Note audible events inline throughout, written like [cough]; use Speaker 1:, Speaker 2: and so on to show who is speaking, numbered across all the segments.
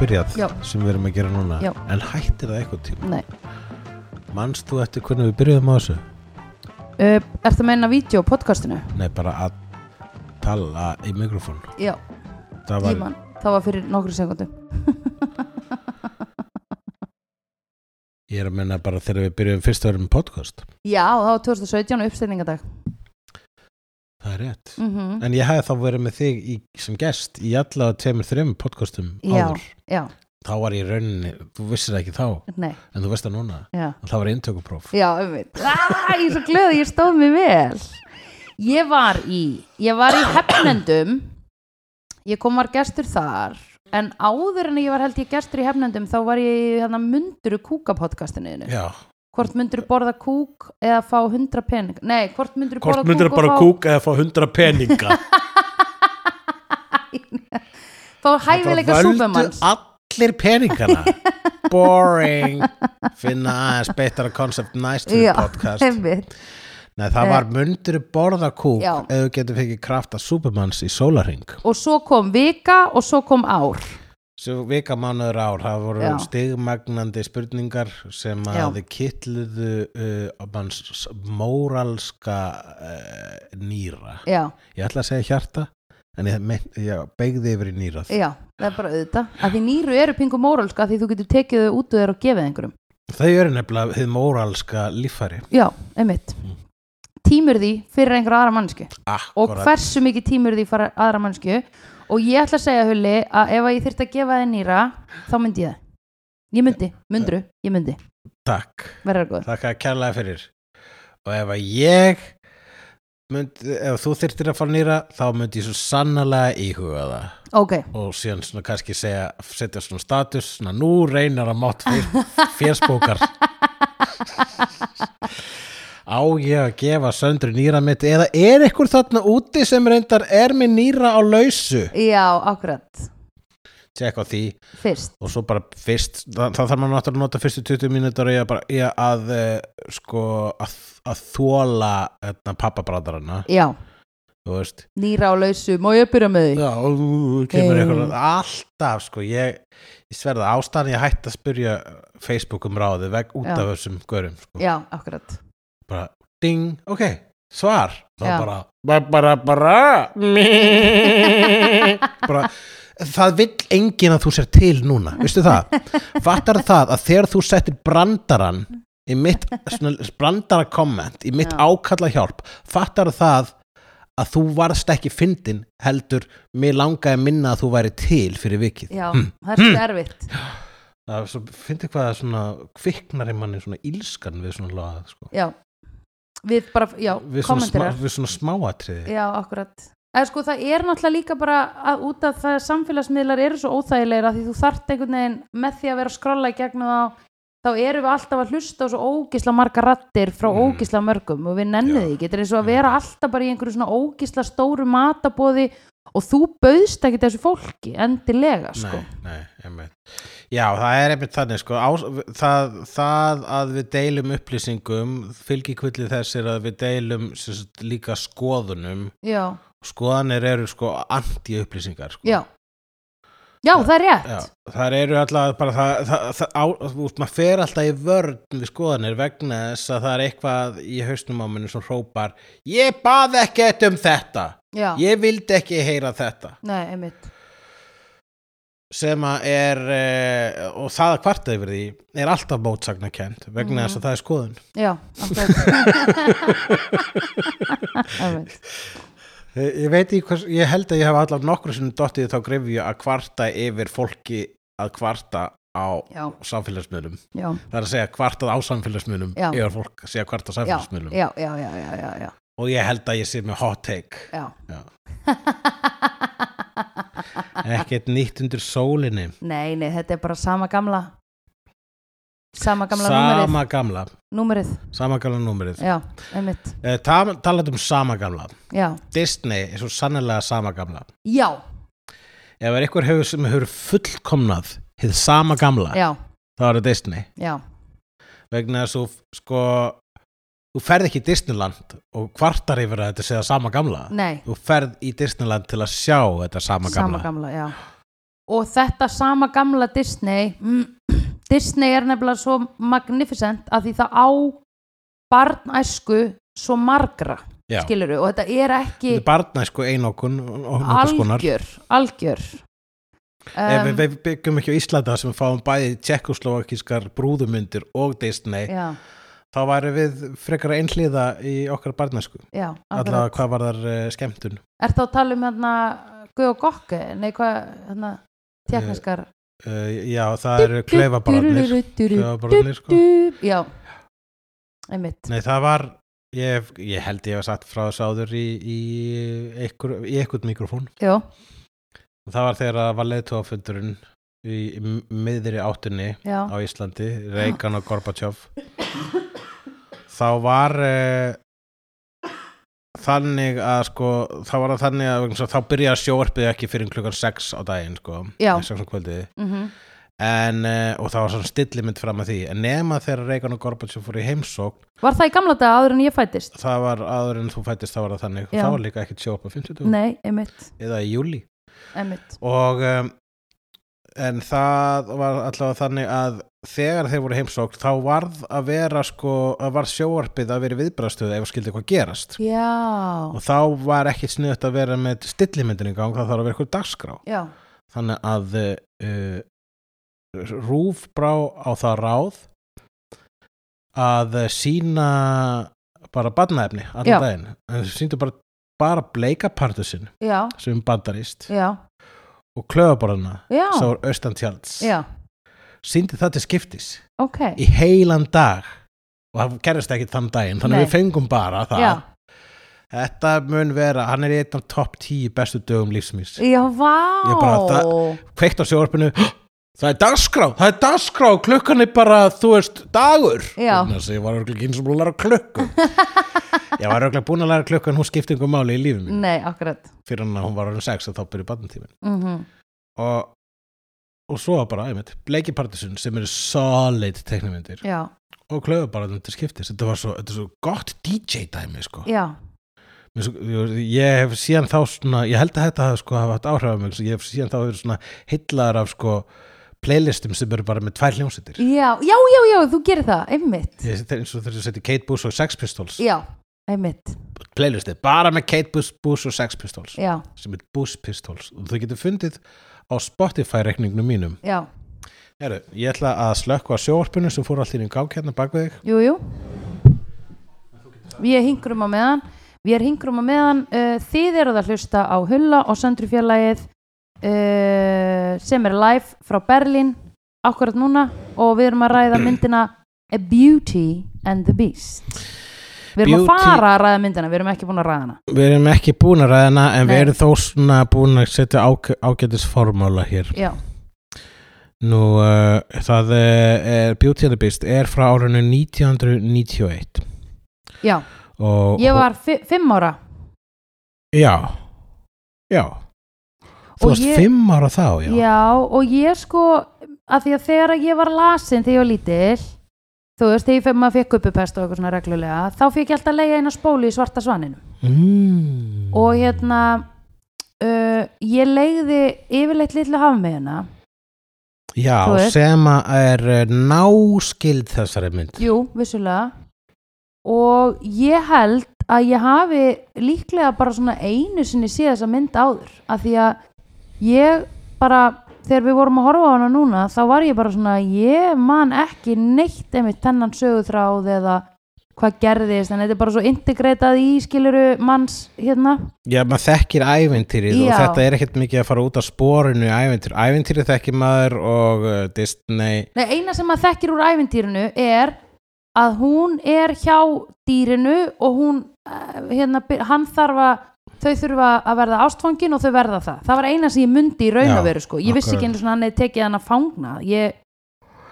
Speaker 1: byrjað
Speaker 2: Já.
Speaker 1: sem við erum að gera núna
Speaker 2: Já.
Speaker 1: en hættir það eitthvað tíma
Speaker 2: Nei.
Speaker 1: manst þú eftir hvernig við byrjuðum á þessu?
Speaker 2: Uh, er það meina vídeo á podcastinu?
Speaker 1: Nei, bara að tala í mikrofón
Speaker 2: Já,
Speaker 1: það
Speaker 2: var...
Speaker 1: var,
Speaker 2: tíman. Það var fyrir nokkru sekundu.
Speaker 1: ég er að menna bara þegar við byrjuðum fyrst að vera með podcast
Speaker 2: Já, það var 2017 og uppstendingadag.
Speaker 1: það er rétt
Speaker 2: Mm -hmm.
Speaker 1: en ég hefði þá verið með þig í, sem gest í alla tveimur þreimur podcastum
Speaker 2: Já.
Speaker 1: áður
Speaker 2: Já,
Speaker 1: þá var ég í rauninni, þú vissir það ekki þá
Speaker 2: nei,
Speaker 1: en þú veist það núna,
Speaker 2: já.
Speaker 1: að það var eintökupróf
Speaker 2: Já, um veit. Ah, ég er svo glöð, ég stóð mig vel. Ég var í, ég var í hefnendum, ég kom var gestur þar, en áður en ég var held ég gestur í hefnendum, þá var ég í hérna munduru kúka podcastinu. þínu.
Speaker 1: Já,
Speaker 2: Hvort munduru borða kúk eða fá 100 pening? Nei, hvort munduru borða
Speaker 1: hvort myndir
Speaker 2: kúk og
Speaker 1: bara
Speaker 2: fá...
Speaker 1: kúka eða fá hundra peninga
Speaker 2: Fá
Speaker 1: Það bara
Speaker 2: hæfileika supermanns.
Speaker 1: allir peningana
Speaker 2: [laughs]
Speaker 1: Boring Finna aðeins betra koncept næst fyrir podcast
Speaker 2: einmitt.
Speaker 1: Nei, það var mundur borða kúk
Speaker 2: Eh. Já.
Speaker 1: ef þú getur fengið krafta supermanns í sólarhing
Speaker 2: Og svo kom vika og svo kom ár.
Speaker 1: Svo vika mánuður ár, það voru
Speaker 2: Já.
Speaker 1: stigmagnandi spurningar sem
Speaker 2: Já.
Speaker 1: að kittluðu uh, manns móralska uh, nýra
Speaker 2: Já,
Speaker 1: Ég ætla að segja hjarta en ég, mein- ég beigði yfir í nýrað
Speaker 2: já, það er bara auðvitað. Að því nýru eru pingu móralska því þú getur tekið þau út og þeir og gefið einhverjum.
Speaker 1: Þau eru nefnilega hið móralska líffæri
Speaker 2: Já, einmitt
Speaker 1: Mm.
Speaker 2: Tímur því fyrir einhverja aðra mannsku og
Speaker 1: Akkúrat.
Speaker 2: hversu mikið tímur því fyrir aðra mannsku og ég ætla að segja Hulli að ef að ég þyrfti að gefa þið nýra þá myndi ég það Ég myndi, myndru, ég myndi
Speaker 1: Takk
Speaker 2: Verður góð
Speaker 1: Takk að kærlega fyrir Og ef að ég mynd, ef þú þyrftir að fá nýra þá myndi ég svo sannlega íhuga það
Speaker 2: Ok,
Speaker 1: og síðan svona kannski segja setja svona status, svona nú reynar að mátt fyrir fjersbókar Á ég að gefa söndru nýra mitt eða er einhver þarna úti sem reyndar er með nýra á lausu
Speaker 2: já, akkurat
Speaker 1: Tjekk á því
Speaker 2: Fyrst,
Speaker 1: og svo bara fyrst það, það þarf maður náttúrulega að nota fyrstu 20 mínútur í að, bara, í að eh, sko að, að þóla pappabradarana,
Speaker 2: já,
Speaker 1: þú veist
Speaker 2: nýra á lausu Má ég byrja með því?
Speaker 1: já, og þú kemur
Speaker 2: Eh.
Speaker 1: eitthvað alltaf sko, ég, ég sverða ástæðan ég hætti að spyrja Facebook um ráði veg út
Speaker 2: Já.
Speaker 1: af þessum görum sko.
Speaker 2: Já, akkurat
Speaker 1: bara ding, ok, svar þá
Speaker 2: Já.
Speaker 1: bara, bara, bara, bara
Speaker 2: [laughs]
Speaker 1: meh. bara það vill enginn að þú sér til núna, veistu það fattar það að þegar þú settir brandaran í mitt svona, brandara komment, í mitt
Speaker 2: Já.
Speaker 1: ákalla hjálp fattar það að þú varst ekki fyndin heldur mér langaði að minna að þú væri til fyrir vikið
Speaker 2: Já, það er svo
Speaker 1: Hm.
Speaker 2: erfitt
Speaker 1: það er svo, fyndi hvað að svona kviknar í manni svona ílskan við svona lagað sko.
Speaker 2: Já, við bara, já,
Speaker 1: við svona, smá,
Speaker 2: kommentirar
Speaker 1: við svona smáatriði
Speaker 2: Já, akkurat eða sko það er náttúrulega líka bara að, út af það að samfélagsmiðlar eru svo óþægilegir að því þú þart einhvern veginn með því að vera að skrolla í gegnum þá þá erum við alltaf að hlusta á svo ógisla marga rattir frá
Speaker 1: Mm.
Speaker 2: ógisla mörgum og við nennum
Speaker 1: Já.
Speaker 2: því, getur eins og að vera alltaf bara í einhverju svona ógisla stóru matabóði og þú bauðst ekki þessu fólki endilega sko
Speaker 1: Nei, nei, einmitt. Já, það er einmitt þannig sko, á, það, það að við deilum upplýsingum, fylgikvillið þess er að við deilum sem sagt, líka skoðunum,
Speaker 2: Já,
Speaker 1: skoðanir eru sko anti-upplýsingar sko.
Speaker 2: já Já, það er rétt
Speaker 1: Já, þar eru alltaf bara það, það, það á, þú veist, maður fer alltaf í vörn við skoðanir vegna þess að það er eitthvað í hausnum á minni sem hrópar ég bað ekkert um þetta
Speaker 2: Já,
Speaker 1: ég vildi ekki heyra þetta
Speaker 2: nei, einmitt
Speaker 1: sem að er eh, og það að kvarta yfir því er alltaf mótsagnakend
Speaker 2: Mhm.
Speaker 1: vegna þess að það er skoðun
Speaker 2: Já, akkurat [laughs] Einmitt
Speaker 1: Eh, ég veit í hvers, ég held að ég hef allavega nokkru sinni dottið í þá grefju að kvarta yfir fólki að kvarta á
Speaker 2: Já,
Speaker 1: samfélagsmiðlum
Speaker 2: já
Speaker 1: það er að segja kvartað á samfélagsmiðlum
Speaker 2: Já.
Speaker 1: yfir fólk að segja kvarta á
Speaker 2: já,
Speaker 1: samfélagsmiðlum
Speaker 2: já, já, já, já, já, já,
Speaker 1: og ég held að ég sé með hot take
Speaker 2: já.
Speaker 1: Já. ekkert nýtt undir sólinni
Speaker 2: [laughs] Nei, nei, þetta er bara sama gamla Sama gamla númerið
Speaker 1: sama gamla
Speaker 2: Númerið,
Speaker 1: sama gamla númerið
Speaker 2: já, einmitt
Speaker 1: Eh, ta- talandi um sama gamla
Speaker 2: Já,
Speaker 1: Disney er svo sannlega sama gamla
Speaker 2: já,
Speaker 1: ef er einhver hefur sem hefur fullkomnað hið sama gamla,
Speaker 2: já,
Speaker 1: þá er það Disney
Speaker 2: já
Speaker 1: vegna þess að þú sko þú ferð ekki í Disneyland og kvartar yfir að þetta sé það sama gamla
Speaker 2: Nei,
Speaker 1: þú ferð í Disneyland til að sjá þetta sama gamla,
Speaker 2: sama gamla, já og þetta sama gamla Disney mm, [clears throat] Disney er nefnilega svo magnificent að því það á barnæsku svo margra
Speaker 1: Já.
Speaker 2: skiluru og þetta er ekki
Speaker 1: Þetta er barnæsku einokun og nokkurs konar.
Speaker 2: algjör algjör
Speaker 1: Ef
Speaker 2: um,
Speaker 1: við- við byggum ekki á Íslanda sem við fáum bæði tjekkoslovakískar brúðumundir og Disney,
Speaker 2: já,
Speaker 1: þá væri við frekar einhliða í okkar barnæsku.
Speaker 2: já,
Speaker 1: Alla hvað var þar uh, skemmtun?
Speaker 2: er það að tala um hérna Guð og Gokki, nei hvað hérna, tjekkneskar
Speaker 1: Uh, já, það eru kleifabarnir. Kleifabarnir, sko.
Speaker 2: já einmitt,
Speaker 1: Nei, það var, ég, hef- ég held ég hef sagt frá þessu áður í, í, einhver, í einhvern mikrofón.
Speaker 2: já,
Speaker 1: Og Það var þegar það var leiðtóafundurinn í í miðri áttunni
Speaker 2: já
Speaker 1: á Íslandi, Reykján og Gorbachev þá var eh, þannig að sko, þá var það þannig að vegna þess að þá byrjaði sjóarpið ekki fyrir klukkan 6 á daginn sko,
Speaker 2: Já.
Speaker 1: 6 á kvöldið
Speaker 2: mhm
Speaker 1: en, eh, og það var svona stillimynd fram að því en nema þegar Reykján og Gorbachev fór í heimsókn
Speaker 2: Var það í gamla daga áður en ég fættist?
Speaker 1: það var áður en þú fættist þá var það þannig
Speaker 2: Já.
Speaker 1: þá var líka ekkert sjóarpið 50
Speaker 2: Nei, einmitt,
Speaker 1: eða í júli
Speaker 2: einmitt.
Speaker 1: og um, en það var allavega þannig að þegar þeir voru heimsókn þá varð að vera sko að varð sjóarpið að vera viðbrastöð ef skildi eitthvað gerast
Speaker 2: Já,
Speaker 1: og þá var ekki sniðut að vera með stillimyndin í gang það þarf að vera eitthvað dagskrá
Speaker 2: já,
Speaker 1: þannig að uh, Rúf brá á það ráð að sína bara badnaefni
Speaker 2: Já.
Speaker 1: allan daginn en þau síndu bara, bara bleika partusinn
Speaker 2: já,
Speaker 1: sem bandarist
Speaker 2: já,
Speaker 1: og klöfaborðana
Speaker 2: já,
Speaker 1: sem voru austan tjalds
Speaker 2: já,
Speaker 1: síndi það til skiptis
Speaker 2: ok,
Speaker 1: í heilan dag og það gerist ekki þann daginn þannig
Speaker 2: Nei.
Speaker 1: við fengum bara það
Speaker 2: já,
Speaker 1: þetta mun vera, hann er í einn af topp 10 bestu dögum lífsmís
Speaker 2: já, vá,
Speaker 1: Ég bara, það- kveikt á sjóarpinu, [gasps] það er dagskrá það er dagskrá, klukkan er bara þú veist, dagur
Speaker 2: Já.
Speaker 1: Vegna þess að ég var örgulega ekki eins og búin að læra klukku ég var örgulega búin að læra klukku en hún skipti yngur máli í lífið mín
Speaker 2: nei, akkurat,
Speaker 1: fyrir hann að hún var orðin 6 og þá byrjuði badntímin
Speaker 2: mhm,
Speaker 1: og, og svo bara, einmitt, Bleikipartisun sem eru solid teknimyndir
Speaker 2: já,
Speaker 1: og klöðu bara þetta skiptis þetta var svo, þetta er svo gott DJ dæmi sko.
Speaker 2: já,
Speaker 1: Mér svo, ég- ég hef síðan þá svona, ég held að þetta hafi, sko, hafa haft áhrif á mig, svo ég hef síðan þá verið svona hillar af sko playlistum sem eru bara með tvær hljómsveitir
Speaker 2: já, já, já, já, þú gerir það, einmitt,
Speaker 1: Ég- þetta er eins og þegar þú setja Kate Bush og Sex Pistols
Speaker 2: já, einmitt,
Speaker 1: playlistið, bara með Kate Bush, Bush og Sex Pistols
Speaker 2: já,
Speaker 1: sem er Bush Pistols og þú getur fundið á Spotify reikningnum mínum
Speaker 2: já,
Speaker 1: Heru, ég ætla að slökka á sjóorpinu sem fór allir í gang hérna bak við þig
Speaker 2: jú, jú, við hingrum á meðan, við hingrum á meðan, uh, þið eruð að hlusta á Hulla og Söndrufjörlægið uh, sem er live frá Berlín akkurat núna og við erum að ræða myndina A Beauty and the Beast við erum
Speaker 1: Beauty-
Speaker 2: að fara að ræða myndina við erum ekki búin að ræða hana
Speaker 1: Við erum ekki búin að ræðina en við
Speaker 2: Nei.
Speaker 1: erum þó svona búin að setja ák ágætis formála hér.
Speaker 2: já,
Speaker 1: Nú, uh, það eh, er Beauty and the Beast er frá árinu 1991
Speaker 2: já,
Speaker 1: og...
Speaker 2: ég var fi- fimm ára
Speaker 1: Og, já, já. Þú
Speaker 2: Og
Speaker 1: varst
Speaker 2: ég-
Speaker 1: fimm ára þá, já.
Speaker 2: og ég sko að því að þegar ég var lasin þegar ég var lítil þú veist, þegar ég fe- maður fekk uppupest og eitthvað svona reglulega þá fekk ég alltaf að leiða eina spólu í svarta svaninum
Speaker 1: Mm.
Speaker 2: og hérna uh, ég leiði yfirleitt litlu hafmeyjuna
Speaker 1: Já,
Speaker 2: þú veist.
Speaker 1: sem að er eh, náskild þessari mynd.
Speaker 2: jú, vissulega og ég held að ég hafi líklega bara svona einu sinni séð þessa mynd áður af því að ég bara þegar við vorum að horfa á hana núna þá var ég bara svona, ég man ekki neitt einmitt þennan sögutráð eða hvað gerðist, en þetta er bara svo integreitað í skiluru manns hérna,
Speaker 1: Já, maður þekkir ævintýrið og
Speaker 2: Já.
Speaker 1: þetta er ekkert mikið að fara út af sporinu í ævintýrið. Ævintýrið þekkir maður og uh, Disney...
Speaker 2: Nei, eina sem maður þekkir úr ævintýrinu er að hún er hjá dýrinu og hún, eh, hérna, byr- hann þarf að, þau þurfa að verða ástfangin og þau verða það. Það var eina sem ég mundi í raun
Speaker 1: Já,
Speaker 2: og veru, sko. Ég vissi
Speaker 1: akkurat.
Speaker 2: ekki einu svona hann hefði tekið hann að fangna. Ég,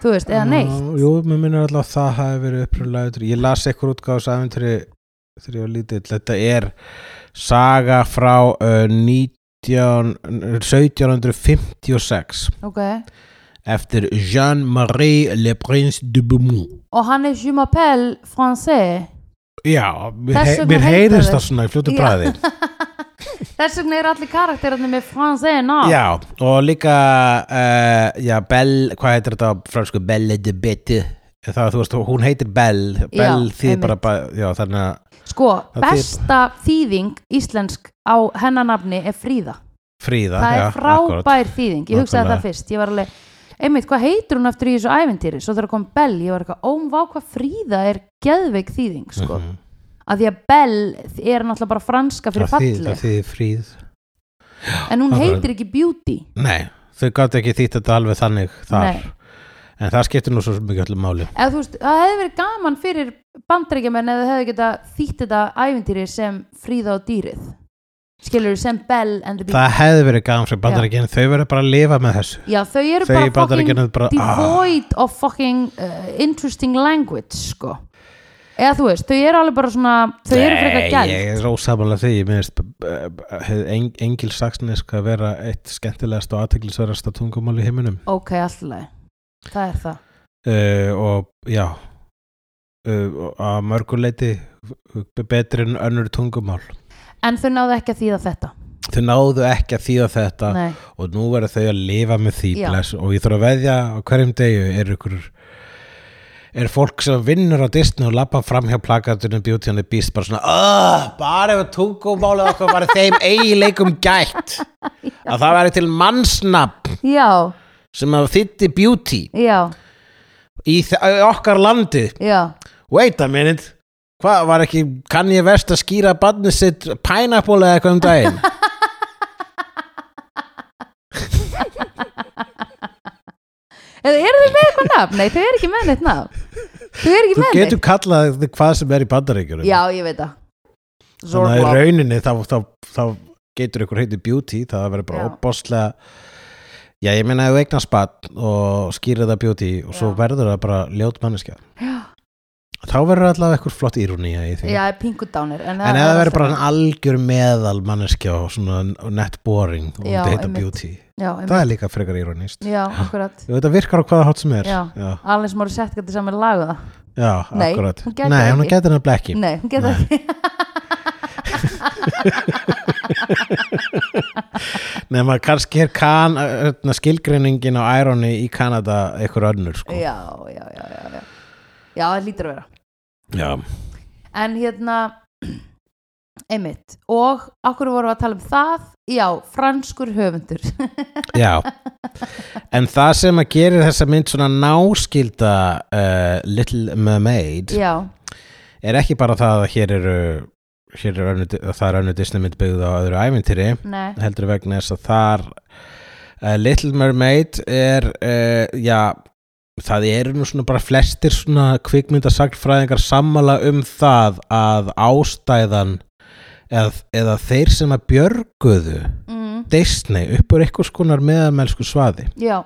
Speaker 2: þú veist, eða neitt.
Speaker 1: Já, Jú, mér minnur alltaf að það hafi verið upprunlega Ég las ekkur útgáðs aðventri þegar ég var lítill Þetta er saga frá uh, 19, 1756
Speaker 2: Ok.
Speaker 1: eftir Jean-Marie Le Prince de Beaumont
Speaker 2: Og hann er je m'appelle français.
Speaker 1: Já, mér,
Speaker 2: Þess
Speaker 1: hei,
Speaker 2: vegna
Speaker 1: mér
Speaker 2: heita
Speaker 1: heyrist
Speaker 2: þeir.
Speaker 1: það svona í fljótu
Speaker 2: Já.
Speaker 1: bræði
Speaker 2: Þess vegna er allir karakterarnir með fransæði ná
Speaker 1: Já, og líka uh, já, Belle, hvað heitir þetta á fransku Belle de Bette það, þú veist, hún heitir Belle Belle
Speaker 2: Já,
Speaker 1: þýð
Speaker 2: einmitt.
Speaker 1: bara, bara, já, þannig að
Speaker 2: Sko,
Speaker 1: Það þýðir-
Speaker 2: besta þýðing íslensk á hennanafni er Fríða
Speaker 1: fríða
Speaker 2: Það
Speaker 1: já,
Speaker 2: er frábær þýðing, ég hugsaði
Speaker 1: Nákvæmlega.
Speaker 2: það fyrst Ég var alveg, einmitt, hvað heitir hún aftur í þessu æventýri? Svo þegar kom Bell, ég var eitthvað Óm, vá, hvað Fríða er geðveik þýðing sko.
Speaker 1: Mhm.
Speaker 2: Af því að Bell er náttúrulega bara franska fyrir
Speaker 1: Það þýð-
Speaker 2: falli
Speaker 1: það þýðir fríð
Speaker 2: En hún
Speaker 1: það er-
Speaker 2: heitir ekki Beauty
Speaker 1: Nei, þau gátt ekki þýtt þetta alveg þannig þar
Speaker 2: Nei.
Speaker 1: en það skiptir nú svo mikið allir máli
Speaker 2: Eða, þú veist, Það hefði verið gaman fyrir bandrækjumenn eða þau hefði geta þýtt þetta æventýri sem Fríða og dýrið Skilur sem Bell and the Beauty
Speaker 1: Það hefði verið gaman fyrir bandarækinn þau verður bara að lifa með þessu
Speaker 2: Já, þau eru
Speaker 1: Þau í
Speaker 2: bara fucking
Speaker 1: Bandaríkjunum bara, ah.
Speaker 2: devoid of fucking uh, interesting language, sko. Eða þú veist, þau eru alveg bara svona, þau eru frekar gæld.
Speaker 1: ég er rósamalega því eh, ég minnst engil saksnesk að vera eitt skemmtilegast og aðteglisverðasta tungumál í heiminum
Speaker 2: Ok, alltaf leið. Það er það.
Speaker 1: uh, og já uh, og að mörguleiti betri en önnur tungumál
Speaker 2: En þau náðu ekki að þýða þetta.
Speaker 1: þau náðu ekki að þýða þetta
Speaker 2: Nei.
Speaker 1: og nú verður þau að lifa með því
Speaker 2: Já.
Speaker 1: bless, og ég þarf að veðja á hverjum degi er ykkur er fólk sem vinnur á Disney og lappa fram hjá plakatunum Beauty and the Beast bara svona, "Ugh, bara ef tungumálið okkar var þeim eiginleikum
Speaker 2: [laughs]
Speaker 1: gætt að það væri til mannsnafn
Speaker 2: Já,
Speaker 1: sem að þýtti beauty
Speaker 2: já,
Speaker 1: í þe- í okkar landi
Speaker 2: já.
Speaker 1: wait a minute hvað var ekki, kann ég verst að skýra barnið sitt pineapple eða eitthvað um daginn
Speaker 2: [laughs] Eða eru þau með eitthvað nafn? Nei, þau eru ekki með neitt nafn. Þau eru ekki
Speaker 1: þú
Speaker 2: með
Speaker 1: getur
Speaker 2: neitt.
Speaker 1: kallað þig hvað sem er í bandaríkjunum
Speaker 2: Já, ég veit það.
Speaker 1: þannig að í
Speaker 2: Zorblop.
Speaker 1: rauninni þá, þá, þá getur ykkur heiti beauty það verður bara
Speaker 2: Já.
Speaker 1: opbáslega já ég meina ef þú eignast bann og skýrir það beauty og svo
Speaker 2: Já.
Speaker 1: verður það bara ljót manneskja þá verður allavega ykkur flott írúnía í því
Speaker 2: Já, pingudánir. En,
Speaker 1: en ef það verður bara
Speaker 2: alltaf-
Speaker 1: en algjör meðal manneskja og svona net boring og
Speaker 2: Já,
Speaker 1: þetta heita
Speaker 2: einmitt.
Speaker 1: beauty
Speaker 2: Já,
Speaker 1: það
Speaker 2: einmitt.
Speaker 1: er líka frekar írónist
Speaker 2: já, akkurat.
Speaker 1: þetta virkar á hvaða hátt sem er
Speaker 2: Já.
Speaker 1: já,
Speaker 2: Alveg sem voru sett gæti saman lagu það.
Speaker 1: já
Speaker 2: Nei,
Speaker 1: akkurat
Speaker 2: hún getur
Speaker 1: nei, hún
Speaker 2: ekki.
Speaker 1: getur hennar blekki
Speaker 2: Nei, hún getur ekki.
Speaker 1: nema kannski er kan, hérna, skilgreiningin á ironi í Kanada ykkur önnur sko.
Speaker 2: já, já, já, já, já já, það lítur að vera
Speaker 1: Já.
Speaker 2: en hérna [clears throat] einmitt, og okkur vorum við að tala um það já, franskur höfundur [laughs]
Speaker 1: Já. En það sem að gerir þessa mynd svona náskilda uh, Little Mermaid
Speaker 2: já,
Speaker 1: er ekki bara það að hér eru hér er önnu, það er önnu Disney mynd byggð á öðru ævintýri
Speaker 2: nei,
Speaker 1: heldur vegna þess að þar uh, Little Mermaid er uh, já það eru nú svona bara flestir svona kvikmyndasagnfræðingar sammala um það að ástæðan eða, eða þeir sem að björguðu
Speaker 2: mm,
Speaker 1: Disney upp úr einhvers konar meðamelsku svaði
Speaker 2: já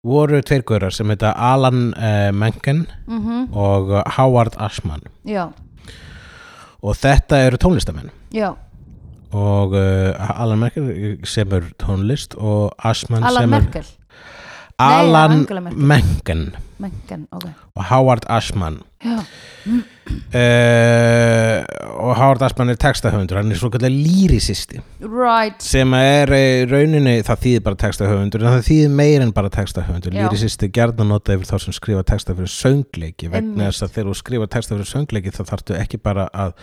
Speaker 1: voru tveir gaurar sem heita Alan uh, Menken
Speaker 2: mm
Speaker 1: og Howard Ashman
Speaker 2: já,
Speaker 1: og þetta eru tónlistamenn
Speaker 2: já,
Speaker 1: og uh, Alan Menken semur tónlist og Ashman
Speaker 2: Alan
Speaker 1: semur
Speaker 2: Merkel
Speaker 1: Alan
Speaker 2: Nei, Angela Merkel.
Speaker 1: Menken
Speaker 2: Menken, ok
Speaker 1: og Howard Ashman
Speaker 2: já,
Speaker 1: uh, og Howard Ashman er textahöfundur hann er svo kallar lýrisisti
Speaker 2: right
Speaker 1: sem er eh, í rauninni, það þýðir bara textahöfundur en það þýðir meir en bara textahöfundur
Speaker 2: Já.
Speaker 1: lýrisisti gerðan nota yfir þá sem skrifa texta fyrir söngleiki vegna
Speaker 2: Einmitt.
Speaker 1: þess að þegar þú skrifa texta fyrir söngleiki þá þarftu ekki bara að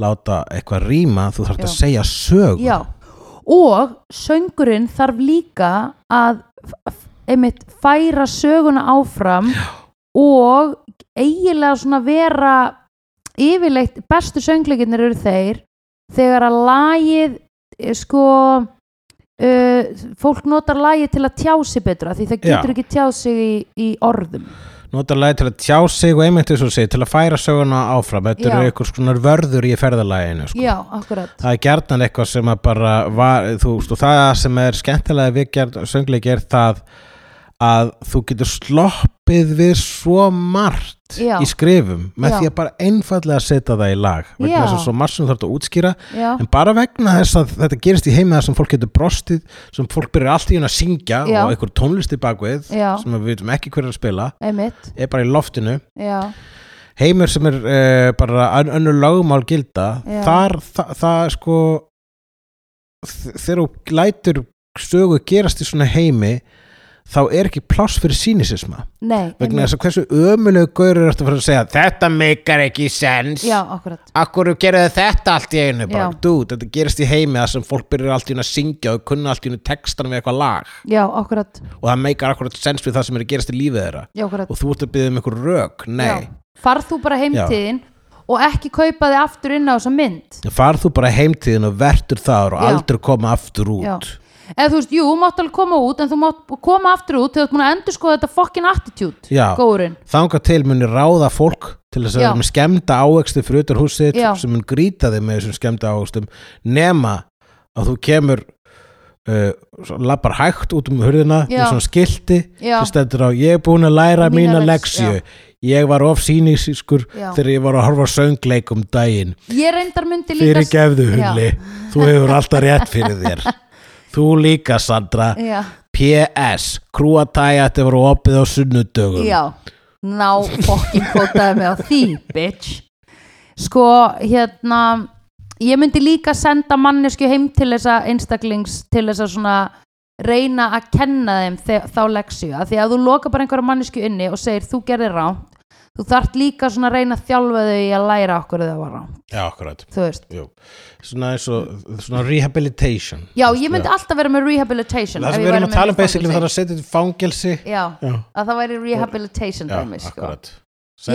Speaker 1: láta eitthvað rýma, þú þarft að
Speaker 2: Já.
Speaker 1: segja sög
Speaker 2: já, og söngurinn þarf líka að f- einmitt færa söguna áfram og eiginlega svona vera yfirleitt bestu söngleikinnir eru þeir þegar að lagið eh, sko uh, fólk notar lagið til að tjá sig betra því það
Speaker 1: Já.
Speaker 2: getur ekki tjá sig í, í orðum
Speaker 1: nota lagi til að tjá sig og einmitt þess að segja, til að færa söguna áfram
Speaker 2: Já.
Speaker 1: þetta eru einhvers konar vörður í ferðalaginu sko.
Speaker 2: já, akkurat
Speaker 1: það er gerðan eitthvað sem að bara var, þú veist, og það sem er skemmtilega við gerð, söngleiki er það að þú getur sloppið við svo margt
Speaker 2: Já.
Speaker 1: í skrifum með
Speaker 2: Já.
Speaker 1: því að bara einfallega setja það í lag vegna
Speaker 2: Já.
Speaker 1: þess að svo margt sem þú þarf að útskýra
Speaker 2: já,
Speaker 1: en bara vegna þess að þetta gerist í heima þar sem fólk getur brostið sem fólk byrjar allt í hún að syngja
Speaker 2: Já.
Speaker 1: og einhver tónlist í bakvið
Speaker 2: Já.
Speaker 1: sem við veitum ekki hver er að spila
Speaker 2: einmitt
Speaker 1: er bara í loftinu
Speaker 2: já,
Speaker 1: eh, heimur sem er uh, bara ön- önnur lögmál gilda
Speaker 2: Já.
Speaker 1: þar, það, það sko þ- þegar þú lætur sögu gerast í svona heimi þá er ekki pláss fyrir sínisisma
Speaker 2: nei,
Speaker 1: vegna
Speaker 2: einmitt.
Speaker 1: þess að hversu ömulegu gaurur ertu að fara að segja þetta meikar ekki sens
Speaker 2: já, akkurat
Speaker 1: Akkur gerðu þetta allt í einu bara,
Speaker 2: Já.
Speaker 1: dude, þetta gerist í heimi það sem fólk byrjar allt í einu að syngja og kunna allt í einu textan við eitthvað lag
Speaker 2: já, akkurat,
Speaker 1: og það meikar akkurat sens við það sem er að gerast í lífið þeirra
Speaker 2: já, akkurat.
Speaker 1: og þú ert að byggja um einhver rök, nei
Speaker 2: Já. farð þú bara
Speaker 1: Já.
Speaker 2: heimtíðin og ekki kaupa þig aftur inn á þessa mynd
Speaker 1: far þú bara heimtíðin og vertur þar og
Speaker 2: Já.
Speaker 1: aldrei koma aftur út
Speaker 2: Já. eða þú veist, jú, mátt alveg koma út en þú mátt koma aftur út þegar þú ert múin að endurskoða þetta fucking attitude
Speaker 1: Já.
Speaker 2: góðurinn,
Speaker 1: þangað til muni ráða fólk til þess að
Speaker 2: Já.
Speaker 1: vera með skemmda ávexti fyrir utan húsið
Speaker 2: Já.
Speaker 1: sem mun grýta þig með þessum skemmda ávextum nema að þú kemur uh, svo labbar hægt út um hurðina
Speaker 2: Já.
Speaker 1: með svona skilti
Speaker 2: Já.
Speaker 1: sem stendur á ég er búin að læra
Speaker 2: Mína
Speaker 1: mína,
Speaker 2: lex-
Speaker 1: leksíu ég var of sínisískur
Speaker 2: Já.
Speaker 1: þegar ég var að horfa á söngleik um daginn
Speaker 2: ég reyndar myndi líka
Speaker 1: fyrir gefðu hulli þú hefur alltaf rétt fyrir þér
Speaker 2: [laughs]
Speaker 1: þú líka Sandra
Speaker 2: já,
Speaker 1: PS, krúatæja þetta var opið á sunnudögum
Speaker 2: já, ná fucking kótaði mig á því, bitch sko, hérna ég myndi líka senda mannesku heim til þessa einstaklings til þess að svona reyna að kenna þeim þe- þá leksju að því að þú loka bara einhverja mannesku inni og segir þú gerðir rámt þú þart líka svona að reyna að þjálfa þau í að læra okkur það var rámt,
Speaker 1: já akkurat
Speaker 2: þú veist
Speaker 1: Jú. svona eins og svona rehabilitation
Speaker 2: Já, ég myndi alltaf vera með rehabilitation
Speaker 1: það
Speaker 2: ef
Speaker 1: sem
Speaker 2: ég
Speaker 1: við
Speaker 2: væri
Speaker 1: erum að
Speaker 2: með
Speaker 1: tala um
Speaker 2: fangelsi.
Speaker 1: basically það er að setja þetta í fangelsi
Speaker 2: Já,
Speaker 1: já,
Speaker 2: að það væri rehabilitation dæmi, sko.
Speaker 1: akkurat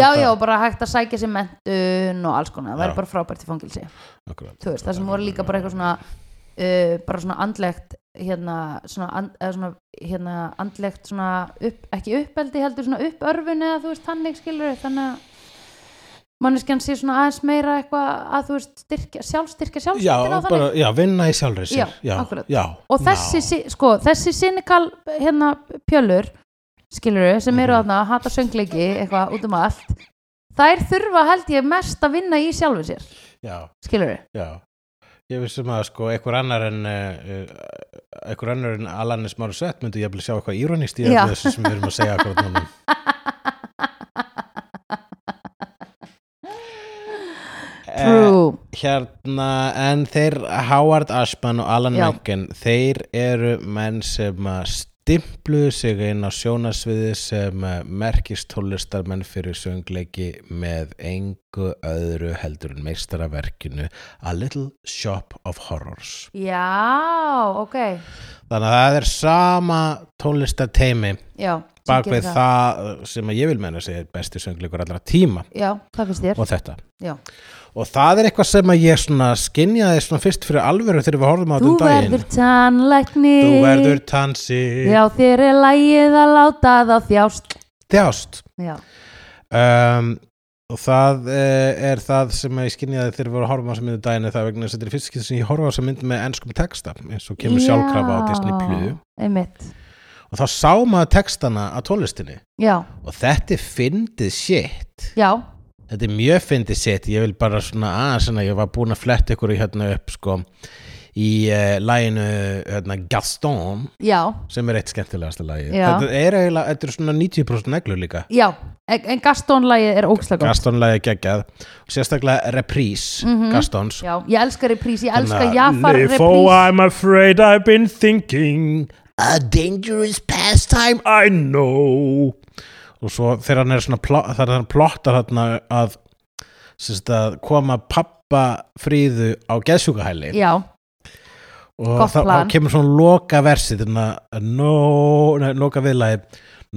Speaker 2: Já, já, og bara hægt að sækja sér mentun og alls konar, það væri
Speaker 1: Já.
Speaker 2: bara frábært í fangelsi
Speaker 1: akkurat.
Speaker 2: þú veist, það sem voru líka bara eitthvað svona uh, bara svona andlegt hérna, svona, and, eða svona hérna, andlegt svona upp, ekki uppeldi heldur svona uppörfun eða þú veist, þannig skilur þannig að manneskjan sé svona aðeins meira eitthvað að þú veist, styrkja, sjálfstyrkja
Speaker 1: já,
Speaker 2: sjálfstyrkja
Speaker 1: og bara, já, vinna í sjálfri sér
Speaker 2: Já,
Speaker 1: já,
Speaker 2: akkurat.
Speaker 1: já,
Speaker 2: og þessi,
Speaker 1: já.
Speaker 2: si- sko, þessi sinikal hérna pjölur skilur sem eru
Speaker 1: Mhm.
Speaker 2: þarna að hata söngleiki eitthvað út um allt þær þurfa held ég mest að vinna í sjálfu sér
Speaker 1: já,
Speaker 2: skilur
Speaker 1: já ég vissum að sko einhver annar en uh, einhver annar en Alanis Morissette myndi ég að sjá eitthvað íronist í öllu
Speaker 2: Já.
Speaker 1: þessu sem við erum að segja akkurat núna Eh,
Speaker 2: true
Speaker 1: hérna, en þeir Howard Ashman og Alan
Speaker 2: Já.
Speaker 1: Menken þeir eru menn sem að stimpluðu sig inn á sjónasviði sem eh, merkist tónlistarmenn fyrir söngleiki með engu öðru heldur en meistaraverkinu A Little Shop of Horrors
Speaker 2: já, ok
Speaker 1: þannig að það er sama tónlistarteimi
Speaker 2: já, sem gerir
Speaker 1: bakveg það sem að ég vil menna segja er besti söngleikur allra tíma
Speaker 2: já, hvað finnst þér?
Speaker 1: og þetta
Speaker 2: Já.
Speaker 1: og það er eitthvað sem að ég svona skinjaði svona fyrst fyrir alvöru þegar við horfum á
Speaker 2: þú
Speaker 1: þetta um daginn
Speaker 2: verður tannlækni
Speaker 1: þú verður tansi
Speaker 2: já, þér er lægið að láta það þjást
Speaker 1: þjást
Speaker 2: já,
Speaker 1: um, og það uh, er það sem ég skinjaði þegar við vorum að horfa á þessa mynd um daginn er það vegna þess að þetta er fyrst skil sem ég horfa á þessa mynd með ennskum texta eins og kemur
Speaker 2: Já,
Speaker 1: sjálfkrafa á Disney Plus
Speaker 2: einmitt,
Speaker 1: og þá sá maður textana á tónlistinni
Speaker 2: já,
Speaker 1: og þetta er fyndið shit
Speaker 2: já
Speaker 1: Þetta er mjög fyndið sitt, ég vil bara svona aðeins svona, ég var búin að fletta ykkur í hérna upp sko í uh, læginu hérna, Gaston
Speaker 2: já,
Speaker 1: sem er eitt skemmtilegasta lægi
Speaker 2: Já.
Speaker 1: þetta er eiginlega, þetta er svona 90% neglur líka
Speaker 2: já en, en Gaston-lægið er ógslag
Speaker 1: Gaston lægi geggjað og sérstaklega reprise Gastons
Speaker 2: Já, ég elska reprís, ég elska
Speaker 1: Þannig að,
Speaker 2: Jafar
Speaker 1: "If, oh,
Speaker 2: reprís
Speaker 1: I'm afraid I've been thinking a dangerous pastime I know og svo þegar hann er svona plot, þegar hann plottar þarna að, sérst, að koma pappa fríðu á geðsjúkahæli
Speaker 2: Já,
Speaker 1: og
Speaker 2: Gott
Speaker 1: þá, þá
Speaker 2: plan.
Speaker 1: kemur svona loka versið þannig að no, nei, loka viðlagi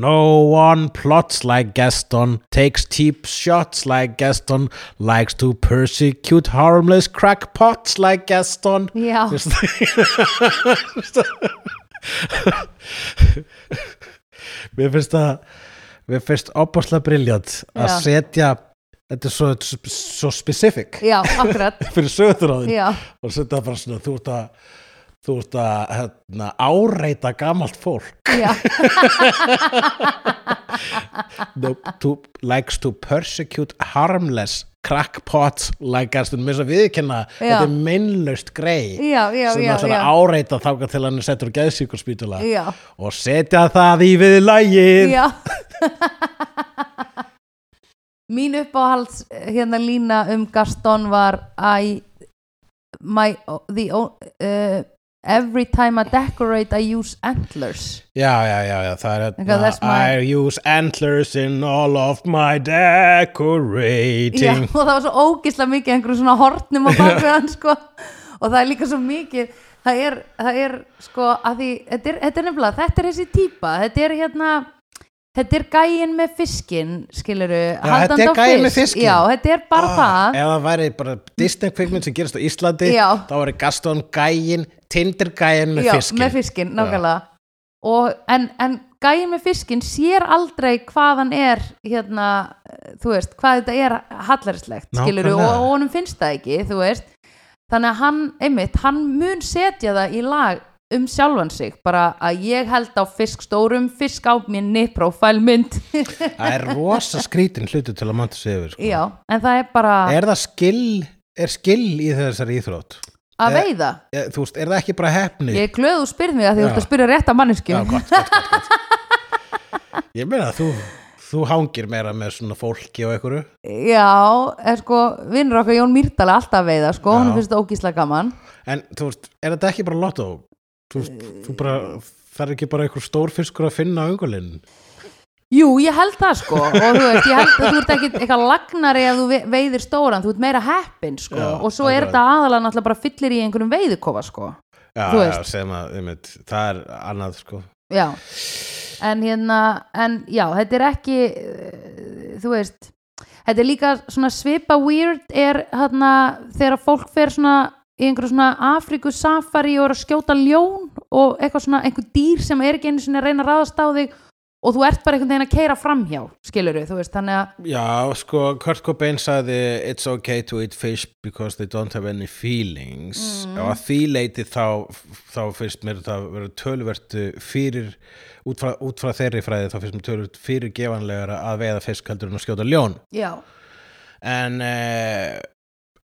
Speaker 1: No one plots like Gaston, takes cheap shots like Gaston, likes to persecute harmless crackpots like Gaston.
Speaker 2: já,
Speaker 1: Þú veist Mér finnst það Mér finnst opaslega briljant að
Speaker 2: Já.
Speaker 1: setja Þetta er svo, svo specific
Speaker 2: já, akkurat
Speaker 1: fyrir sögðuráðin
Speaker 2: Já,
Speaker 1: og setja bara svona þú ert að þú ert að hérna, áreita gamalt fólk
Speaker 2: já,
Speaker 1: no, to, likes to persecute harmless crackpots like Gaston, mér finnst að viðkenna
Speaker 2: Já.
Speaker 1: þetta er meinlaust grei
Speaker 2: já, já,
Speaker 1: sem
Speaker 2: já,
Speaker 1: ætlar
Speaker 2: já.
Speaker 1: að áreita þáka til hann er settur á geðsíkurspítula
Speaker 2: já,
Speaker 1: og setja það í viðlægið
Speaker 2: já. Mín uppáhalds hérna lína um Gaston var I, my, the, o- uh, every time I decorate I use antlers
Speaker 1: Já, já, já, já, það er hérna,
Speaker 2: Eitthvað, that's my-
Speaker 1: I use antlers in all of my decorating
Speaker 2: Já, og það var svo ógislega mikið einhverjum svona hortnum á bakvið hann sko. og það er líka svo mikið það er, það er sko að því, þetta er, þetta er nefnilega, þetta er þessi típa þetta er hérna þetta er gæin með fiskin skiluru,
Speaker 1: Já, þetta er gæinn með fiskinn.
Speaker 2: já, þetta er bara
Speaker 1: Ah,
Speaker 2: það
Speaker 1: Ef það væri bara Disney kvikmynd sem gerist á Íslandi
Speaker 2: Já.
Speaker 1: þá væri Gaston gæin, Tinder gæin með
Speaker 2: já,
Speaker 1: fiskin
Speaker 2: með fiskin, nákvæmlega og, en, en gæin með fiskin sér aldrei hvað hann er hérna, þú veist, hvað þetta er hallarslegt, skiluru, og,
Speaker 1: Nákvæmlega.
Speaker 2: og honum finnst það ekki, þú veist þannig að hann, einmitt, hann mun setja það í lag um sjálfan sig bara að ég held á fisk stórum fisk á minni prófælmynd
Speaker 1: Það er rosa skrítin hlutu til að manta sig yfir sko.
Speaker 2: [laughs] já, en það er bara
Speaker 1: Er það skill, er skill í þessari íþrótt?
Speaker 2: að veiða
Speaker 1: Er, þú veist, er það ekki bara hefni?
Speaker 2: ég er glöð og spyrð mig að því þú
Speaker 1: Já.
Speaker 2: ert að spyrja rétt að
Speaker 1: Já,
Speaker 2: manneskju
Speaker 1: gott, gott, gott, gott. Ég meina að þú, þú hangir meira með svona fólki og einhverju
Speaker 2: Já, er sko, vinnur okkar Jón Mýrdal er alltaf að veiða, sko,
Speaker 1: Já.
Speaker 2: hann finnst það ógíslega gaman
Speaker 1: En þú veist, er þetta ekki bara lottó? Þú veist, þú bara, það er ekki bara einhver stór fiskur að finna á öngulinn
Speaker 2: Jú, ég held það sko og þú veist, ég held að þú ert ekki eitthvað lagnari að þú ve- veiðir stóran, þú ert meira heppin sko
Speaker 1: Já,
Speaker 2: og svo er
Speaker 1: akkurat.
Speaker 2: þetta aðalega náttúrulega bara fyllir í einhverjum veiðukofa sko
Speaker 1: Já,
Speaker 2: Þú
Speaker 1: já,
Speaker 2: veist.
Speaker 1: sem að, um það er annað sko
Speaker 2: Já, en hérna en já, þetta er ekki eh, þú veist þetta er líka svona svipa weird er hérna þegar fólk fer svona í einhverju svona Afriku safari og er að skjóta ljón og eitthvað svona einhver dýr sem er ekki einu sinni að reyna að ráðast á þig og þú ert bara einhvern veginn að keira framhjá skilur þú veist, þannig að
Speaker 1: Já, sko, Kurt Cobain sagði It's okay to eat fish because they don't have any feelings
Speaker 2: Mm.
Speaker 1: og að því leiti þá, þá finnst mér það verið tölvert fyrir, út frá, út frá þeirri fræði þá finnst mér tölvert fyrir gefanlegra að veiða fisk heldur en að skjóta ljón
Speaker 2: já,
Speaker 1: en eh,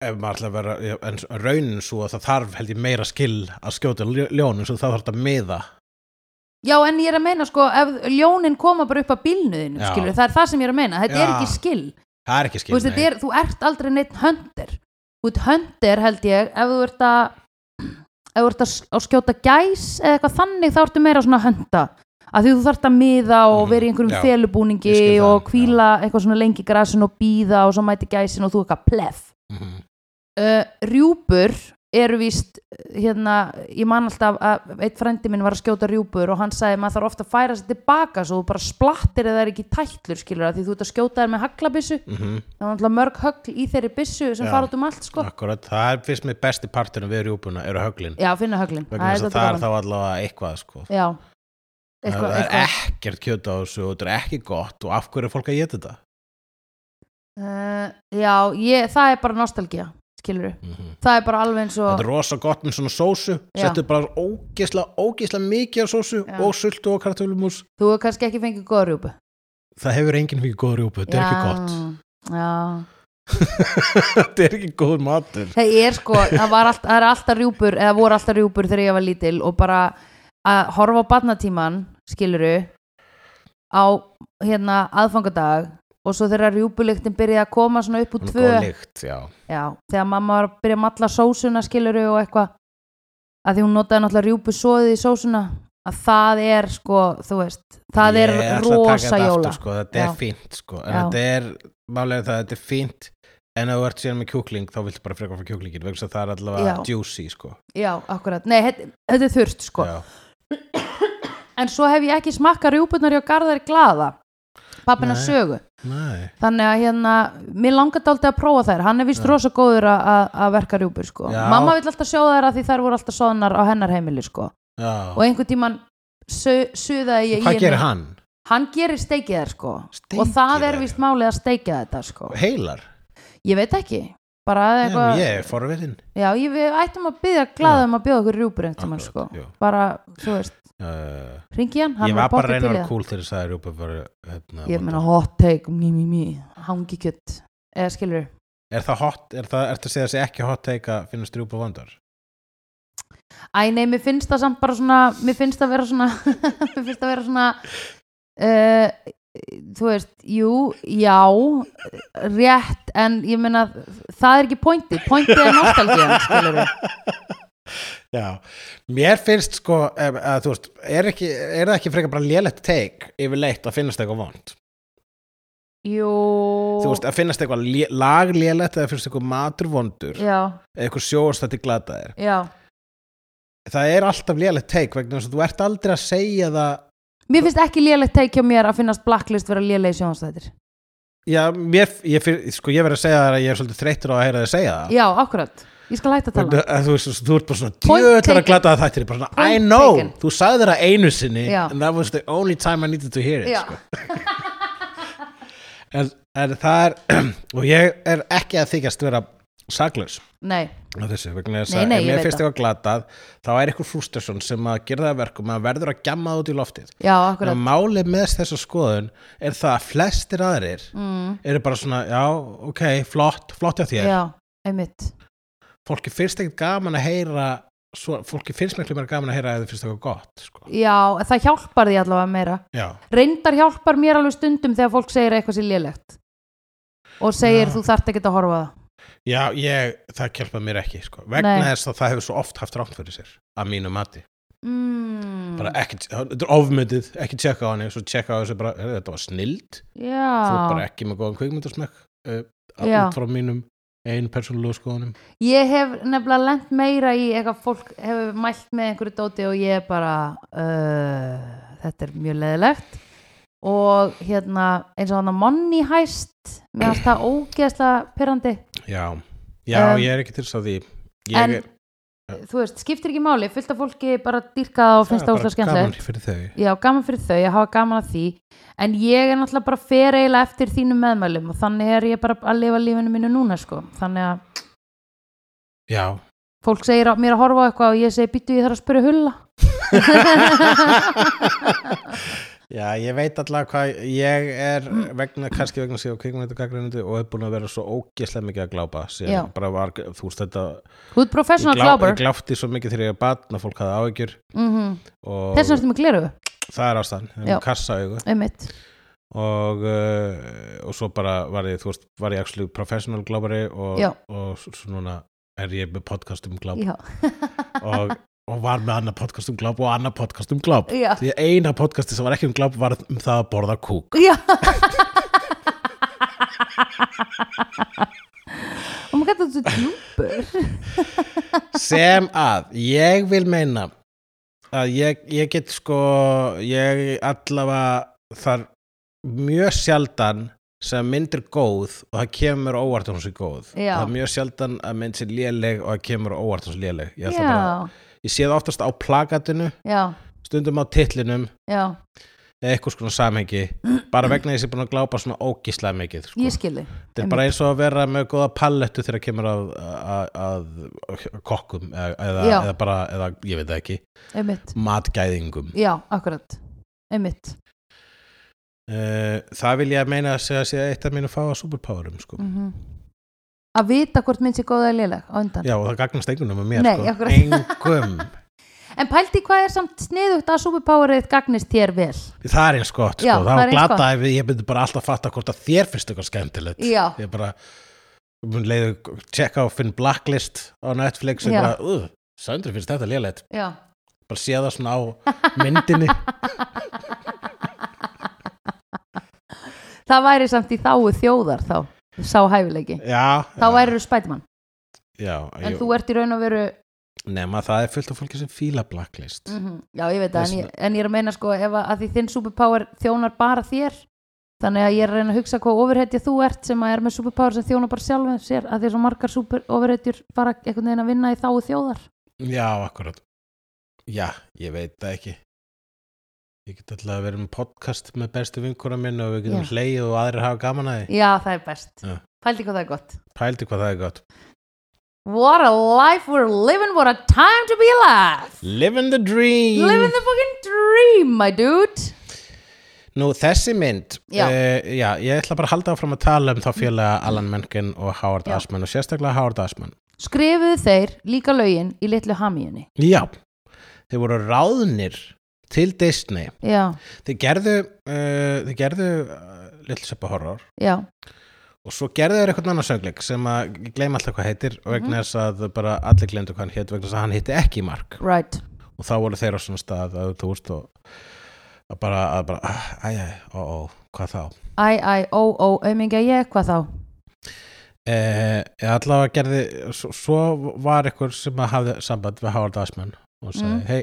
Speaker 1: ef maður ætla að vera já, en s- raunin svo að það þarf held ég meira skill að skjóta ljó- ljón eins og það þarf þetta að miða
Speaker 2: já en ég er að meina sko ef ljónin koma bara upp að bílnuðinu
Speaker 1: Já.
Speaker 2: skilur það er það sem ég er að meina, þetta er
Speaker 1: Já.
Speaker 2: ekki skill
Speaker 1: það er ekki
Speaker 2: þú,
Speaker 1: skill
Speaker 2: veist, þetta er, þú ert aldrei neitt höndir út höndir held ég ef þú ert að ef þú ert að, s- að skjóta gæs eða eitthvað þannig þá ertu meira svona hönda að því þú þarft að miða og
Speaker 1: Mhm,
Speaker 2: vera í einhverjum
Speaker 1: já,
Speaker 2: felubúningi
Speaker 1: ég skil það,
Speaker 2: og hvíla eitthvað svona lengi í grasin og býða og svo mæti gæsin og þú eitthvað plef
Speaker 1: Mhm.
Speaker 2: uh, rjúpur eru víst uh, hérna, ég man alltaf að eitt frendi minn var að skjóta rjúpur og hann sagði maður þarf ofta að færa sér tilbaka svo þú bara splattir eða er ekki tætlur skilur að því þú ert að skjóta þér með haglabissu
Speaker 1: Mhm.
Speaker 2: það var náttúrulega mörg högl í þeirri byssu sem
Speaker 1: Já.
Speaker 2: fara út um allt sko
Speaker 1: Akkúrat. það er fyrst mér besti parturinn við rjúpuna eru höglin
Speaker 2: já, finna höglin
Speaker 1: vegna þess að
Speaker 2: dálítið
Speaker 1: það er
Speaker 2: gaman.
Speaker 1: þá allavega eitthvað sko
Speaker 2: já,
Speaker 1: eitthvað,
Speaker 2: eitthvað,
Speaker 1: það er
Speaker 2: eitthvað.
Speaker 1: ekkert kjöt á þessu og þetta er ekki gott og af hverju er fólk að geta þetta
Speaker 2: Uh, já, ég, það er bara nostalgía skilur
Speaker 1: mm
Speaker 2: það er bara alveg eins
Speaker 1: þetta
Speaker 2: og
Speaker 1: er rosa gott með svona sósu
Speaker 2: Já.
Speaker 1: settu bara ógisla, ógisla mikið af sósu
Speaker 2: Já.
Speaker 1: og sultu og kartölumús
Speaker 2: þú hefur kannski ekki fengið góða rjúpu
Speaker 1: það hefur enginn fyrir góð rjúpu, þetta er ekki gott [laughs]
Speaker 2: já,
Speaker 1: þetta er ekki góður matur
Speaker 2: það er sko það, var allt, það er alltaf rjúpur, eða voru alltaf rjúpur þegar ég var lítil og bara að horfa á barnatíman, skilur á hérna aðfangadag og svo þegar rjúpulyktin byrjaði að koma svona upp úr
Speaker 1: Hún er
Speaker 2: tvö
Speaker 1: góð lykt, já.
Speaker 2: Já, þegar mamma var að byrja að matla sósuna skiluru og eitthvað að því hún notaði náttúrulega rjúpu soðið í sósuna að það er sko, þú veist það
Speaker 1: Ég
Speaker 2: er
Speaker 1: ætla að taka
Speaker 2: rosa
Speaker 1: þetta
Speaker 2: jóla
Speaker 1: aftur, sko, þetta er
Speaker 2: Já.
Speaker 1: fínt sko. en
Speaker 2: Já.
Speaker 1: þetta er, málega það, þetta er fínt en ef þú ert síðan með kjúkling þá viltu bara frekar frá kjúklingin vegna þess að það er allavega
Speaker 2: Já.
Speaker 1: juicy sko.
Speaker 2: Já, akkurat, nei, þetta, þetta er þurft sko
Speaker 1: Já.
Speaker 2: en svo hef ég ekki smakka rjúpunar hjá Garðari Glaða pappina
Speaker 1: Nei.
Speaker 2: sögu
Speaker 1: Nei.
Speaker 2: þannig að hérna, mér langar dálítið að prófa þær hann er vist rosa góður að- að að verka rjúpur sko.
Speaker 1: Já.
Speaker 2: mamma vill alltaf sjóða þær að því þær voru alltaf soðnar á hennar heimili sko.
Speaker 1: Já.
Speaker 2: og einhvern tíman su, suðaði ég í
Speaker 1: Hvað
Speaker 2: henni-
Speaker 1: gerir hann?
Speaker 2: hann gerir steikið þær sko
Speaker 1: Steikir
Speaker 2: og það er
Speaker 1: þær?
Speaker 2: vist málið að steikja þetta sko
Speaker 1: Heilar?
Speaker 2: ég veit ekki bara að
Speaker 1: Eitthvað...
Speaker 2: eitthvað
Speaker 1: Ég er forvitin.
Speaker 2: já, ég, við ættum að byggja glaðum að bjóða okkur rjúpur einhvern tímann sko
Speaker 1: Akkurat, jú.
Speaker 2: bara, þú veist,
Speaker 1: Uh,
Speaker 2: ringi hann, hann
Speaker 1: ég var bara að
Speaker 2: pottþétt
Speaker 1: reyna að
Speaker 2: til í
Speaker 1: vera
Speaker 2: það.
Speaker 1: cool þegar það er uppi bara, hérna,
Speaker 2: ég meina
Speaker 1: vondar.
Speaker 2: hot take, mjö, mjö, mjö hangi kjött, eða skilur
Speaker 1: Er það hot, er það, ertu að segja þessi ekki hot take að finnast rjúpa vandar?
Speaker 2: æ, nei, mér finnst það samt bara svona mér finnst það vera svona [laughs] mér finnst það vera svona uh, þú veist, jú, já rétt, en ég meina það er ekki pointið, pointið er nostalgíðan skilur
Speaker 1: Já, mér finnst sko eh, að, þú veist, er, ekki, er það ekki frekar bara lélegt take yfirleitt að finnast eitthvað vond
Speaker 2: Jú
Speaker 1: þú veist, að finnast eitthvað lé- lag lélegt eða finnst eitthvað matur vondur
Speaker 2: Já,
Speaker 1: eitthvað sjóastætti glataðir
Speaker 2: já
Speaker 1: það er alltaf lélegt take vegna þess að þú ert aldrei að segja það
Speaker 2: Mér finnst ekki lélegt teik hjá mér að finnast blacklist vera léleg sjónastættir
Speaker 1: Já, mér, ég, finn- sko, ég verið að segja það að ég er svolítið þreyttur á að heyra þið segja það
Speaker 2: Já, akkurat, ég skal hætta að tala
Speaker 1: Vegna að Þú veist, þú ert bara svona
Speaker 2: Point
Speaker 1: djöðlar að
Speaker 2: taken.
Speaker 1: glata það þættir bara svona, I
Speaker 2: Point
Speaker 1: know,
Speaker 2: taken.
Speaker 1: þú sagði það einu sinni
Speaker 2: Já.
Speaker 1: and that was the only time I needed to hear it
Speaker 2: Já.
Speaker 1: sko. en, en það er [clears throat] og ég er ekki að þykjast vera saglaus
Speaker 2: Nei,
Speaker 1: á þessu, vegna þess
Speaker 2: Nei,
Speaker 1: að
Speaker 2: nei,
Speaker 1: ef
Speaker 2: ég
Speaker 1: mér
Speaker 2: veit
Speaker 1: finnst
Speaker 2: það.
Speaker 1: eitthvað glatað þá er eitthvað frústasjón sem að gera það að verkum að verður að gjamma það út í loftið
Speaker 2: já,
Speaker 1: Þannig
Speaker 2: akkurat
Speaker 1: að málið með þessa skoðun er það að flestir aðrir
Speaker 2: mm,
Speaker 1: eru bara svona, já, ok, flott flott hjá þér,
Speaker 2: Já, einmitt
Speaker 1: fólki finnst ekkert gaman að heyra svo, fólki finnst miklu meira gaman að heyra ef þið finnst eitthvað gott sko.
Speaker 2: Já, það hjálpar því allavega meira
Speaker 1: já,
Speaker 2: Reyndar hjálpar mér alveg stundum þegar fólk segir eitthvað sér lélegt og segir
Speaker 1: Já.
Speaker 2: þú þarft ekki að horfa á það
Speaker 1: já ég, það kjálpa mér ekki sko. vegna
Speaker 2: Nei.
Speaker 1: þess að það hefur svo oft haft rátt fyrir sér að mínu mati,
Speaker 2: mm,
Speaker 1: bara ekki þetta er ofmyndið, ekki tjekka á henni svo tjekka á þessu bara, "Heyrðu, þetta var snild þú er
Speaker 2: Já,
Speaker 1: bara ekki með góðan kvikmyndasmekk uh, að
Speaker 2: Já.
Speaker 1: út frá mínum einu persónulegu skoðunum
Speaker 2: ég hef nefnilega lent meira í eitthvað fólk hefur mælt með einhverju dóti og ég er bara uh, þetta er mjög leðilegt og hérna eins og hann að monni hæst mér fannst það ógeðslega pyrrandi
Speaker 1: já, já
Speaker 2: Um,
Speaker 1: ég er ekki til þess að því ég
Speaker 2: en
Speaker 1: er
Speaker 2: þú veist, skiptir ekki máli fullt af fólki bara dýrka það og finnst það úslega skemmtilegt
Speaker 1: gaman fyrir þau
Speaker 2: já, gaman fyrir þau að hafa gaman að því en ég er náttúrulega bara fer eiginlega eftir þínum meðmælum og þannig er ég bara að lifa lífinu mínu núna sko þannig að
Speaker 1: já,
Speaker 2: fólk segir á, mér að horfa á eitthvað og ég segi býttu ég þarf að spyrja hulla
Speaker 1: Já, ég veit allavega hvað ég er vegna, kannski vegna sér á kvikmyndagagrinundu og er búin að vera svo ógeðslega mikið að glápa
Speaker 2: Já.
Speaker 1: síðan bara var, þú veist þetta
Speaker 2: þú ert
Speaker 1: ég,
Speaker 2: professional
Speaker 1: ég
Speaker 2: glábur
Speaker 1: gláfti svo mikið þegar ég var batn að fólk hafði áhyggjur
Speaker 2: mm -hmm.
Speaker 1: og
Speaker 2: þess vegna ertu með gleru,
Speaker 1: það er ástæðan, það
Speaker 2: Já.
Speaker 1: er kassaaugu
Speaker 2: einmitt
Speaker 1: og, uh, og svo bara var ég, þú veist, var ég actually professional glápari og,
Speaker 2: Já.
Speaker 1: og s- svo núna er ég með podcast um gláp
Speaker 2: já,
Speaker 1: og, og var með annað podcast um gláp og annað podcast um gláp
Speaker 2: já,
Speaker 1: því að eina podcasti sem var ekki um gláp var um það að borða kúk
Speaker 2: já. [laughs] og maður gæti þetta djúpur
Speaker 1: sem að ég vil meina að ég, ég get sko ég allavega þar mjög sjaldan sem mynd er góð og það kemur á óvart að hún sé góð
Speaker 2: Já.
Speaker 1: það er mjög sjaldan að mynd sé léleg og það kemur á óvart að hún sé léleg ég, ætla bara,
Speaker 2: já,
Speaker 1: ég sé það oftast á plakatinu
Speaker 2: já,
Speaker 1: stundum á titlinum
Speaker 2: já,
Speaker 1: eða eitthvað svona samhengi bara vegna þess að ég er búin að glápa svona ógíslega mikið sko.
Speaker 2: ég skilði
Speaker 1: þetta er bara eins og að vera með góða pallettu þegar kemur að, að, að, að kokkum eða, eða,
Speaker 2: Já.
Speaker 1: eða bara, eða ég veit það ekki
Speaker 2: einmitt,
Speaker 1: matgæðingum
Speaker 2: já, akkurat einmitt
Speaker 1: uh, það vil ég meina að segja, segja eitt af mínu fáa superpowerum sko.
Speaker 2: -hmm. að vita hvort minn sé góð eða léleg á undan
Speaker 1: já og það gagnast engunum að mér
Speaker 2: Nei,
Speaker 1: sko.
Speaker 2: akkurat. [laughs]
Speaker 1: engum,
Speaker 2: en pælti hvað er samt sniðugt að superpowerið gagnist þér vel
Speaker 1: það er eins gott sko.
Speaker 2: Já,
Speaker 1: það
Speaker 2: það er
Speaker 1: var
Speaker 2: eins
Speaker 1: glata ef ég myndi bara alltaf fatta hvort að þér finnst eitthvað skemmtilegt
Speaker 2: já,
Speaker 1: ég bara mun leiðu tjekka á Finn Blacklist á Netflix og
Speaker 2: Já.
Speaker 1: bara, uh, Söndri finnst þetta lélegt
Speaker 2: já,
Speaker 1: bara sé það
Speaker 2: [laughs]
Speaker 1: svona á myndinni
Speaker 2: það væri samt í þáu þjóðar þá, sá hæfileiki
Speaker 1: já,
Speaker 2: þá
Speaker 1: já,
Speaker 2: væri þú spætmann,
Speaker 1: já,
Speaker 2: en
Speaker 1: ég-
Speaker 2: þú ert í raun og veru
Speaker 1: nema það er fullt af fólki sem fíla Blacklist
Speaker 2: mm já, ég veit það, en,
Speaker 1: Þess
Speaker 2: ég- en ég er að meina sko, ef að, að því þinn superpower þjónar bara þér þannig að ég er að reyna að hugsa hvað overheadja þú ert sem að er með superpower sem þjónar bara sjálfum sér að því svo margar super overheadjur bara einhvern veginn að vinna í þáu þjóðar
Speaker 1: Já, akkurat Já, ég veit það ekki Ég get alltaf að vera með podcast með bestu vinkona minn og við getum
Speaker 2: Já.
Speaker 1: hlegið og aðrir hafa gaman að því
Speaker 2: já, það er best,
Speaker 1: Já.
Speaker 2: pælti hvað það er gott
Speaker 1: Pældi hvað það er gott
Speaker 2: What a life we're living, what a time to be alive
Speaker 1: Living the dream
Speaker 2: Living the fucking dream, my dude
Speaker 1: Nú, þessi mynd
Speaker 2: Já.
Speaker 1: eh, já, ég ætla bara að halda áfram að tala um þá félaga Alan Menken og Howard
Speaker 2: Já.
Speaker 1: Asman og sérstaklega Howard Asman
Speaker 2: Skrifuðu þeir líka lögin í litlu hamíunni
Speaker 1: Já, þeir voru ráðnir til Disney eh,
Speaker 2: Já,
Speaker 1: Þeir gerðu, uh, þeir gerðu uh, Little Shop of Horror
Speaker 2: já,
Speaker 1: og svo gerðu þeir eitthvað annar söngleik sem að ég gleyma alltaf hvað heitir vegna
Speaker 2: Mhm.
Speaker 1: þess að bara allir gleymdu hvað hann hétt vegna þess að hann hitti ekki í mark
Speaker 2: right
Speaker 1: og þá voru þeir á svona stað að þú veist og að bara, að bara, æjæ, ó, ó, hvað þá
Speaker 2: Æ, æ, ó, ó, aumingja ég, hvað þá?
Speaker 1: e, allavega gerði svo, svo var eitthvað sem að hafði samband við Howard Asman og sagði,
Speaker 2: Mm.
Speaker 1: hei,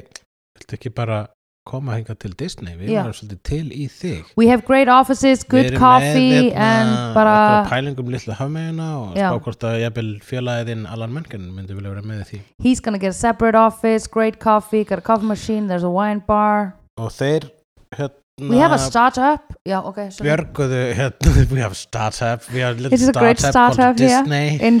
Speaker 1: viltu ekki bara koma hingað til Disney, við
Speaker 2: Já.
Speaker 1: varum svolítið til í þig
Speaker 2: We have great offices,
Speaker 1: Við
Speaker 2: good
Speaker 1: erum
Speaker 2: coffee
Speaker 1: með, hérna
Speaker 2: and uh,
Speaker 1: einhverja
Speaker 2: bara,
Speaker 1: pælingum litla hafmeina og
Speaker 2: Já.
Speaker 1: spá hvort að jafnvel félagin Alan Menken myndi vilja vera með í því
Speaker 2: he's gonna get a separate office, great coffee, got a coffee machine, there's a wine bar.
Speaker 1: og þeir
Speaker 2: We have a
Speaker 1: hérna
Speaker 2: startup. Já, ok, sorry.
Speaker 1: björguðu hérna, [laughs] we have startup we have a little
Speaker 2: This is a
Speaker 1: startup,
Speaker 2: great startup
Speaker 1: called
Speaker 2: here.
Speaker 1: Disney
Speaker 2: In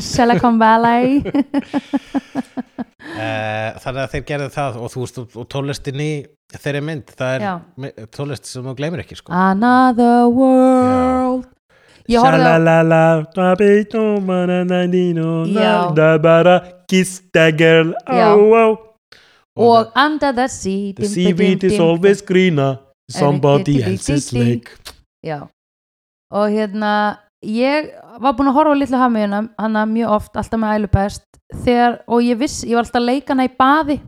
Speaker 3: [laughs]
Speaker 2: Silicon Valley. [laughs]
Speaker 1: uh, þannig að þeir gerðu það og þú veist og- og tónlistin í þeirri mynd það er
Speaker 2: Já.
Speaker 1: mi- tónlist sem þú gleymir ekki sko
Speaker 2: Another world. Ég horfði á,
Speaker 3: Shalalala, baby, don't wanna nanino,
Speaker 2: Já.
Speaker 3: na, da, bara, kiss that girl,
Speaker 2: Já.
Speaker 3: oh, oh.
Speaker 2: og Under the Sea.
Speaker 3: The
Speaker 2: dim,
Speaker 3: seaweed
Speaker 2: dim,
Speaker 3: is
Speaker 2: dim,
Speaker 3: always greener, in somebody
Speaker 2: Everybody
Speaker 3: else's
Speaker 2: did it.
Speaker 3: lake.
Speaker 2: Já. Og hérna, ég var búin að horfa á litlu hamiðuna, hana mjög oft, alltaf með ælupest, þegar, og ég viss, ég var alltaf að leika hana í baði,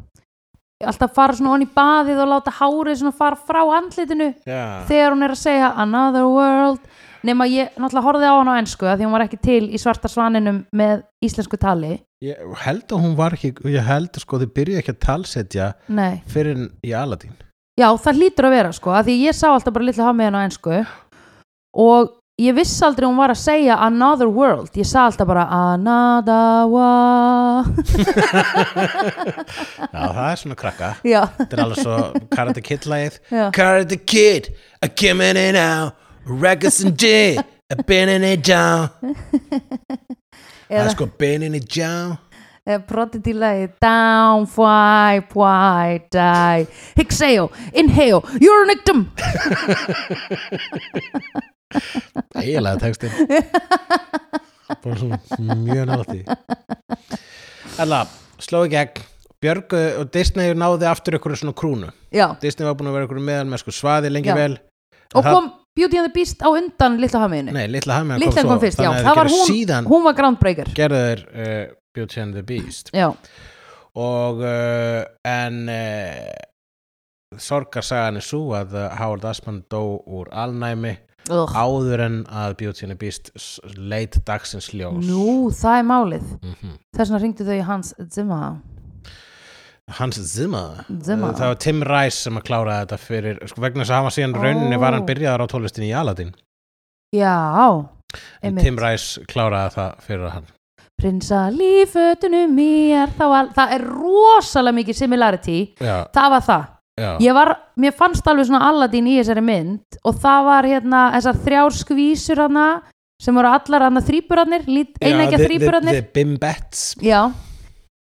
Speaker 2: Ég alltaf að fara svona onni í baðið og láta hárið svona fara frá andlitinu
Speaker 1: Já.
Speaker 2: þegar hún er að segja another world, nema ég náttúrulega horfði á hana á ensku að því hún var ekki til í svarta svaninum með íslensku tali.
Speaker 1: ég held að hún var ekki ég held sko þið byrjuðu ekki að talsetja
Speaker 2: Nei.
Speaker 1: fyrir en í Aladin
Speaker 2: Já, það hlýtur að vera sko, af því ég sá alltaf bara litlu hamiðan á ensku og ég vissi aldrei hún var að segja another world, ég sá alltaf bara another world [laughs]
Speaker 1: Já, það er svona krakka
Speaker 2: Já,
Speaker 1: Þetta er alveg svo Karate Kid lagið
Speaker 2: Já.
Speaker 1: Karate Kid, I came in and out Records and J, I've been in it down Það
Speaker 2: eða
Speaker 1: er sko been in it down
Speaker 2: eða brotið í lagi down, fly, fly, die exhale, inhale, you're an victim
Speaker 1: Ægilega textin Bara svona mjög nátti Alla, sló í gegn Björg og Disney náði aftur ykkur svona krúnu
Speaker 2: Já,
Speaker 1: Disney var búin að vera ykkur meðal með sko svaði lengi
Speaker 2: Já.
Speaker 1: vel
Speaker 2: og
Speaker 1: það-
Speaker 2: kom Beauty and the Beast á undan litlu hamiðinu
Speaker 1: Nei, litla hafði með
Speaker 2: Litlan kom fyrst, já,
Speaker 1: Þannig að
Speaker 2: það var
Speaker 1: þeir gerðu
Speaker 2: hún,
Speaker 1: síðan
Speaker 2: hún var groundbreaker
Speaker 1: gerðu þeir uh, Beauty and the Beast
Speaker 2: Já,
Speaker 1: og uh, en uh, sorgarsagan er svo að uh, Howard Asman dó úr alnæmi
Speaker 2: Ugh.
Speaker 1: áður en að Beauty and the Beast s- leit dagsins ljós
Speaker 2: nú, það er málið
Speaker 1: Mhm.
Speaker 2: Þess vegna ringdu þau í hans Zimmer
Speaker 1: Hans Zimmer
Speaker 2: Zimmer.
Speaker 1: það var Tim Rice sem að klára þetta fyrir sko, vegna þess að hann var síðan rauninni var hann
Speaker 2: Ó.
Speaker 1: byrjaðar á tónlistinni í Aladdin
Speaker 2: Já,
Speaker 1: en
Speaker 2: einmitt.
Speaker 1: Tim Rice kláraði það fyrir hann
Speaker 2: Prinsa lífötunum mér þá var, það er rosalega mikið similarity
Speaker 1: já,
Speaker 2: það var það,
Speaker 1: já,
Speaker 2: ég var mér fannst alveg svona Aladdin í þessari mynd og það var hérna þessar þrjár skvísur hana sem voru allar hana þrýburarnir, eina ekki
Speaker 1: the-
Speaker 2: að
Speaker 1: the-
Speaker 2: þrýburarnir
Speaker 1: the Bimbets
Speaker 2: já,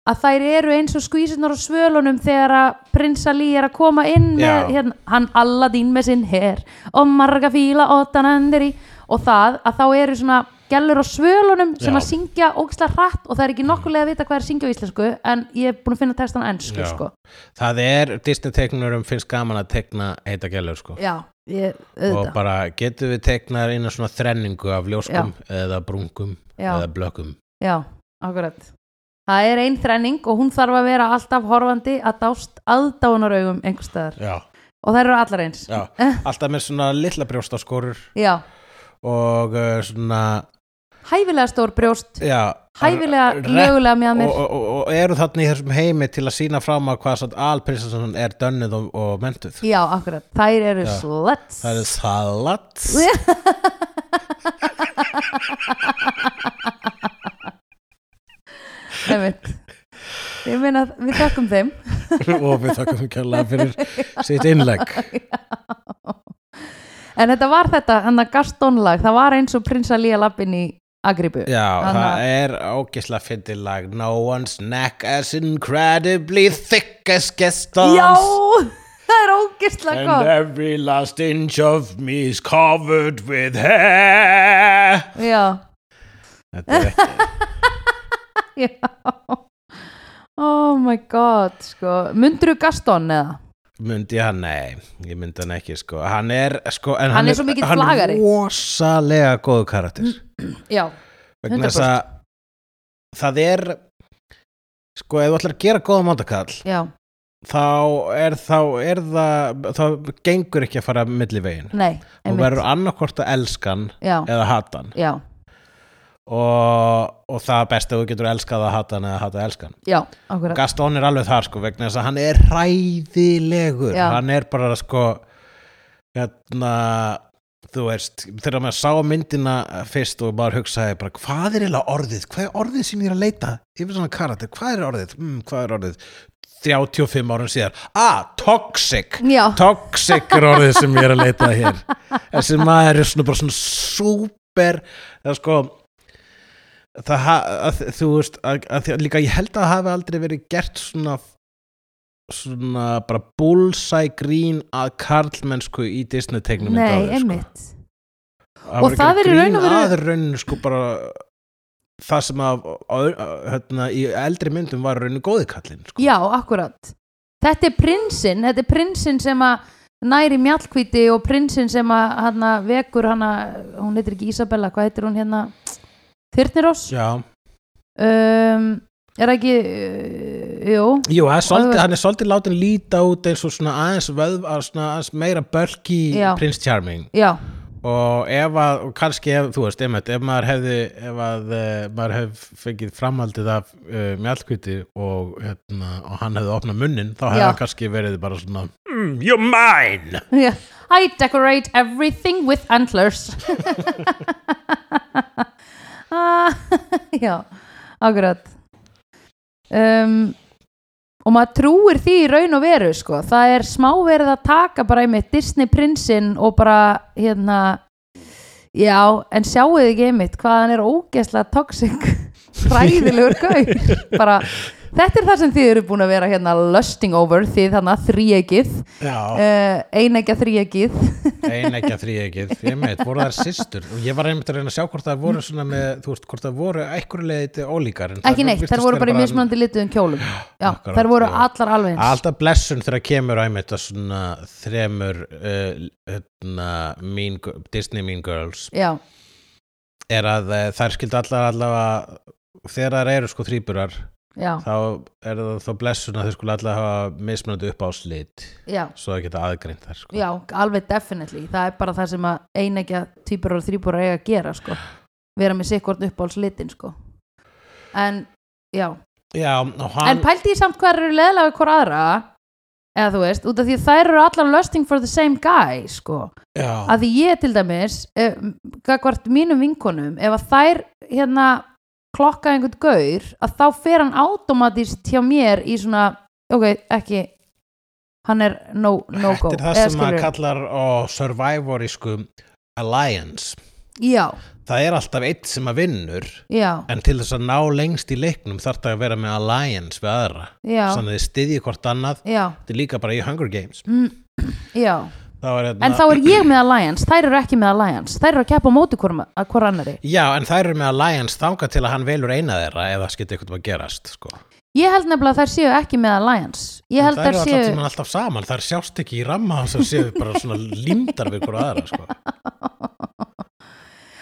Speaker 2: að þær eru eins og skvísurnar á svölunum þegar að Prinsa Lí er að koma inn
Speaker 1: Já.
Speaker 2: með hérna, hann Aladdin með sinn her og marga fíla óttanandri og það að þá eru svona gælur á svölunum sem
Speaker 1: Já.
Speaker 2: að syngja ógislega hratt og það er ekki nokkulega að vita hvað er að syngja á íslensku en ég er búin að finna textan á ensku
Speaker 1: Já.
Speaker 2: sko.
Speaker 1: það er Disney teknurum finnst gaman að tekna heita gælur sko
Speaker 2: já, ég,
Speaker 1: og
Speaker 2: auðvitað
Speaker 1: bara getum við teiknað inn svona þrenningu af ljóskum eða brungum
Speaker 2: Já.
Speaker 1: eða blökkum
Speaker 2: já, akkurat það er ein þrenning og hún þarf að vera alltaf horfandi að dást aðdánaraugum einhvers staðar
Speaker 1: já.
Speaker 2: og þær eru allar eins [laughs]
Speaker 1: Já. alltaf með svona litla brjóstaskorur
Speaker 2: já.
Speaker 1: og uh, svona
Speaker 2: hæfilega stór brjóst
Speaker 1: já,
Speaker 2: hæfilega
Speaker 1: rep-
Speaker 2: lögulega með mér
Speaker 1: og, og, og, og eru þarna í þessum heimi til að sína fram að hvað satt alprinsessan er dönnuð og, og mentuð
Speaker 2: já, akkurat, þær eru
Speaker 1: Já.
Speaker 2: sluts
Speaker 1: það er
Speaker 2: [laughs]
Speaker 1: salat
Speaker 2: Einmitt. ég meina að við þakkum þeim
Speaker 1: [laughs] og við þakkum kjærlega fyrir sitt
Speaker 2: [laughs]
Speaker 1: innlegg
Speaker 2: en þetta var þetta, hann að Gaston-lag það var eins og prinsa Lía lappin í Agribu
Speaker 1: Já,
Speaker 2: Þannig
Speaker 1: það
Speaker 2: að-
Speaker 1: er ógislega fyndið lag No one's neck as incredibly thick as Gaston's
Speaker 2: já, það er ógistlega
Speaker 1: And
Speaker 2: gott
Speaker 1: every last inch of me is covered with hair
Speaker 2: já,
Speaker 1: Þetta er
Speaker 2: [laughs]
Speaker 1: ekki
Speaker 2: já oh my god sko, mundru Gaston eða?
Speaker 1: myndi ég hann, nei ég myndi hann ekki sko, hann er sko, en
Speaker 2: Hann er svo mikill
Speaker 1: hann
Speaker 2: flagari. Mm,
Speaker 1: er rosalega góðu karakter
Speaker 2: já,
Speaker 1: vegna þess að það er sko, ef þú ætlar að gera góða mándakall
Speaker 2: já,
Speaker 1: þá er, þá er það þá gengur ekki að fara milli vegin
Speaker 2: nei
Speaker 1: og
Speaker 2: Mm, einmitt.
Speaker 1: verður annarkvort að elskan
Speaker 2: já,
Speaker 1: eða hata hann
Speaker 2: já,
Speaker 1: og, og það er best að þú getur elskað að hata hann eða hata að elska hann
Speaker 2: já, akkurat
Speaker 1: Gaston er alveg þar sko vegna þess að hann er hræðilegur
Speaker 2: Já.
Speaker 1: hann er bara sko hérna þú veist, þegar maður sá myndina fyrst og maður hugsaði bara hvað er eiginlega orðið, hvað er orðið sem ég er að leita yfir svona karakter, hvað er orðið mm, hvað er orðið, 35 árum síðar ah, toxic
Speaker 2: Já.
Speaker 1: toxic er orðið sem ég er að leita að hér þessi maður er svona bara svona super, það er sko það, ha- að, þú veist að, að, því að, líka ég held að það hafi aldrei verið gert svona svona bara bullseye grín að karlmennsku í sko. Disney tegnum
Speaker 2: nei, einmitt
Speaker 1: það var
Speaker 2: Og það
Speaker 1: ekki
Speaker 2: er í raun og
Speaker 1: grín
Speaker 2: veru-
Speaker 1: að rauninu sko bara það sem að, að, að hérna, í eldri myndum var rauninu góði kallinn sko.
Speaker 2: já, akkurat þetta er prinsinn, þetta er prinsinn sem að næri mjallkvíti og prinsinn sem að hana vekur hana, hún heitir ekki Isabella, hvað heitir hún hérna Þyrnirós
Speaker 1: Já.
Speaker 2: um, er það ekki uh, jú,
Speaker 1: Jú, það er svolítið,
Speaker 2: Og-
Speaker 1: hann er svolítið látin líta út eins og svona aðeins vöð, að svona aðeins meira bölki
Speaker 2: Já.
Speaker 1: Prince Charming
Speaker 2: já,
Speaker 1: og ef að, og kannski ef, þú veist, einmitt, ef maður hefði ef að uh, maður hefði fengið framhaldið af uh, mjallkviti og, hérna, og hann hefði opnað munnin þá hefði
Speaker 2: Já.
Speaker 1: hann kannski verið bara svona mm, You're mine!
Speaker 2: [laughs] já I decorate everything with antlers [laughs] ah, [laughs] já, akkurat um, og maður trúir því í raun og veru sko. það er smá verið að taka bara einmitt Disney prinsinn og bara hérna já, en sjáu þið ekki einmitt hvað hann er ógeðslega toxic [laughs] hræðilegur gaur [laughs] bara, þetta er það sem þið eru búin að vera hérna lusting over því þannig að þríegið
Speaker 1: Já,
Speaker 2: uh, einægja þríegið
Speaker 1: ein ekki að þrý ekki einmitt, voru þær systur og ég var einmitt að reyna að sjá hvort það voru svona með, þú veist, hvort það voru einhverju leiti ólíkar
Speaker 2: [laughs]
Speaker 1: en
Speaker 2: ekki
Speaker 1: þær
Speaker 2: neitt,
Speaker 1: virtust
Speaker 2: þær voru
Speaker 1: vera
Speaker 2: bara í mismunandi lituðum kjólum já,
Speaker 1: akkurat,
Speaker 2: þær voru
Speaker 1: já.
Speaker 2: allar alveg eins
Speaker 1: Alltaf blessun þegar kemur einmitt að svona þremur uh, hérna, mean, Gir- Disney Mean Girls
Speaker 2: já,
Speaker 1: er að eh, þær skildi allar allavega þegar þær eru sko þrýburar
Speaker 2: já,
Speaker 1: þá er það þá blessun að þau skulu allar hafa mismunandi upp á slit
Speaker 2: já,
Speaker 1: svo það geta aðgreint þær sko.
Speaker 2: já alveg definitely, það er bara það sem að einægja týpur og þrýbúr eiga að gera sko. vera með sikkort uppáhalds litin sko. en já,
Speaker 1: Já, og
Speaker 2: en
Speaker 1: hann
Speaker 2: pældi ég samt hver eru leðlega við hver aðra eða þú veist, út af því að þær eru allar lusting for the same guy sko.
Speaker 1: já,
Speaker 2: að því ég til dæmis eh, gagvart mínum vinkonum ef að þær hérna klokka einhvern gaur að þá fer hann automatist hjá mér í svona ok, ekki hann er no, no go
Speaker 1: þetta er það
Speaker 2: Eða
Speaker 1: sem maður
Speaker 2: skilurðu?
Speaker 1: kallar á survivorísku alliance
Speaker 2: já,
Speaker 1: það er alltaf eitt sem að vinnur
Speaker 2: já,
Speaker 1: en til þess að ná lengst í leiknum þarf það að vera með alliance við aðra
Speaker 2: já,
Speaker 1: þannig að þið styðji hvort annað
Speaker 2: já,
Speaker 1: þetta er líka bara í Hunger Games
Speaker 2: já
Speaker 1: þá er, hérna,
Speaker 2: Mm. en þá er ég með Alliance, þær eru ekki með Alliance þær eru að keppa á móti hvor, hvor annari
Speaker 1: já, en þær eru með alliance þangað til að hann velur eina þeirra ef það skildi eitthvað að gerast sko.
Speaker 2: ég held nefnilega að þær séu ekki með Alliance ég
Speaker 1: En
Speaker 2: held
Speaker 1: þær
Speaker 2: þær
Speaker 1: eru alltaf
Speaker 2: séu
Speaker 1: tímann alltaf saman, þær sjást ekki í ramma hans og séu bara svona límdar við hverju aðra
Speaker 2: [laughs]
Speaker 1: sko.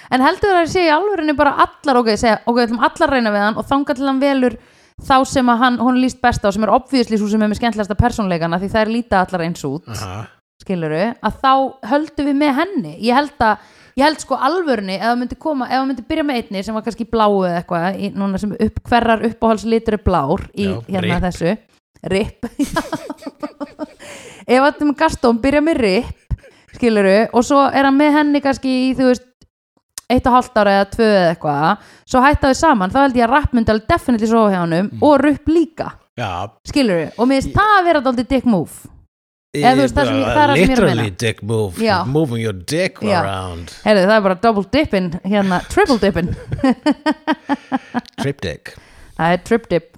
Speaker 2: En heldur það að segja í alvörinu bara allar ok, segja, ok, við ætlum allar að reyna við hann og þanga til hann velur þá sem að hann, hún líst best á sem er obviously svo sem er með skemmtilegasta persónleikana því það er líta allar eins út,
Speaker 1: Aha.
Speaker 2: skiluru að þá höldum við með henni ég held að, ég held sko alvörinu ef það myndi koma, ef það myndi byrja með einni sem var kannski bláu eða eitthvað, í- núna sem upp, hverrar uppáhaldslitur er blár í
Speaker 1: Já,
Speaker 2: hérna
Speaker 1: rip.
Speaker 2: þessu, rip [laughs] ef að Gaston byrja með rip skiluru, og svo er hann með henni kannski í, þú veist, eitt og hálft ára eða tvö eða eitthvað svo hætta við saman, þá held ég að rapp myndi alveg definitely svo hjá honum
Speaker 1: Mm.
Speaker 2: og rupp líka
Speaker 1: Já,
Speaker 2: skiluru, og mér finnst það að vera dálítið dick move, Eða þú veist, það sem-
Speaker 1: Bara
Speaker 2: það er það sem ég er að
Speaker 1: literally
Speaker 2: meina.
Speaker 1: dick move
Speaker 2: Já.
Speaker 1: moving your dick
Speaker 2: Já.
Speaker 1: around
Speaker 2: heyrðu það er bara double dippin hérna, triple dippin
Speaker 1: trip dick,
Speaker 2: það er trip dip,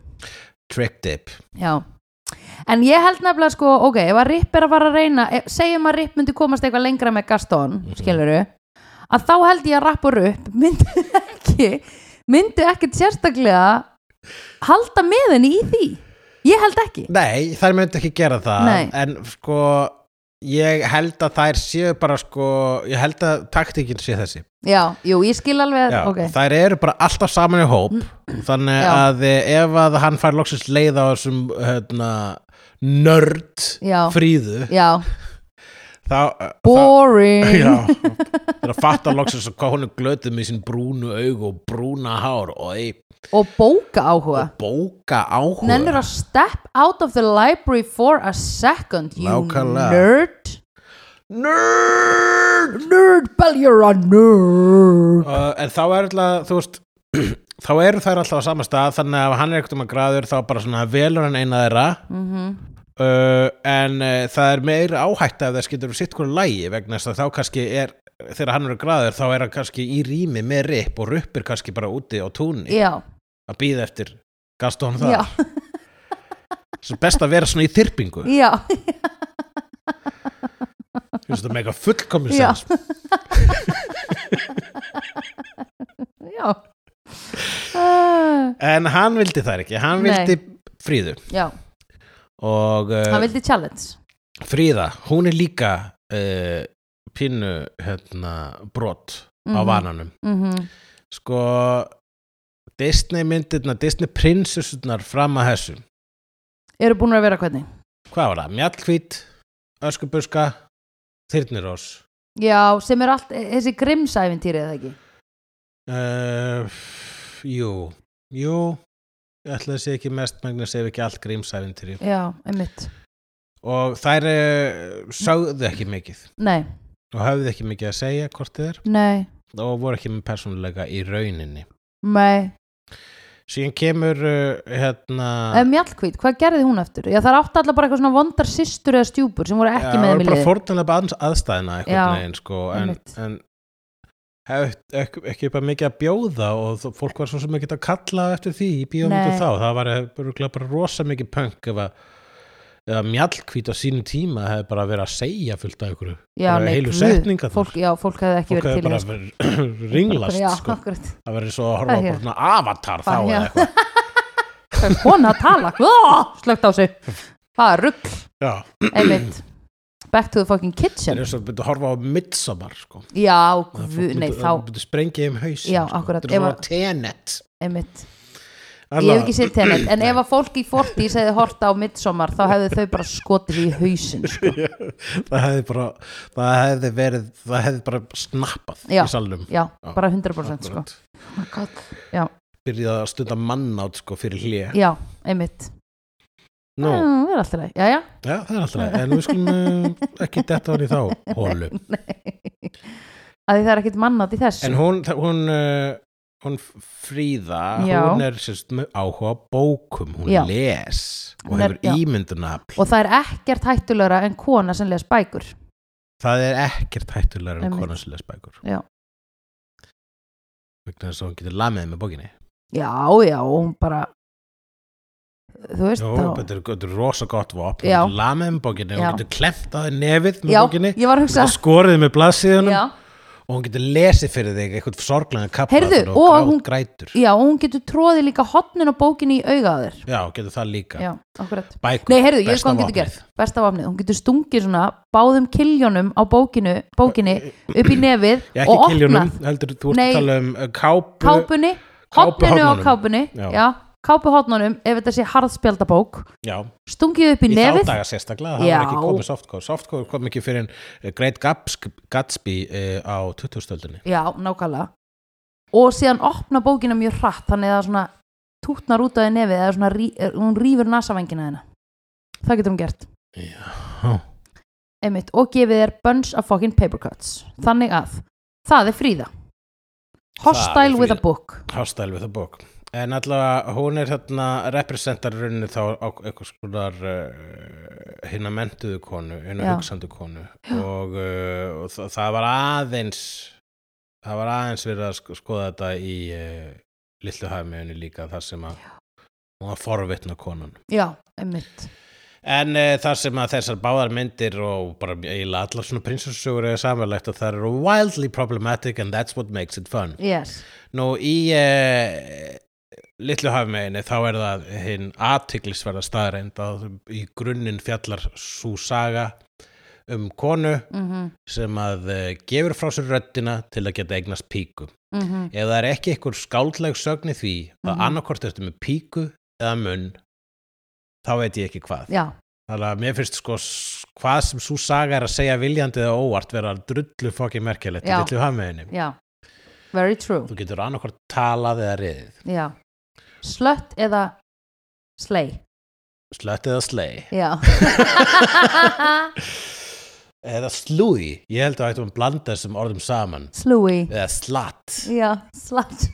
Speaker 1: trick dip
Speaker 2: já en ég held nefnilega sko, ok, ef að Rip er að fara að reyna, e- segjum að Rip myndi komast eitthvað lengra með Gaston,
Speaker 1: Mhm.
Speaker 2: skiluru að þá held ég að rapp og rupp [laughs] myndi ekki, myndi ekkert sérstaklega halda með henni í því Ég held ekki
Speaker 1: Nei, þær myndi ekki gera það
Speaker 2: Nei.
Speaker 1: en sko ég held að þær séu bara sko ég held að taktíkin sé þessi
Speaker 2: Já, jú, ég skil alveg
Speaker 1: Já,
Speaker 2: að, ok, Mm.
Speaker 1: þær eru bara alltaf saman í hóp þannig
Speaker 2: Já.
Speaker 1: að eh, ef að hann fær loksins leið á þessum hérna, nörd
Speaker 2: Já.
Speaker 1: fríðu
Speaker 2: já,
Speaker 1: þá eh,
Speaker 2: boring
Speaker 1: já, þegar að fatta loksins hvað hún er glötuð með sín brúnu augu og brúna hár og ei,
Speaker 2: og bóka áhuga
Speaker 1: bóka áhuga
Speaker 2: Nennir að step out of the library for a second, you
Speaker 1: Nákvæmlega.
Speaker 2: nerd
Speaker 1: nörd
Speaker 2: Nerd, bel, you're a nerd
Speaker 1: uh, en þá er alltaf, þú veist [clears throat] þá eru þær alltaf á sama stað þannig að ef hann er ekkert um að graður þá bara svona velur hann eina þeirra
Speaker 2: Mhm.
Speaker 1: uh, en uh, það er meira áhætt að það skilur um sitt hverju lægi vegna þess að þá kannski er þegar hann er að graður þá er hann kannski í rými með rip og ruppir kannski bara úti á túnni
Speaker 2: Já,
Speaker 1: að býða eftir Gaston [laughs] það
Speaker 2: já,
Speaker 1: sem best að vera svona í þyrpingu
Speaker 2: já
Speaker 1: þú veist það með eitthvað fullkomis
Speaker 2: Já.
Speaker 1: sens
Speaker 2: Já [laughs] uh,
Speaker 1: en hann vildi það ekki, hann
Speaker 2: Nei.
Speaker 1: vildi fríðu
Speaker 2: Já,
Speaker 1: og uh,
Speaker 2: hann vildi challenge
Speaker 1: Fríða, hún er líka uh, pínu hérna, brot á
Speaker 2: Mhm.
Speaker 1: vananum
Speaker 2: Mhm.
Speaker 1: sko Disney myndirna, Disney prinsessunar fram að þessu,
Speaker 2: Eru búin að vera hvernig?
Speaker 1: hvað var það? Mjallhvít, Öskubuska Þyrnirós
Speaker 2: Já, sem er allt, þessi grimsæfintýri eða ekki
Speaker 1: uh, Jú Jú, ég ætla að sé ekki mest megna að segja ekki allt grímsæfintýri
Speaker 2: Já, einmitt
Speaker 1: og þær uh, sögðu ekki mikið
Speaker 2: Nei,
Speaker 1: og höfðu ekki mikið að segja hvort þið er
Speaker 2: nei,
Speaker 1: og voru ekki með persónuleika í rauninni
Speaker 2: nei
Speaker 1: síðan kemur uh, hérna
Speaker 2: ah. Mjallkvít, hvað gerði hún eftir? Já, það átti allar bara eitthvað svona vondar systur eða stjúpur sem voru ekki
Speaker 1: það
Speaker 2: með
Speaker 1: voru
Speaker 2: um í
Speaker 1: bara
Speaker 2: liði
Speaker 1: fórnulega aðeins aðstæðina
Speaker 2: Já,
Speaker 1: einhvern veginn sko en,
Speaker 2: einmitt.
Speaker 1: en hef, ekki, ekki bara mikið að bjóða og þó- fólk var svo sem ekki að kalla eftir því í bíómyndu
Speaker 2: Nei.
Speaker 1: þá það var bara, bara rosa mikið punk ef að ef að mjallkvít á sínum tíma hefði bara verið að segja fullt af ykkur
Speaker 2: Já,
Speaker 1: bara
Speaker 2: nei,
Speaker 1: heilu
Speaker 2: guð.
Speaker 1: setningar
Speaker 2: fólk, Já, fólk hefði ekki
Speaker 1: fólk
Speaker 2: verið
Speaker 1: hefði
Speaker 2: til í
Speaker 1: bara
Speaker 2: þessu.
Speaker 1: verið [clears throat] ringlast
Speaker 2: Já,
Speaker 1: sko.
Speaker 2: akkurat
Speaker 1: það verið svo að horfa á
Speaker 2: Það er
Speaker 1: bara svona avatar þá
Speaker 2: Bara,
Speaker 1: eða
Speaker 2: já.
Speaker 1: eitthvað
Speaker 2: Það er kona að tala Ó, Slögt
Speaker 1: [laughs]
Speaker 2: á sig Það er rugg,
Speaker 1: já,
Speaker 2: [laughs] einmitt Back to the fucking
Speaker 1: það
Speaker 2: kitchen
Speaker 1: er svo að byrja að horfa á midsommar sko
Speaker 2: Já,
Speaker 1: Það
Speaker 2: guð,
Speaker 1: fólk
Speaker 2: nei,
Speaker 1: myndi- það
Speaker 2: þá,
Speaker 1: myndi sprengja um hausin
Speaker 2: Já, akkurat,
Speaker 1: Þetta er
Speaker 2: ef
Speaker 1: svona
Speaker 2: að-
Speaker 1: tenet
Speaker 2: einmitt Ég hef ekki séð tennet, en ef að fólk í 40 segði horta á midsommar, þá hefðu þau bara skotið í hausinn, sko.
Speaker 1: [laughs] Það hefði bara það hefði verið, það hefði bara snappað
Speaker 2: Já.
Speaker 1: í salnum
Speaker 2: Já,
Speaker 1: Já,
Speaker 2: bara 100% sko.
Speaker 1: Akkurat.
Speaker 2: Oh my God. Já,
Speaker 1: Byrjað að stunda mannátt sko fyrir hlje
Speaker 2: já, einmitt.
Speaker 1: Nú,
Speaker 2: Mm, Það er alltaf leið, já, [laughs] já.
Speaker 1: já, það er alltaf leið. En við skulum uh, ekki detta hann í þá hólu
Speaker 2: Að því það er ekkit mannað í þessu.
Speaker 1: En hún, það- hún, uh, hún fríða
Speaker 2: Já.
Speaker 1: hún er sérst með áhuga á bókum hún
Speaker 2: Já.
Speaker 1: les og
Speaker 2: Hún er-
Speaker 1: hefur
Speaker 2: já.
Speaker 1: ímyndunafl
Speaker 2: Og það er ekkert hættulegra en kona sem les bækur.
Speaker 1: Það er ekkert hættulegur en
Speaker 2: Einmitt.
Speaker 1: konan sem les bækur
Speaker 2: Já.
Speaker 1: vegna þess að hún getur lamið með bókinni
Speaker 2: Já, já, og hún bara, þú veist,
Speaker 1: Jó,
Speaker 2: þá.
Speaker 1: þetta er, þetta er rosa gott vopn hún
Speaker 2: Já.
Speaker 1: getur lamið með bókinni,
Speaker 2: Já.
Speaker 1: hún getur klemt að þér nefið með
Speaker 2: Já,
Speaker 1: bókinni
Speaker 2: ég var að
Speaker 1: hún
Speaker 2: hugsa.
Speaker 1: getur skorið með blaðsíðunum
Speaker 2: Já,
Speaker 1: og hún getur lesið fyrir þig eitthvað sorglega kappa
Speaker 2: Heyrðu,
Speaker 1: og,
Speaker 2: og
Speaker 1: grát,
Speaker 2: hún-
Speaker 1: grætur
Speaker 2: já, og hún getur tróðið líka hotnin á bókinni í augaður.
Speaker 1: Já, hún getur það líka
Speaker 2: Já, akkurat.
Speaker 1: Bækur,
Speaker 2: Nei, heyrðu, ég veit
Speaker 1: besta
Speaker 2: hvað hún getur
Speaker 1: vopnið.
Speaker 2: gert Besta vopnið, hún getur stungið svona báðum kiljónum á bókinu, bókinni upp í nefið
Speaker 1: Já,
Speaker 2: og
Speaker 1: ekki kiljónum,
Speaker 2: opnað
Speaker 1: heldur þú ert
Speaker 2: Nei.
Speaker 1: að tala um uh, kápu,
Speaker 2: kápunni,
Speaker 1: Kápu
Speaker 2: hotninu á
Speaker 1: hornunum.
Speaker 2: kápunni
Speaker 1: Já.
Speaker 2: já, kápuhotnunum, ef þetta sé harðspjaldabók
Speaker 1: Já,
Speaker 2: stungið upp í,
Speaker 1: í þá
Speaker 2: nefið
Speaker 1: daga sérstaklega það
Speaker 2: Já.
Speaker 1: var ekki komið softcore Softcore kom ekki fyrir en uh, Great Gatsby, Gatsby uh, á 2000-stöldinni
Speaker 2: Já, nákvæmlega og síðan opna bókina mjög hratt þannig að það svona tútnar út af því nefið eða svona, rí- er- hún rýfur nasavengina þeina það getur hún gert
Speaker 1: Já,
Speaker 2: einmitt, og gefið þér bunch of fucking paper cuts þannig að, það er fríða
Speaker 1: Það er
Speaker 2: hostile with a
Speaker 1: Fríða.
Speaker 2: book
Speaker 1: Hostile with a Book en allavega hún er hérna representar rauninu þá á eitthvað skoðar uh, hinn að mentuðu konu hinn að
Speaker 2: Já.
Speaker 1: hugsandu konu og, uh, og það, það var aðeins það var aðeins verið að sk- skoða þetta í uh, lillu hafmiðunni líka þar sem að hún var forvitna konan
Speaker 2: já, einmitt
Speaker 1: En uh, þar sem að þessar báðar myndir og bara eiginlega allar svona prinsessugur er samanlegt og það eru wildly problematic and that's what makes it fun.
Speaker 2: yes.
Speaker 1: Nú í uh, litlu hafmeginni þá er það hinn aðtiklisverða staðreind að í grunninn fjallar svo saga um konu
Speaker 2: mhm,
Speaker 1: sem að eh, gefur frá sér röddina til að geta eignast píku.
Speaker 2: mhm,
Speaker 1: Ef það er ekki einhver skáldleg sögn í því að
Speaker 2: Mhm.
Speaker 1: mm. annarkort eftir með píku eða munn, þá veit ég ekki hvað.
Speaker 2: já,
Speaker 1: Þannig að mér finnst sko s- hvað sem svo saga er að segja viljandi eða óvart vera drullu fokkin merkilegt í
Speaker 2: Já.
Speaker 1: litlu hafmeginni.
Speaker 2: já very true,
Speaker 1: Þú getur annarkort talað eða riðið,
Speaker 2: já slött eða slei,
Speaker 1: slött eða slei
Speaker 2: já
Speaker 1: [laughs]
Speaker 2: [laughs]
Speaker 1: eða slúi. Ég held að ættum að blanda þessum orðum saman
Speaker 2: slúi
Speaker 1: eða slatt.
Speaker 2: já, slatt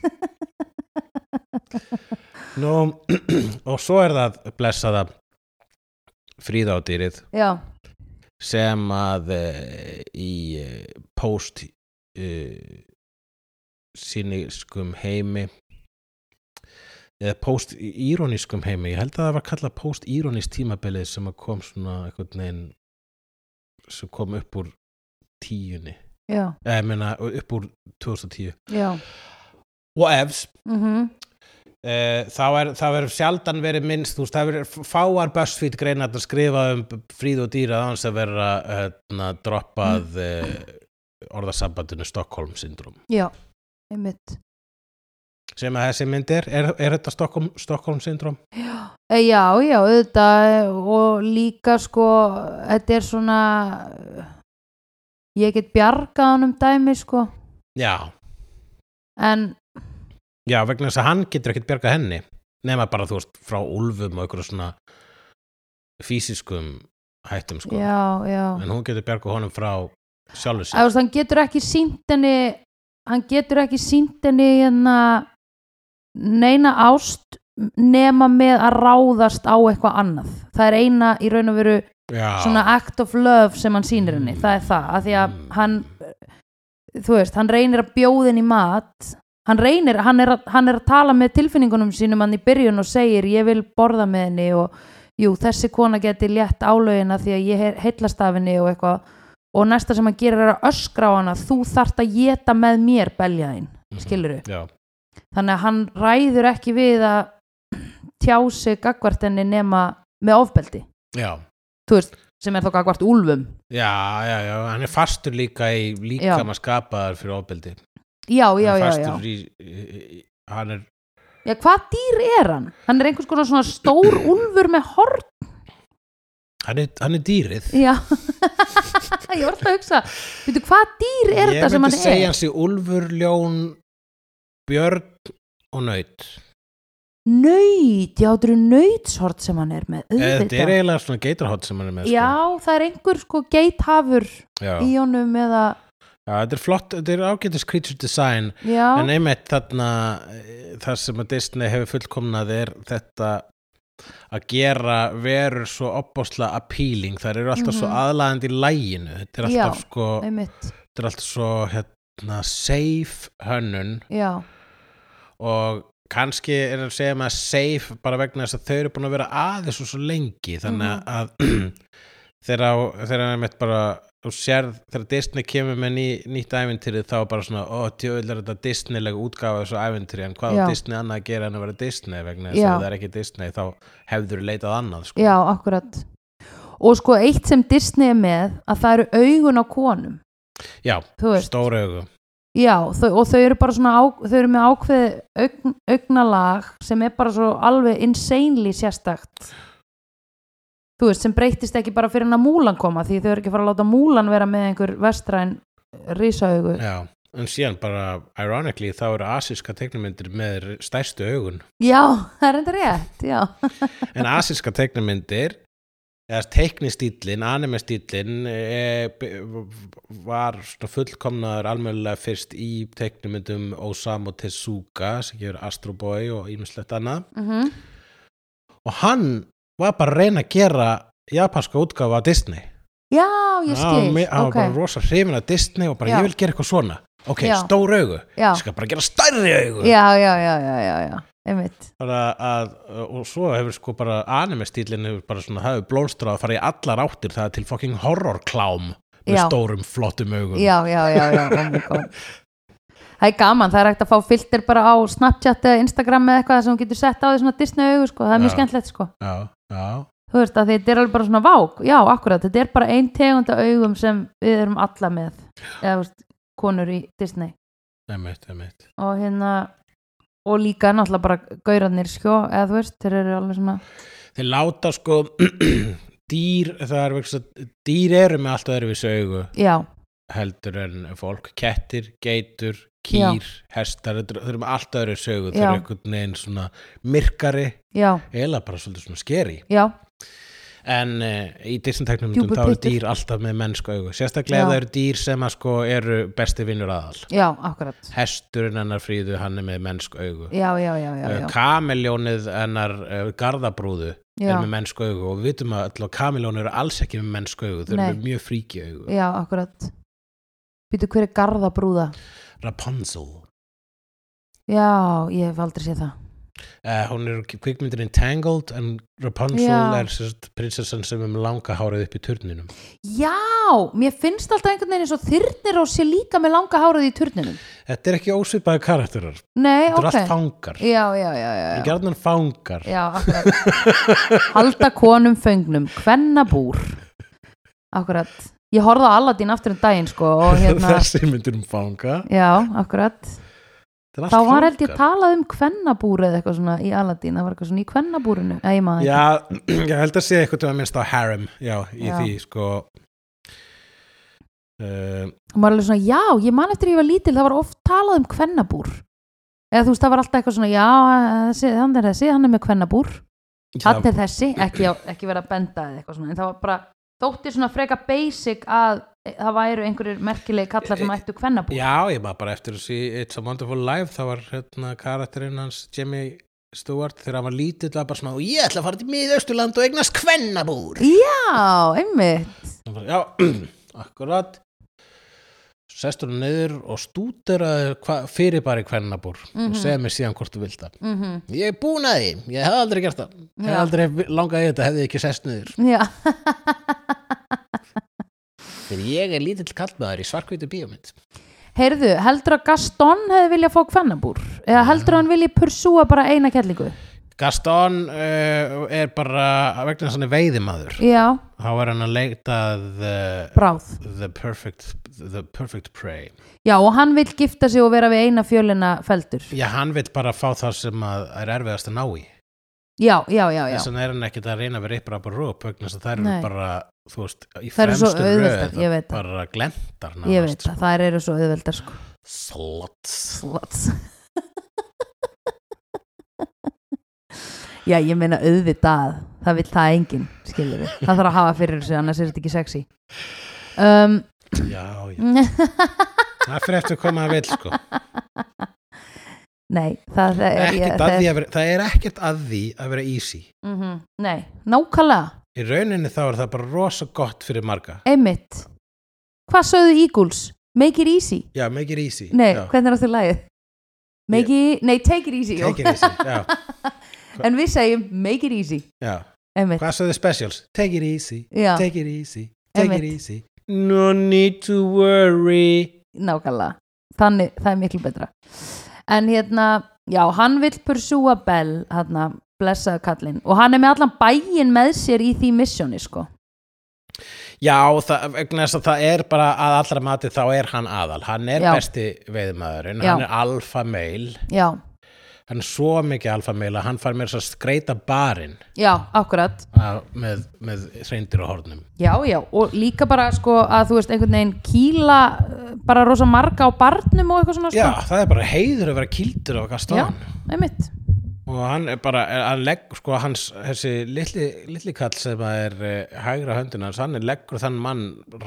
Speaker 1: Nú, [clears throat] og svo er það blessaða fríðádýrið
Speaker 2: [laughs] já,
Speaker 1: sem að eh, í eh, post eh, síniskum heimi eða post-írónískum heimi ég held að það var kallað post-írónist tímabilið sem að kom svona einhvern veginn sem kom upp úr tíunni
Speaker 2: já,
Speaker 1: eða ég meina upp úr 2010
Speaker 2: já
Speaker 1: og efs
Speaker 2: mhm,
Speaker 1: Uh, þá er, þá er sjaldan verið minnst þú veist, það verið fáar BuzzFeed greinar að skrifa um fríð og dýra án sem vera hérna, droppað mm. orðasambandinu Stockholm syndrom
Speaker 2: já einmitt,
Speaker 1: sem að þessi mynd er, er, er þetta Stockholm, Stockholm syndrom?
Speaker 2: E, já, já, auðvitað eh, og líka sko þetta er svona ég get bjargað honum dæmi sko,
Speaker 1: Já,
Speaker 2: en
Speaker 1: já, vegna þess að hann getur ekkert bjargað henni nema bara þú veist frá úlfum og einhverju svona fysiskum hættum sko
Speaker 2: já, já
Speaker 1: en hún getur bjargað honum frá sjálfu
Speaker 2: Þú
Speaker 1: sér
Speaker 2: veist, hann getur ekki sínt henni hann getur ekki sínt henni hérna neina ást nema með að ráðast á eitthvað annað það er eina í raun og veru
Speaker 1: Já,
Speaker 2: svona act of love sem hann sýnir henni
Speaker 1: Mm.
Speaker 2: það er það, af því að
Speaker 1: Mm.
Speaker 2: hann þú veist, hann reynir að bjóða henni í mat hann reynir, hann er, að, hann er að tala með tilfinningunum sínum hann í byrjun og segir ég vil borða með henni og jú, þessi kona geti létt álögina því að ég he- heillast af henni og eitthvað og næsta sem hann gerir er að öskra á hana þú þart að geta með mér beljaðin
Speaker 1: Mhm.
Speaker 2: skilurðu
Speaker 1: já,
Speaker 2: þannig að hann ræður ekki við að tjá sig gagvart henni nema með ofbeldi
Speaker 1: já
Speaker 2: þú veist, sem er þá gagvart úlfum
Speaker 1: Já, já, já, hann er fastur líka í líka maður skapaðar fyrir ofbeldi
Speaker 2: já, já,
Speaker 1: hann er
Speaker 2: já, já.
Speaker 1: fastur Í, í, í, hann er,
Speaker 2: já hvað dýr er hann? hann er einhvers konar svona stór úlfur með horn
Speaker 1: hann er, hann er dýrið
Speaker 2: já [laughs] ég var alltaf að hugsa veitu hvað dýr er
Speaker 1: Ég
Speaker 2: þetta sem hann
Speaker 1: myndi segja
Speaker 2: er?
Speaker 1: hans í Úlfur, Ljón, Björn og Naut
Speaker 2: nöyt, já þetta eru nöytshort sem hann er með
Speaker 1: Eða Þetta er
Speaker 2: auðvitað.
Speaker 1: eiginlega svona geitarhótt sem hann er með sko.
Speaker 2: já, það er einhver sko geithafur
Speaker 1: já.
Speaker 2: í honum eða
Speaker 1: já, þetta er flott, þetta er ágætis creature design En
Speaker 2: já,
Speaker 1: einmitt þarna eh, það sem að Disney hefur fullkomnað er þetta að gera verur svo opbásla appealing, það eru alltaf svo
Speaker 2: Mhm.
Speaker 1: aðlaðandi í læginu, þetta er alltaf
Speaker 2: Já.
Speaker 1: sko
Speaker 2: einmitt
Speaker 1: þetta er alltaf svo hérna, safe hönnun
Speaker 2: já,
Speaker 1: og kannski er að segja maður safe bara vegna þess að þau eru búin að vera aðeins og svo lengi
Speaker 2: Mhm.
Speaker 1: þannig að [clears throat] þegar á- þegar hann er meitt bara þú sérð, þegar Disney kemur með ný, nýtt æventýrið þá er bara svona, ó, djöðl er þetta Disneylega útgáfa af þessu æventýri en hvað
Speaker 2: Já.
Speaker 1: á Disney annað að gera en að vera Disney vegna þess
Speaker 2: Já.
Speaker 1: að ef það er ekki Disney þá hefður leitað annað sko.
Speaker 2: já, akkurat og sko eitt sem Disney er með að það eru augun á konum
Speaker 1: sko." Já,
Speaker 2: þú veist
Speaker 1: stóra augu
Speaker 2: Já, þau, og þau eru bara svona á, þau eru með ákveði augn, augnalag sem er bara svo alveg insanely sérstakt þú veist, sem breytist ekki bara fyrir hann að múlan koma því þau eru ekki að fara að láta múlan vera með einhver vestræn rísaugu
Speaker 1: Já, en síðan bara ironically þá eru asíska teknumyndir með stærstu augun
Speaker 2: Já, það er enda rétt, já
Speaker 1: en asíska teiknumyndir eða teiknistýllin, animestýllin e, b- var svona fullkomnaður almjöðlega fyrst í teiknumyndum Osamu Tezuka sem gefur Astro Boy og ímislegt annað
Speaker 2: mm
Speaker 1: og hann var bara að reyna að gera japanska útgáfa að Disney
Speaker 2: Já, ég
Speaker 1: hann
Speaker 2: skil,
Speaker 1: var- hann var bara
Speaker 2: ok
Speaker 1: rosa hrifin að Disney og bara
Speaker 2: Já.
Speaker 1: ég vil gera eitthvað svona ok,
Speaker 2: Já.
Speaker 1: stór augu,
Speaker 2: Já,
Speaker 1: ég skal bara gera stærri augu
Speaker 2: já, já, já, já, já, já. einmitt
Speaker 1: bara að, og svo hefur sko bara anime stílinn hefur bara svona, það hefur blómstrað að fara í allar áttir það er til fucking horror klám með
Speaker 2: Já.
Speaker 1: stórum flottum augum
Speaker 2: Já, já, já, já, oh my god það er gaman, það er hægt að fá filter bara á Snapchat eða Instagram eða eitthvað sem þú getur sett á því svona Disney augu sko, það er mjög
Speaker 1: Já.
Speaker 2: skemmtilegt sko
Speaker 1: já, já,
Speaker 2: þú veist að þetta er alveg bara svona vák já, akkurat, þetta er bara ein tegund af augum sem við erum alla með eða þú veist, konur í Disney
Speaker 1: emitt, emitt
Speaker 2: og hérna og líka náttúrulega bara gaurarnir sko, eða þú veist, þeir eru alveg svona
Speaker 1: þeir láta sko [clears throat] dýr, það er vegst að dýr eru með allt öðruvísu augu
Speaker 2: já,
Speaker 1: heldur en fólk, kettir, geitur kýr, hestar, þeir þeir eru með allt öðru sögu, þeir
Speaker 2: Já.
Speaker 1: eru einhvern veginn svona myrkari,
Speaker 2: já,
Speaker 1: eða bara svolítið svona skeri
Speaker 2: já
Speaker 1: en uh, í Disney-teknum
Speaker 2: Djúpur
Speaker 1: þá eru
Speaker 2: pyttur.
Speaker 1: dýr alltaf með mennsku augu sérstaklega ef
Speaker 2: Já.
Speaker 1: það eru dýr sem að sko eru besti vinnur aðal
Speaker 2: já, akkurat,
Speaker 1: hesturinn hennar fríðu hann er með mennsku augu
Speaker 2: já, já, já, já,
Speaker 1: Eh,
Speaker 2: já.
Speaker 1: kameljónið hennar uh, gardabrúðu
Speaker 2: já.
Speaker 1: er með mennsku augu og við vitum að alltaf kameljónið eru alls ekki með mennsku augu þau eru
Speaker 2: Nei.
Speaker 1: með mjög fríki augu
Speaker 2: Já, akkurat Býtu hver er garðabrúða?
Speaker 1: Rapunzel,
Speaker 2: Já, ég hef aldrei séð það
Speaker 1: uh, hún er kvikmyndin Entangled en Rapunzel
Speaker 2: Já.
Speaker 1: er sérst prinsessan sem er með langa hárið upp í turninum
Speaker 2: Já, mér finnst alltaf einhvern veginn eins og þyrnir og sé líka með langa hárið í turninum
Speaker 1: þetta er ekki ósvipaði karakterar
Speaker 2: Nei,
Speaker 1: þetta
Speaker 2: ok
Speaker 1: eru allt fangar
Speaker 2: Já, já, já, já, já.
Speaker 1: gerðan fangar
Speaker 2: já akkurat Halda konum föngnum, kvennabúr Akkurat Ég horfði á Aladdin aftur um daginn sko
Speaker 1: [laughs]
Speaker 2: og hérna
Speaker 1: þessi myndir um fanga
Speaker 2: Já, akkurat
Speaker 1: Þetta er allt
Speaker 2: Þá var held ég
Speaker 1: fangar.
Speaker 2: talað um kvennabúr eða eitthvað svona í Aladdin, það var eitthvað svona í kvennabúrinu Eða ég maður
Speaker 1: já, ég held að sé eitthvað til að minnst á harem já, í
Speaker 2: Já.
Speaker 1: því sko uh,
Speaker 2: og maður er alveg svona, já, ég man eftir að ég var lítil það var oft talað um kvennabúr eða þú veist, það var alltaf eitthvað svona, já þessi, hann er þessi, hann er með kvennabúr
Speaker 1: það,
Speaker 2: hann er þessi, ekki, á- ekki vera að benda eða eitthvað svona, en það var bara þótti svona freka basic að e, það væru einhverjir merkilegi kallar sem ættu kvennabúr
Speaker 1: já, ég maður bara eftir að sé It's a Wonderful Life, þá var hérna karakterinn hans Jimmy Stewart þegar hann var lítill að bara svona, "Og ég ætla að fara til miðausturland og eignast kvennabúr
Speaker 2: já, einmitt,
Speaker 1: Hann bara, já, [clears throat] akkurat sestur hann niður og stútir að fyrir bara í kvennabúr
Speaker 2: Mhm.
Speaker 1: og segja mér síðan hvort þú vilt það
Speaker 2: mm
Speaker 1: Ég er búin að því, ég hef aldrei gert það Hef
Speaker 2: Já.
Speaker 1: aldrei langað í þetta, hefði ekki sest niður
Speaker 2: já
Speaker 1: Þegar ég er lítill kallmaður í svarkvítu bíómynd
Speaker 2: heyrðu, heldur að Gaston hefði viljað fá kvennabúr eða heldur að hann viljið pursúa bara eina kellingu
Speaker 1: Gaston uh, er bara vegna þess að hann er veiðimaður
Speaker 2: já,
Speaker 1: þá er hann að leita the,
Speaker 2: bráð
Speaker 1: the, perfect, the perfect prey
Speaker 2: já, og hann vil gifta sig og vera við eina fjölina feldur
Speaker 1: Já, hann vill bara fá það sem að er erfiðast að ná í
Speaker 2: já, já, já, já
Speaker 1: þess vegna er hann ekkert að reyna að vera yppra bara rúp vegna þess að það eru
Speaker 2: Nei.
Speaker 1: bara þú veist, í
Speaker 2: Þær eru svo
Speaker 1: fremstu
Speaker 2: auðveldar,
Speaker 1: röð
Speaker 2: ég veit það.
Speaker 1: bara sko. glendar
Speaker 2: ég veit það, það eru svo auðveldar sko
Speaker 1: Slots
Speaker 2: Sluts Já, ég meina auðvitað það vill það enginn, skilur við það þarf að hafa fyrir þessu, annars er þetta ekki sexy um, [laughs]
Speaker 1: Já, já, það fyrir eftir hvað maður vil sko
Speaker 2: Nei, það, það er
Speaker 1: ekkert að
Speaker 2: það,
Speaker 1: því að vera, það er ekkert að því að vera easy
Speaker 2: mm Nei, nákvæmlega,
Speaker 1: í rauninni þá er það bara rosa gott fyrir marga
Speaker 2: einmitt Hvað sögðu Eagles? Make it easy
Speaker 1: já, make it easy
Speaker 2: Nei,
Speaker 1: já,
Speaker 2: hvernig er aftur lagið? Make it, e- nei, take it easy jú.
Speaker 1: take it easy já,
Speaker 2: En við segjum make it easy
Speaker 1: já.
Speaker 2: Einmitt,
Speaker 1: hvað svo þið specials? take it easy,
Speaker 2: já,
Speaker 1: take it easy take
Speaker 2: Einmitt.
Speaker 1: it easy no need to worry
Speaker 2: nákvæmlega þannig, það er miklu betra en hérna, já, hann vill pursúa Bell, hérna, blessaðu kallinn og hann er með allan bæin með sér í því missjóni, sko
Speaker 1: já, það, vegna þess að það er bara að allra mati þá er hann aðal hann er
Speaker 2: Já.
Speaker 1: besti veiðmaðurinn
Speaker 2: Já.
Speaker 1: hann er alfa meil
Speaker 2: já,
Speaker 1: hann er svo mikið alfa meil að hann fær mér að skreita barinn
Speaker 2: já, akkurat
Speaker 1: að- með, með reyndir og hornum
Speaker 2: já, já, og líka bara, sko, að þú veist einhvern veginn kýla eh, bara rosa marga á barnum og eitthvað svona sko.
Speaker 1: já, það er bara heiður að vera kildur af
Speaker 2: já,
Speaker 1: Gaston
Speaker 2: einmitt
Speaker 1: og hann er bara er- hann legg, sko, hans, þessi litli, litli kall sem að er uh, hægra höndin hans, hann er leggur þann mann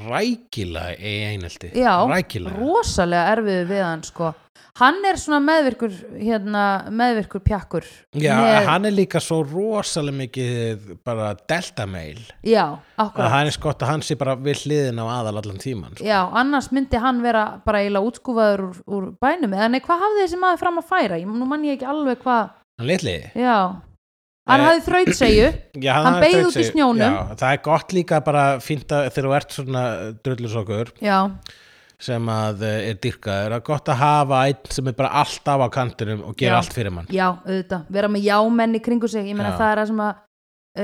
Speaker 1: rækilega í einhelti
Speaker 2: já,
Speaker 1: rækilega,
Speaker 2: rosalega erfiðu við hann, sko hann er svona meðvirkur, hérna meðvirkur pjakkur
Speaker 1: já,
Speaker 2: með,
Speaker 1: hann er líka svo rosalega mikið bara delta mail
Speaker 2: já, akkurat
Speaker 1: að hann er skott að hann sé bara við hliðin á aðal allan tíman sko.
Speaker 2: Já, annars myndi hann vera bara eiginlega útskúfaður úr, úr bænum eða nei, hvað hafði þessi maður fram að færa? Ég, nú mann ég ekki alveg hvað,
Speaker 1: hann litli,
Speaker 2: já Hann
Speaker 1: Eh,
Speaker 2: hafði þrautsegju
Speaker 1: [clears throat] já,
Speaker 2: Hann
Speaker 1: er
Speaker 2: beygði
Speaker 1: þraut
Speaker 2: út í
Speaker 1: sig-
Speaker 2: snjónum.
Speaker 1: já, það er gott líka bara fínt að þegar þú ert svona drullusokkur
Speaker 2: Já,
Speaker 1: sem að eh, er dyrkaður að gott að hafa einn sem er bara alltaf á kantinum og gera
Speaker 2: Já.
Speaker 1: allt fyrir mann
Speaker 2: já, auðvitað, vera með jámenn í kringu sig ég meina
Speaker 1: Já.
Speaker 2: það er það sem að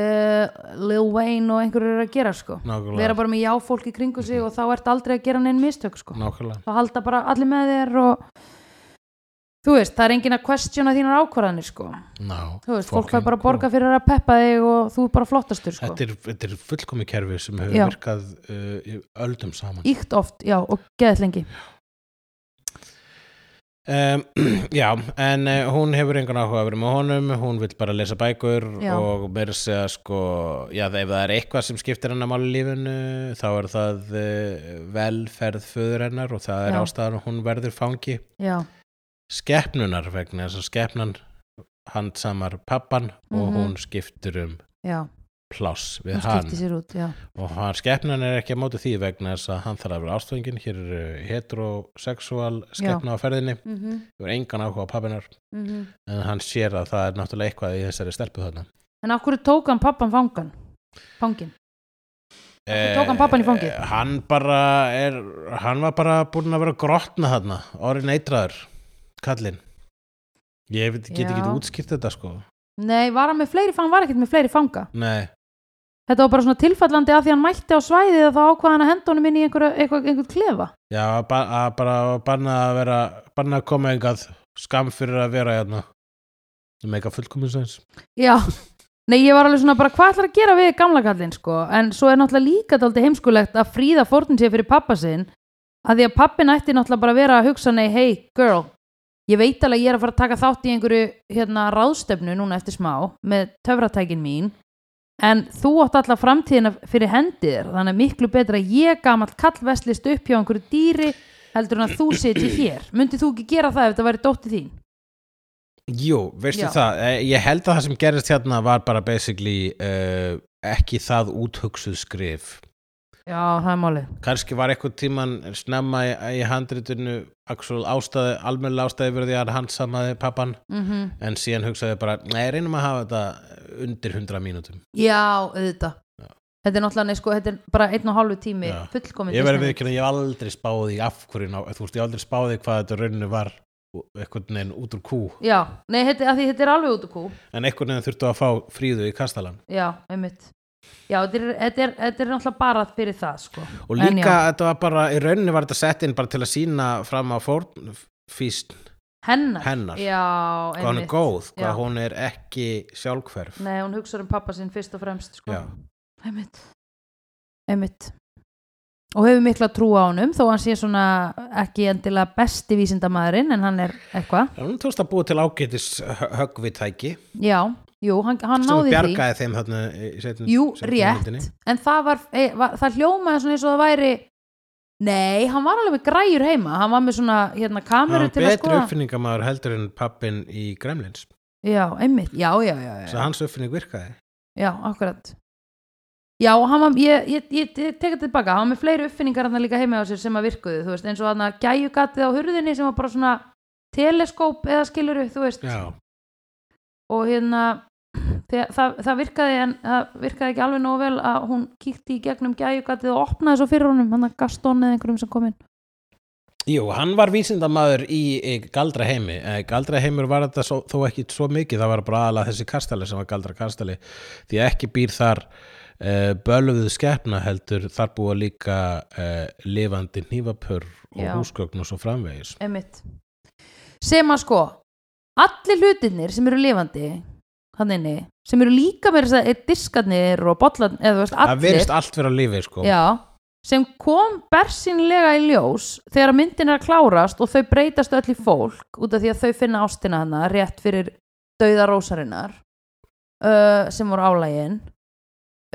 Speaker 2: uh, Lil Wayne og einhverju eru að gera sko
Speaker 1: Nákvæmlega.
Speaker 2: vera bara með jáfólk í kringu sig og þá ert aldrei að gera neinn mistök sko
Speaker 1: Nákvæmlega
Speaker 2: þá halda bara allir með þér og þú veist, það er engin að questiona þínar ákvarðanir sko
Speaker 1: Ná,
Speaker 2: þú veist, fólk
Speaker 1: fucking
Speaker 2: fær bara að
Speaker 1: cool.
Speaker 2: borga fyrir að peppa þig og þú er bara flottastur sko
Speaker 1: Þetta er, þetta er fullkomi kerfi sem hefur
Speaker 2: Já.
Speaker 1: virkað uh, í öldum saman
Speaker 2: íkt oft, já, og geðið lengi
Speaker 1: um, [clears throat] Já, en uh, hún hefur engan áhuga að vera með honum, hún vill bara lesa bækur
Speaker 2: Já.
Speaker 1: og meira að segja sko já, ef það er eitthvað sem skiptir hennar máli í lífinu, þá er það uh, velferð föður hennar og það er
Speaker 2: Já.
Speaker 1: ástæðan að hún verður fangi
Speaker 2: já,
Speaker 1: skepnunar vegna þess að skepnan handsamar pappan og
Speaker 2: Mhm.
Speaker 1: hún skiptir um
Speaker 2: já,
Speaker 1: pláss við
Speaker 2: hún
Speaker 1: hann
Speaker 2: skipti sér út já,
Speaker 1: og hann skepnan er ekki að móti því vegna þess að hann þarf að vera ástofingin hér er uh, heteroseksual skepna á ferðinni
Speaker 2: mm -hmm,
Speaker 1: hefur engan áhuga á pappinar en hann sér að það er náttúrulega eitthvað í þessari stelpu þarna
Speaker 2: en af hverju tók hann pappan fangan fangin,
Speaker 1: Eh,
Speaker 2: tók hann pabbann í fangið?
Speaker 1: eh, Hann bara er, hann var bara búinn að vera grotna þarna, orðin eitraður kallinn ég veit- get
Speaker 2: Já.
Speaker 1: ekki útskýrt þetta sko
Speaker 2: nei, var hann með fleiri fanga hann var ekkert með fleiri fanga,
Speaker 1: nei
Speaker 2: þetta var bara svona tilfallandi að því hann mætti á svæðið að þá ákvað hann að henda honum inn í einhverja, einhver, einhver klefa
Speaker 1: Já, að ba- að bara banna að vera banna að koma engað skam fyrir að vera hérna sem eitthvað fullkomins eins
Speaker 2: Já, nei ég var alveg svona bara hvað ætlar að gera við gamla kallinn sko en svo er náttúrulega líka dálítið heimskulegt að fríða fórnin sér fyrir pappa sinn að því að pappin ætti náttúrulega bara að vera að hugsa nei, hey girl, ég veit alveg að ég er að fara að taka þátt í einhverju hérna ráðstefnu núna eftir smá með töfratækin mín en þú átt alltaf framtíðina fyrir hendir þannig að miklu betra að ég gamall kallveslist upp hjá einhverju dýri heldur en að þú sitji hér myndi þú ekki gera það ef þetta væri dótti þín
Speaker 1: Jú, veistu
Speaker 2: Já.
Speaker 1: það, eh, ég held að það sem gerist hérna var bara basically uh, ekki það úthugsuð skrif
Speaker 2: Já, það er málið
Speaker 1: kannski var eitthvað tíman snemma í, í handritinu actual ástæði, almennilega ástæði verið því að hann samaði pappan
Speaker 2: mm
Speaker 1: en síðan hugsaði bara, nei, reynum að hafa þetta undir 100 mínútum
Speaker 2: Já, auðvitað Þetta er náttúrulega, nei, sko, þetta er bara einn og hálfu tími
Speaker 1: Já.
Speaker 2: fullkomin
Speaker 1: Ég verði
Speaker 2: Disney.
Speaker 1: við ekki að ég hef aldrei spáði í af hverju, ná- þú veist, ég hef aldrei spáði hvað þetta rauninu var eitthvað neginn út úr kú
Speaker 2: Já, nei, þetta, að því þetta er alveg út úr kú
Speaker 1: en einhvern veginn þurftu að fá fríðu í kastalan
Speaker 2: Já, einmitt Já, þetta er, þetta er, þetta er náttúrulega bara fyrir það, sko
Speaker 1: og
Speaker 2: En
Speaker 1: líka
Speaker 2: já,
Speaker 1: þetta var bara, í rauninni var þetta sett inn bara til að sína fram á fórnfísn
Speaker 2: Hennar,
Speaker 1: hennar.
Speaker 2: Já,
Speaker 1: hvað hún
Speaker 2: einmitt
Speaker 1: er góð, hvað
Speaker 2: Já.
Speaker 1: hún er ekki sjálfhverf
Speaker 2: Nei, hún hugsar um pappa sinn fyrst og fremst, sko
Speaker 1: Já.
Speaker 2: Einmitt Einmitt Og hefur mikla trú á honum, þó hann sé svona ekki endilega besti vísindamaðurinn en hann er eitthvað
Speaker 1: en hún tókst að búa til ágætis höggvitæki
Speaker 2: Já, jú, hann, hann
Speaker 1: sem
Speaker 2: náði því
Speaker 1: bjargaði þeim þarna í setjum,
Speaker 2: Jú, rétt, en það var, e, var það hljómaði svona eins og það væri Nei, hann var alveg með græjur heima hann var með svona hérna
Speaker 1: hann
Speaker 2: kameru
Speaker 1: var
Speaker 2: til að
Speaker 1: Ah, betri
Speaker 2: skoða
Speaker 1: uppfinningamæður heldur en pappin í Gremlins
Speaker 2: Já, einmitt, já, já, já,
Speaker 1: þess
Speaker 2: já,
Speaker 1: að hans uppfinning virkaði
Speaker 2: já akkurat Já, hann var, ég, ég, ég, ég teka þetta tilbaka, hann var með fleiri uppfinningar hann líka heima á sér sem að virkuðu, þú veist, eins og hann að gæjugatið á hurðinni sem var bara svona teleskóp eða skiluru, þú veist
Speaker 1: já,
Speaker 2: og hérna það, það, það virkaði en það virkaði ekki alveg nóg vel að hún kíkti í gegnum gæjugatið og opnaði svo fyrir honum hann að Gaston eða einhverjum sem kom inn
Speaker 1: Jú, hann var vísindamaður í, í galdra heimi. Galdra heimur var þetta svo, þó ekki svo mikið, það var bara aðalega þessi kastali sem var galdra kastali. Því að ekki býr þar uh, bölvuðu skepna heldur, þar búa líka uh, lifandi hnífapör og
Speaker 2: Já.
Speaker 1: húsgögn og svo framvegis.
Speaker 2: Einmitt. sem að sko allir hlutirnir sem eru lifandi hann inni, sem eru líka með þess að segja eh, diskarnir og bollarnir eða þú veist
Speaker 1: Það verist
Speaker 2: allir
Speaker 1: allt vera á lífi, sko.
Speaker 2: já, sem kom bersinlega í ljós þegar myndin er að klárast og þau breytast öll í fólk út af því að þau finna ástina hana rétt fyrir dauða rósarinnar uh, sem voru álægin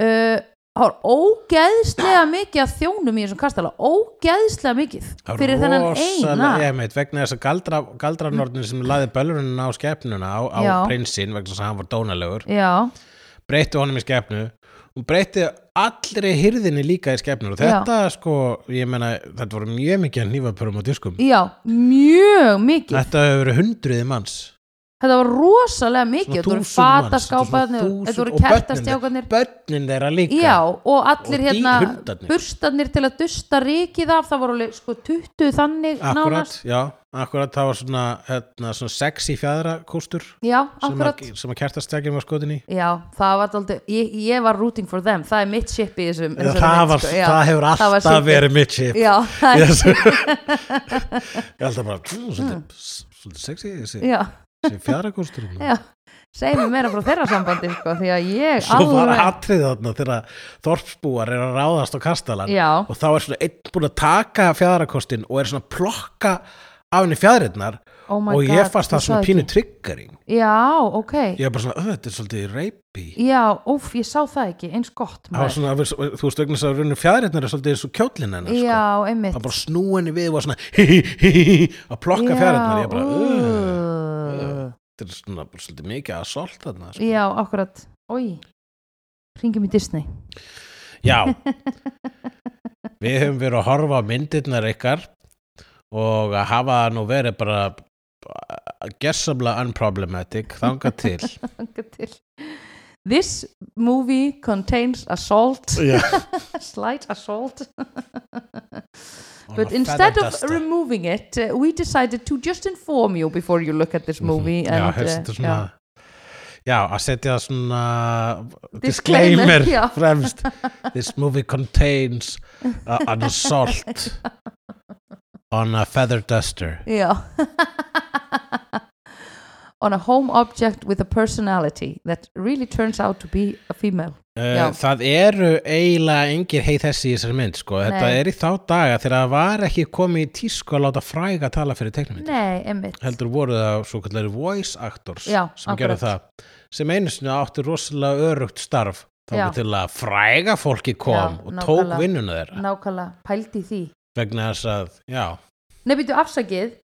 Speaker 2: uh, það var ógeðslega mikið að þjónum í þessum kastala ógeðslega mikið
Speaker 1: Það var
Speaker 2: fyrir þennan eina
Speaker 1: rosalega- Ég meit, vegna þess að galdra, galdranornin sem laði bölvununa á skepnuna á, á
Speaker 2: Já.
Speaker 1: prinsinn, vegna þess að hann var dónalegur,
Speaker 2: Já,
Speaker 1: breytti honum í skepnu hún breytti allri hirðinni líka í skepnur og þetta sko, ég meina, þetta voru mjög mikið að nýfapörum á diskum
Speaker 2: já, mjög mikið
Speaker 1: þetta hefur verið hundruði manns
Speaker 2: þetta var rosalega mikið þetta voru fataskápaðnir, þetta voru kertastjákanir
Speaker 1: börnin þeirra líka
Speaker 2: já, og allir
Speaker 1: Og
Speaker 2: hérna
Speaker 1: dýrhundarnir.
Speaker 2: burstarnir til að dusta rikið af það voru alveg sko 20 þannig
Speaker 1: akkurat,
Speaker 2: nánast
Speaker 1: já, akkurat það var svona, hérna, svona sexy fjæðrakústur
Speaker 2: já,
Speaker 1: sem
Speaker 2: akkurat
Speaker 1: að, sem að kertastjákin var skotin í
Speaker 2: já, það var aldrei, ég, ég var rooting for them það er mitt ship í þessum
Speaker 1: það,
Speaker 2: þessari mynd,
Speaker 1: var,
Speaker 2: sko, já.
Speaker 1: það hefur
Speaker 2: var
Speaker 1: alltaf
Speaker 2: shipið.
Speaker 1: verið mitt ship
Speaker 2: já, [laughs] það er-
Speaker 1: Yes. [laughs] ég held
Speaker 2: [laughs]
Speaker 1: að bara "Ú, svolítið, svolítið sexy þessi,
Speaker 2: já,
Speaker 1: þessi fjæðrakústur hún."
Speaker 2: já segir mér meira frá þeirra sambandi sko, því að ég
Speaker 1: svo var
Speaker 2: alveg-
Speaker 1: atrið þarna þegar þorpsbúar er að ráðast á kastalan
Speaker 2: já,
Speaker 1: og þá er svona einn búin að taka fjæðrakostin og er svona að plokka af henni fjæðrirnar
Speaker 2: oh my
Speaker 1: og
Speaker 2: god
Speaker 1: ég fannst
Speaker 2: þú
Speaker 1: það svona
Speaker 2: sagðir
Speaker 1: pínu triggering
Speaker 2: ekki. já, ok,
Speaker 1: ég var bara svona, "Ö, þetta er svolítið reypi
Speaker 2: já, úf, ég sá það ekki eins gott
Speaker 1: það var
Speaker 2: maður.
Speaker 1: svona, þú veist vegna þess að runni fjæðrirnar er svolítið eins og kjólinn hennar sko.
Speaker 2: já, einmitt
Speaker 1: það var bara snúinni við og var svona [laughs] hí, hí, hí, hí, að plokka fjæðrirnar ég bara, "Ö,
Speaker 2: uh,
Speaker 1: þetta er svona bara svolítið mikið að solta þarna sko.
Speaker 2: Já, akkurat Ói, ringjum í Disney
Speaker 1: Já Við höfum verið að horfa á myndirnar ykkar og að hafa það nú verið bara gessamlega unproblematic þangað til
Speaker 2: Þangað til. This movie contains assault [laughs]
Speaker 1: Já.
Speaker 2: Slight assault
Speaker 1: On a
Speaker 2: But
Speaker 1: feather
Speaker 2: instead of
Speaker 1: duster.
Speaker 2: removing it uh, We decided to just inform you Before you look at this movie
Speaker 1: Mhm. Já,
Speaker 2: and, uh,
Speaker 1: hefst þetta
Speaker 2: [laughs]
Speaker 1: svona Já, að setja svona
Speaker 2: Disclaimer,
Speaker 1: disclaimer
Speaker 2: já.
Speaker 1: [laughs] fremst This movie contains a,
Speaker 2: [laughs]
Speaker 1: an assault on a feather duster
Speaker 2: Já On a home object with a personality That really turns out to be a female Já.
Speaker 1: Uh, það eru eiginlega engir heið þessi í þessari mynd sko. þetta
Speaker 2: Nei.
Speaker 1: er í þá daga þegar það var ekki komið í tísku að láta fræga tala fyrir teknumynd
Speaker 2: Nei, einmitt
Speaker 1: heldur voru það svo kallar voice actors
Speaker 2: Já,
Speaker 1: sem
Speaker 2: akkurat.
Speaker 1: gerðu það sem einu sinni áttu rosalega örugt starf þá
Speaker 2: Já.
Speaker 1: var til að fræga fólki kom
Speaker 2: Já,
Speaker 1: og
Speaker 2: nákvæmlega.
Speaker 1: tók vinnuna þeirra
Speaker 2: Nákvæmlega, pældi í því
Speaker 1: vegna þess að, já,
Speaker 2: Nei, býtu afsakið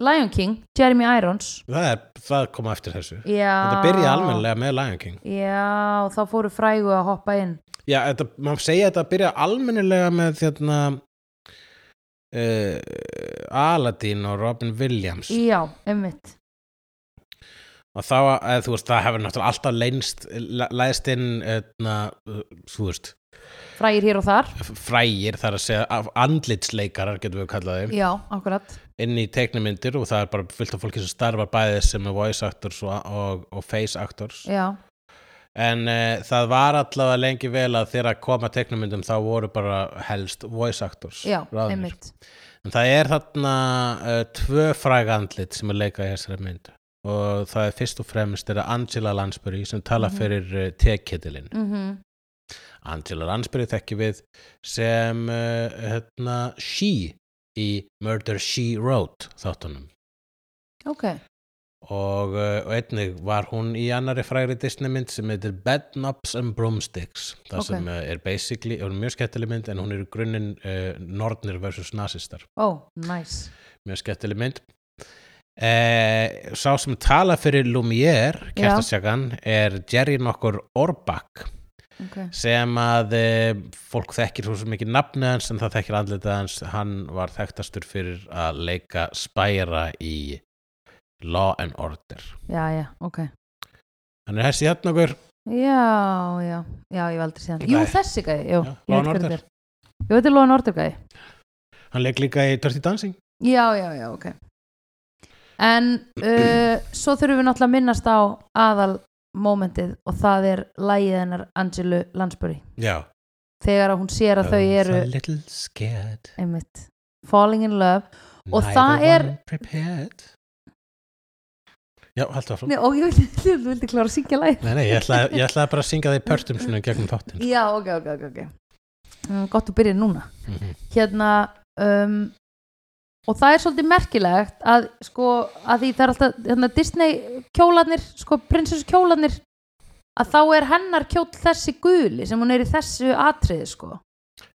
Speaker 2: Lion King, Jeremy Irons
Speaker 1: það, er, það kom eftir þessu
Speaker 2: Já
Speaker 1: þetta byrjaði almennilega með Lion King
Speaker 2: Já, þá fóru frægu að hoppa inn
Speaker 1: Já, þetta, maður segja að þetta byrja almennilega með hérna, þérna uh, Aladdin og Robin Williams
Speaker 2: Já, einmitt
Speaker 1: og þá, eða, þú veist, það hefur náttúrulega alltaf leynst, la- læðst inn eðna, þú veist,
Speaker 2: Frægir hér og þar
Speaker 1: frægir þar að segja, af- andlitsleikarar getum við kallað þeim,
Speaker 2: Já, akkurat
Speaker 1: inn í teiknumyndir og það er bara fullt af fólki sem starfar bæðið sem er voice actors og, og, og face actors
Speaker 2: Já,
Speaker 1: en uh, það var allavega lengi vel að þegar að koma teiknumyndum þá voru bara helst voice actors
Speaker 2: já,
Speaker 1: ráðnir.
Speaker 2: einmitt
Speaker 1: En það er þarna uh, tvö fræga andlit sem er leika í þessari mynd og það er fyrst og fremst er það Angela Lansbury sem tala
Speaker 2: Mhm.
Speaker 1: fyrir uh, tekittilinn.
Speaker 2: mm
Speaker 1: Angela Lansbury þekki við sem uh, hérna, She í Murder She Wrote þáttunum
Speaker 2: Ok,
Speaker 1: og, uh, og einnig var hún í annari frægri Disneymynd sem heitir Bedknobs and Broomsticks það
Speaker 2: Ok.
Speaker 1: sem uh, er basically, er mjög skemmtileg mynd en hún er í grunninn uh, nornir versus nazistar
Speaker 2: ó, oh, nice
Speaker 1: mjög skemmtileg mynd eh, sá sem tala fyrir Lumière
Speaker 2: Já.
Speaker 1: kertasjakan er Jerry nokkur Orbach
Speaker 2: okay.
Speaker 1: sem að eh, fólk þekkir svo sem ekki nafni hans en það þekkir andlitað hans hann var þekktastur fyrir að leika spæra í Law and Order
Speaker 2: Já, já, ok
Speaker 1: hann er hessi hérna okkur
Speaker 2: Já, já, já, ég hef aldrei séð hann Jú,
Speaker 1: Nei.
Speaker 2: þessi gæði, jú
Speaker 1: Já,
Speaker 2: ég
Speaker 1: Law
Speaker 2: veit
Speaker 1: and
Speaker 2: hver þetta
Speaker 1: Order.
Speaker 2: er. Ég veit að Lóan Order gæði
Speaker 1: hann leik líka í Dirty Dancing
Speaker 2: Já, já, já, ok En
Speaker 1: [clears throat]
Speaker 2: uh, svo þurfum við náttúrulega að minnast á aðal momentið og það er lægið hennar Angelu Lansbury
Speaker 1: já
Speaker 2: þegar að hún sér að þau eru
Speaker 1: a little scared
Speaker 2: einmitt, falling in love Og
Speaker 1: neither
Speaker 2: það er-
Speaker 1: one prepared já, haldur áfram
Speaker 2: Nei, og [laughs] ég vildi, ég vildi klára að syngja lægið
Speaker 1: Nei, nei, ég ætlaði, ég ætlaði bara að syngja það í pörtum svona gegnum þáttinn.
Speaker 2: Já, ok, ok, ok, ok mm, Gott að byrja núna
Speaker 1: Mhm.
Speaker 2: hérna um, og það er svolítið merkilegt að sko að því það er alltaf hérna, Disney kjólanir, sko prinsessu kjólanir að þá er hennar kjóll þessi guli sem hún er í þessu atriði sko.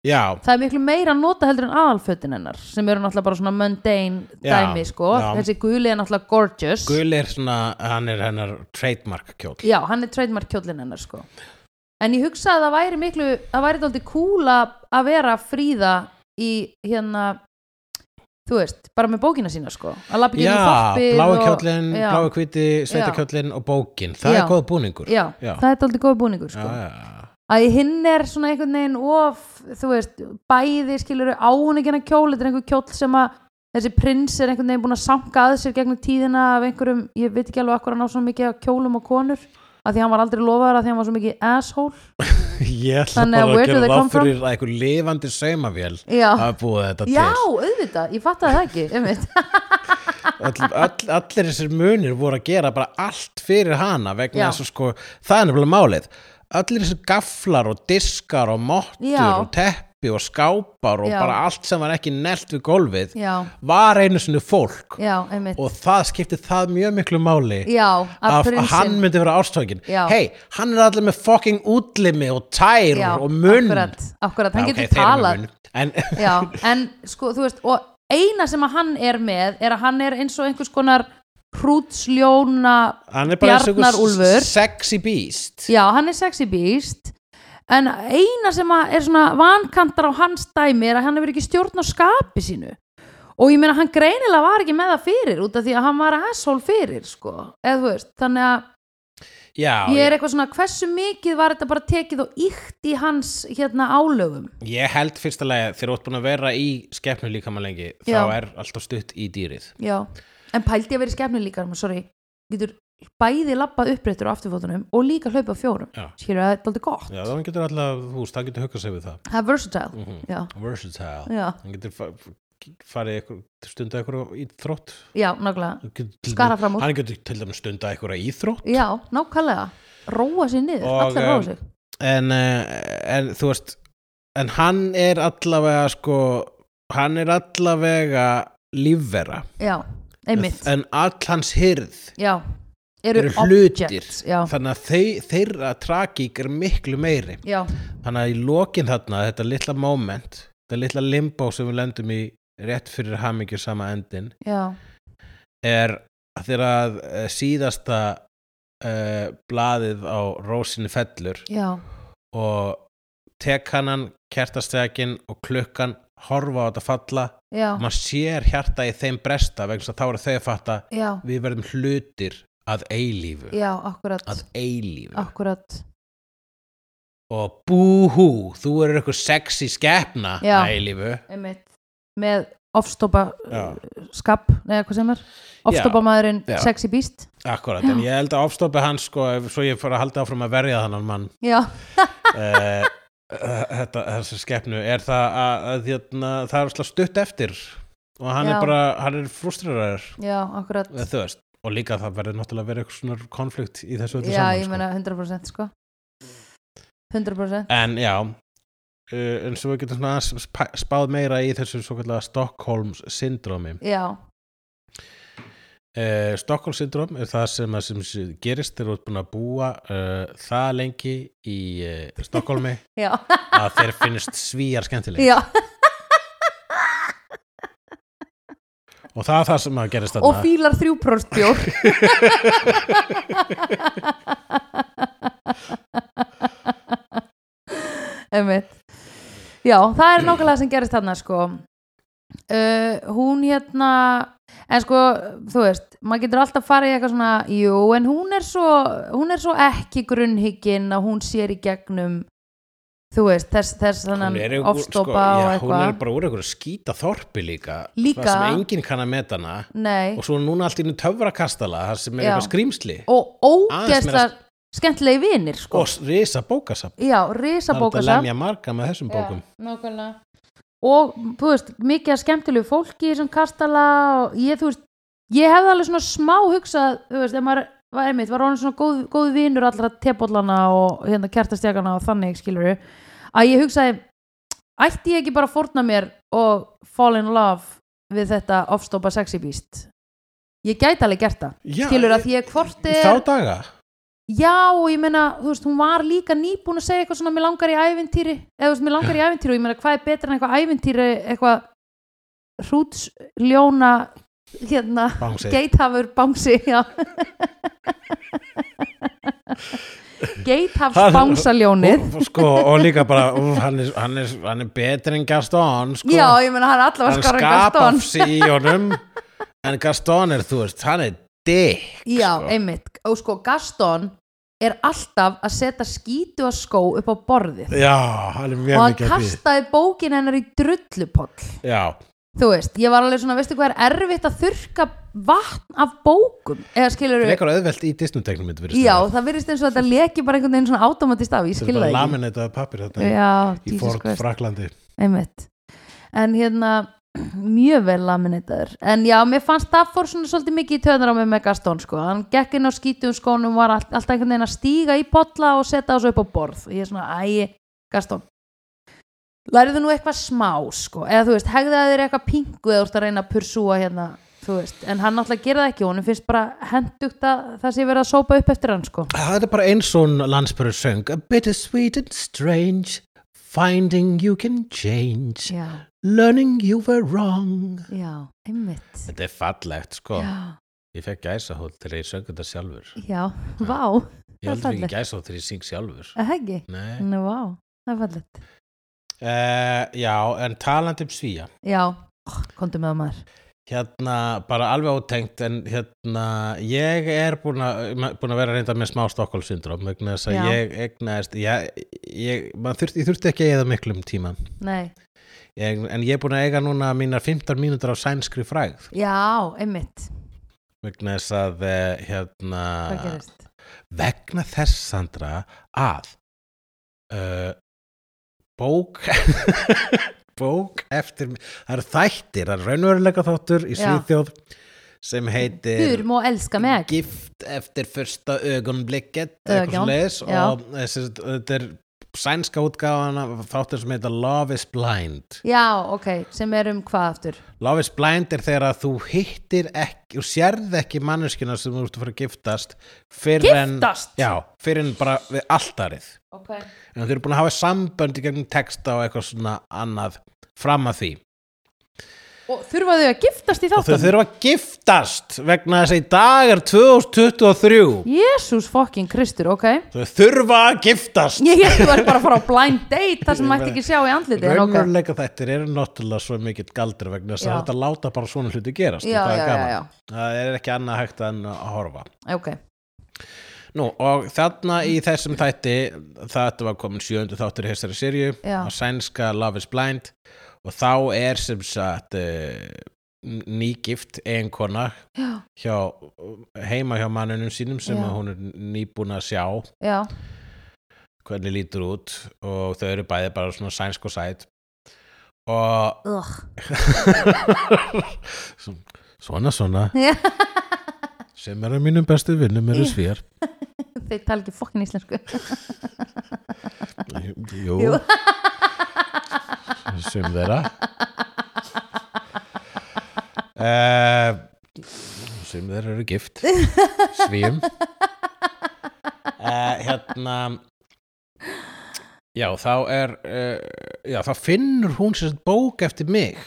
Speaker 1: Já,
Speaker 2: Það er miklu meira að nota heldur en aðalfötin hennar sem eru náttúrulega bara svona mundane
Speaker 1: Já,
Speaker 2: dæmi sko.
Speaker 1: já.
Speaker 2: Þessi guli er náttúrulega gorgeous.
Speaker 1: gul er svona, hann er hennar trademark kjóll.
Speaker 2: Já, hann er trademark kjóllin hennar sko. En ég hugsaði að það væri miklu að væri dálítið kúla að vera fríða í hérna þú veist, bara með bókina sína sko að lappa ekki í
Speaker 1: Já,
Speaker 2: þorpið
Speaker 1: blái
Speaker 2: og-
Speaker 1: kjólinn,
Speaker 2: já,
Speaker 1: blái hviti, sveita
Speaker 2: Já.
Speaker 1: kjólinn og bókin Það
Speaker 2: Já.
Speaker 1: er góð búningur
Speaker 2: já,
Speaker 1: Já.
Speaker 2: það er aldrei góð búningur sko
Speaker 1: Já, já. [laughs]
Speaker 2: að hinn er svona einhvern veginn of, þú veist, bæði skilur á hún ekki hennar kjól, þetta er einhver kjól sem að þessi prins er einhvern veginn búin að sanka að sér gegnum tíðina af einhverjum ég veit ekki alveg akkur hann á svona mikið af kjólum og konur af því hann var aldrei lofaður af því hann var svo mikið asshole
Speaker 1: Ég ætla
Speaker 2: Þannig að
Speaker 1: bara
Speaker 2: where
Speaker 1: að
Speaker 2: do
Speaker 1: gera
Speaker 2: they
Speaker 1: ráð
Speaker 2: come from?
Speaker 1: fyrir að einhver lifandi saumavél
Speaker 2: Já.
Speaker 1: hafa búið þetta
Speaker 2: Já,
Speaker 1: til
Speaker 2: auðvitað, ég fattaði það ekki einmitt.
Speaker 1: all, all, allir þessir munir voru að gera bara allt fyrir hana
Speaker 2: Já.
Speaker 1: vegna þess að sko, það er nefnilega málið allir þessir gaflar og diskar og mottur
Speaker 2: Já.
Speaker 1: og teppi og skápar og
Speaker 2: Já.
Speaker 1: bara allt sem var ekki nelt við golfið
Speaker 2: [laughs] Já,
Speaker 1: var einu sinni fólk
Speaker 2: já, einmitt
Speaker 1: og það skipti það mjög miklu máli
Speaker 2: Já, að
Speaker 1: að hann
Speaker 2: prinsinn
Speaker 1: myndi vera ástókin
Speaker 2: Já.
Speaker 1: hei, hann er allir með fucking útlimi og tær
Speaker 2: Já,
Speaker 1: og munn
Speaker 2: akkurat, akkurat, hann
Speaker 1: Já, ok,
Speaker 2: getur
Speaker 1: þeir eru með
Speaker 2: talað
Speaker 1: munn. en, [laughs]
Speaker 2: Já, en sko, þú veist, og eina sem að hann er með er að hann er eins og einhvers konar hrútsljóna,
Speaker 1: hann er bara eins og einhver
Speaker 2: Bjarnarúlfur.
Speaker 1: sexy beast
Speaker 2: já, hann er sexy beast, en eina sem að er svona vankantar á hans dæmi er að hann hefur ekki stjórn á skapi sínu. Og ég meina, hann greinilega var ekki með það fyrir út af því að hann var asshole fyrir, sko, eða þú veist, þannig að
Speaker 1: Já,
Speaker 2: ég er eitthvað svona, hversu mikið var þetta bara tekið og ykt í hans hérna álögum?
Speaker 1: Ég held fyrsta lega þegar þú ert búin að vera í skepnu líka maður lengi
Speaker 2: Já.
Speaker 1: þá er alltaf stutt í dýrið
Speaker 2: Já, en pældi að vera í skefnu líka sorry, getur bæði labbað uppbreyttur á afturfótunum og líka hlaupa á fjórum
Speaker 1: Já.
Speaker 2: skilur að þetta er aldrei gott
Speaker 1: Já, það getur alltaf, þú veist, það getur huggað sig við það
Speaker 2: það er versatile
Speaker 1: Mhm.
Speaker 2: já.
Speaker 1: Versatile
Speaker 2: Já.
Speaker 1: Það getur fa- farið ykkur, stundað ykkur í þrótt
Speaker 2: já, nákvæmlega Skara fram úr.
Speaker 1: Hann getur til dæmis stundað ykkur í þrótt
Speaker 2: já, nákvæmlega, róa sér niður
Speaker 1: Og,
Speaker 2: allir róa
Speaker 1: eh,
Speaker 2: sig
Speaker 1: en, eh, en þú veist en hann er allavega sko, hann er allavega lífvera
Speaker 2: já, einmitt
Speaker 1: en all hans hyrð
Speaker 2: já, eru,
Speaker 1: eru hlutir
Speaker 2: objects, já,
Speaker 1: þannig að þau, þeirra tragík er miklu meiri
Speaker 2: já,
Speaker 1: þannig að í lokin þarna þetta litla moment, þetta litla limbo sem við lendum í rétt fyrir hamingju sama endin
Speaker 2: já,
Speaker 1: er að þegar að eh, síðasta uh, blaðið á rósinni fellur
Speaker 2: já
Speaker 1: og tekkanan, kertastekin og klukkan horfa á þetta falla
Speaker 2: já,
Speaker 1: og maður sér hjarta í þeim bresta vegna þess að þá eru þau að fatta
Speaker 2: já,
Speaker 1: við verðum hlutir að eilífu
Speaker 2: já, akkurat
Speaker 1: að eilífu
Speaker 2: Ah. akkurat,
Speaker 1: og búhú, þú eru eitthvað sexy skepna
Speaker 2: Já.
Speaker 1: að eilífu
Speaker 2: einmitt með ofstopa
Speaker 1: Já.
Speaker 2: eh, skap, neða hvað sem er ofstopa maðurinn
Speaker 1: Já.
Speaker 2: sexy beast
Speaker 1: Akkurat, en ég held að ofstoppi hans sko, ef- svo ég fór að halda áfram að verja þannan mann
Speaker 2: já,
Speaker 1: uh, þetta, þessu skepnu er það að, að hérna, það er slá stutt eftir og
Speaker 2: Já.
Speaker 1: hann er bara, hann er frústrerar
Speaker 2: já, akkurat
Speaker 1: þú veist, og líka það verður náttúrulega verið eitthvað svona konflikt í þessu öllu
Speaker 2: Já,
Speaker 1: saman sko.
Speaker 2: ég meina 100% sko 100%
Speaker 1: sko. en já uh, en svo við getum svona aðeins spa- spáð meira í þessu svo kallega Stockholms syndromi
Speaker 2: Já,
Speaker 1: Uh, Stockholm syndrom er það sem, að sem sé- gerist þegar þú ert búin að búa uh, það lengi í uh,
Speaker 2: [laughs]
Speaker 1: Stockholmi
Speaker 2: já,
Speaker 1: að þeir finnist svíjar skemmtileg
Speaker 2: já
Speaker 1: og það er það sem að gerist
Speaker 2: Og
Speaker 1: þarna
Speaker 2: fílar þrjúpróst bjór Einmitt Já, það er nákvæmlega sem gerist þarna sko uh, Hún hérna En sko, þú veist, maður getur alltaf farið í eitthvað svona, jú, en hún er svo, hún er svo ekki grunnhyggin að hún sér í gegnum, þú veist, þess, þess þannan
Speaker 1: er, einhver- sko,
Speaker 2: ofstopa og
Speaker 1: já, hún
Speaker 2: eitthvað.
Speaker 1: er bara úr einhverju skýta þorpi líka
Speaker 2: Líka.
Speaker 1: það sem enginn kann að meta hana
Speaker 2: Nei.
Speaker 1: og svo er núna allt í einu töfrakastala það sem er
Speaker 2: Já.
Speaker 1: eitthvað skrýmsli
Speaker 2: og
Speaker 1: Aðeins
Speaker 2: ógeðsla
Speaker 1: meira-
Speaker 2: skemmtilegi vinir sko.
Speaker 1: og s- risa bókasafn
Speaker 2: já,
Speaker 1: það er hægt að
Speaker 2: risabókasa
Speaker 1: lemja marga með þessum bókum
Speaker 2: og þú veist, mikið af skemmtilegu fólki sem kastala og ég, þú veist, ég hefði alveg svona smá hugsað, þú veist, ef maður var einmitt, var honum svona góð, góð vinur allra tebollana og hérna kertastekana og þannig skilur að ég hugsaði ætti ég ekki bara að fórna mér og fall in love við þetta ofstopa sexy beast ég gæti alveg gert það
Speaker 1: Já,
Speaker 2: skilur
Speaker 1: ég-
Speaker 2: að því ég hvort
Speaker 1: í
Speaker 2: er
Speaker 1: þá daga
Speaker 2: Já, og ég meina, þú veist, hún var líka nýbúin að segja eitthvað svona, mér langar í ævintýri eða þú veist, mér langar í ævintýri og ég meina, hvað er betra en eitthvað ævintýri, eitthvað hrútsljóna hérna,
Speaker 1: Bangsi.
Speaker 2: geithafur bangsi, já geithafsbangsaljónið
Speaker 1: og, sko, og líka bara úf, hann, er, hann, er, hann er betri en Gaston sko.
Speaker 2: Já, ég meina hann er allavega
Speaker 1: hann
Speaker 2: skara
Speaker 1: skapar
Speaker 2: Gaston
Speaker 1: sig í honum en Gaston er þú veist hann er dick
Speaker 2: Já,
Speaker 1: sko.
Speaker 2: einmitt, og sko Gaston er alltaf að setja skítu að skó upp á borðið
Speaker 1: já, hann er
Speaker 2: og
Speaker 1: mjög
Speaker 2: hann
Speaker 1: mikið að því
Speaker 2: kastaði bókin hennar í drullupoll
Speaker 1: já,
Speaker 2: þú veist, ég var alveg svona, veistu hvað er erfitt að þurrka vatn af bókum eða skilur
Speaker 1: frekar auðvelt í Disney-teknum þetta virðist
Speaker 2: já,
Speaker 1: vera.
Speaker 2: það virðist eins og þetta leki bara einhvern veginn svona automatist af, ég
Speaker 1: þetta er
Speaker 2: skilur
Speaker 1: bara
Speaker 2: það ekki
Speaker 1: laminetað pappir þetta
Speaker 2: já,
Speaker 1: í
Speaker 2: Jesus
Speaker 1: Ford
Speaker 2: Christ,
Speaker 1: Fraklandi
Speaker 2: einmitt en hérna, [clears throat] mjög vel laminitaður, en já, mér fannst það fór svona svolítið mikið í töðnar á mig með Gaston sko, hann gekk inn á skítum skónum var all, alltaf einhvern veginn að stíga í bolla og setja þessu upp á borð, ég er svona, æ Gaston læriðu nú eitthvað smá sko eða þú veist, hegðaðu þér eitthvað pingu eða þú ert að reyna að pursúa hérna, þú veist en hann náttúrulega gerir það ekki, honum finnst bara hendugt að það sé verið að sópa upp eftir hann sko
Speaker 1: það er bara eins og landsbyrður söng a bittersweet and strange finding you can change
Speaker 2: já,
Speaker 1: learning you were wrong
Speaker 2: já, einmitt
Speaker 1: þetta er fallegt sko
Speaker 2: já,
Speaker 1: ég fekk gæsahótt þegar ég söng þetta sjálfur
Speaker 2: já, vá
Speaker 1: ég
Speaker 2: Það er
Speaker 1: heldur ekki
Speaker 2: fallegt.
Speaker 1: gæsahótt þegar ég syng sjálfur
Speaker 2: að heggi,
Speaker 1: nei
Speaker 2: nú vá það er fallegt,
Speaker 1: Uh, já, en talandi um svíja
Speaker 2: já oh, komdu með það maður,
Speaker 1: hérna bara alveg ótengt en hérna ég er búin að búin að vera reynda með smá stokkólsyndrom vegna þess að
Speaker 2: Já.
Speaker 1: ég egnaðist ég, ég, maður þurfti, ég þurfti ekki að eða miklum tíma
Speaker 2: nei,
Speaker 1: ég, en ég er búin að eiga núna mínar 15 mínútur á sænskri frægð
Speaker 2: já, einmitt
Speaker 1: vegna þess að eh, hérna
Speaker 2: hvað gerist,
Speaker 1: vegna þess Sandra að uh, bók [laughs] bók eftir það eru þættir, það eru raunveruleika þáttur í
Speaker 2: Já.
Speaker 1: Svíþjóð sem heitir
Speaker 2: hur má elska meg
Speaker 1: Gift eftir fyrsta ögunblikket
Speaker 2: Ögon,
Speaker 1: eitthvað leis
Speaker 2: já.
Speaker 1: og þessi, þetta er sænska útgáfan af þáttur sem heitir Love is Blind
Speaker 2: já, ok, sem er um hvað aftur
Speaker 1: Love is Blind er þegar að þú hittir ekki og sérð ekki manneskina sem þú ert að fara að giftast fyrr en,
Speaker 2: Giftast?
Speaker 1: já, fyrr en bara við alltarið
Speaker 2: ok,
Speaker 1: en þau eru búin að hafa sambönd í gegnum texta og eitthvað svona annað fram að því
Speaker 2: og þurfa þau að giftast í
Speaker 1: og þau
Speaker 2: þáttan
Speaker 1: þurfa að giftast vegna þess að í dag er 2023
Speaker 2: Jésús fokkin Kristur, ok
Speaker 1: þau þurfa að giftast
Speaker 2: Ég held þú væri bara að fara á blind date þar sem mætti ekki sjá í andliti en ok
Speaker 1: raunveruleika þættir eru náttúrulega svo mikill galdur vegna þess að
Speaker 2: Já.
Speaker 1: þetta láta bara svona hluti gerast
Speaker 2: Já,
Speaker 1: og það
Speaker 2: já,
Speaker 1: er
Speaker 2: já,
Speaker 1: gaman
Speaker 2: já.
Speaker 1: það er ekki annað hægt en að horfa
Speaker 2: Ok,
Speaker 1: Nú, og þarna í þessum þætti þetta var komin sjöundu þáttur í þessari sirju
Speaker 2: Já.
Speaker 1: á sænska Love is Blind og þá er sem sagt uh, nýgift einkona
Speaker 2: Já.
Speaker 1: hjá, heima hjá mannunum sínum sem
Speaker 2: Já.
Speaker 1: að hún er nýbúin að sjá
Speaker 2: já,
Speaker 1: hvernig lítur út og þau eru bæði bara svona sænsk og sæt og
Speaker 2: ugh
Speaker 1: svona svona
Speaker 2: Já.
Speaker 1: sem er að mínum bestu vinnum eru svér
Speaker 2: [laughs] Þeir tala ekki fokkin íslensku
Speaker 1: Jú, [laughs]
Speaker 2: Jú.
Speaker 1: Sum þeirra uh, Sum þeirra eru gift Svíum uh, Hérna Já, þá er uh, Já, þá finnur hún sér bók eftir mig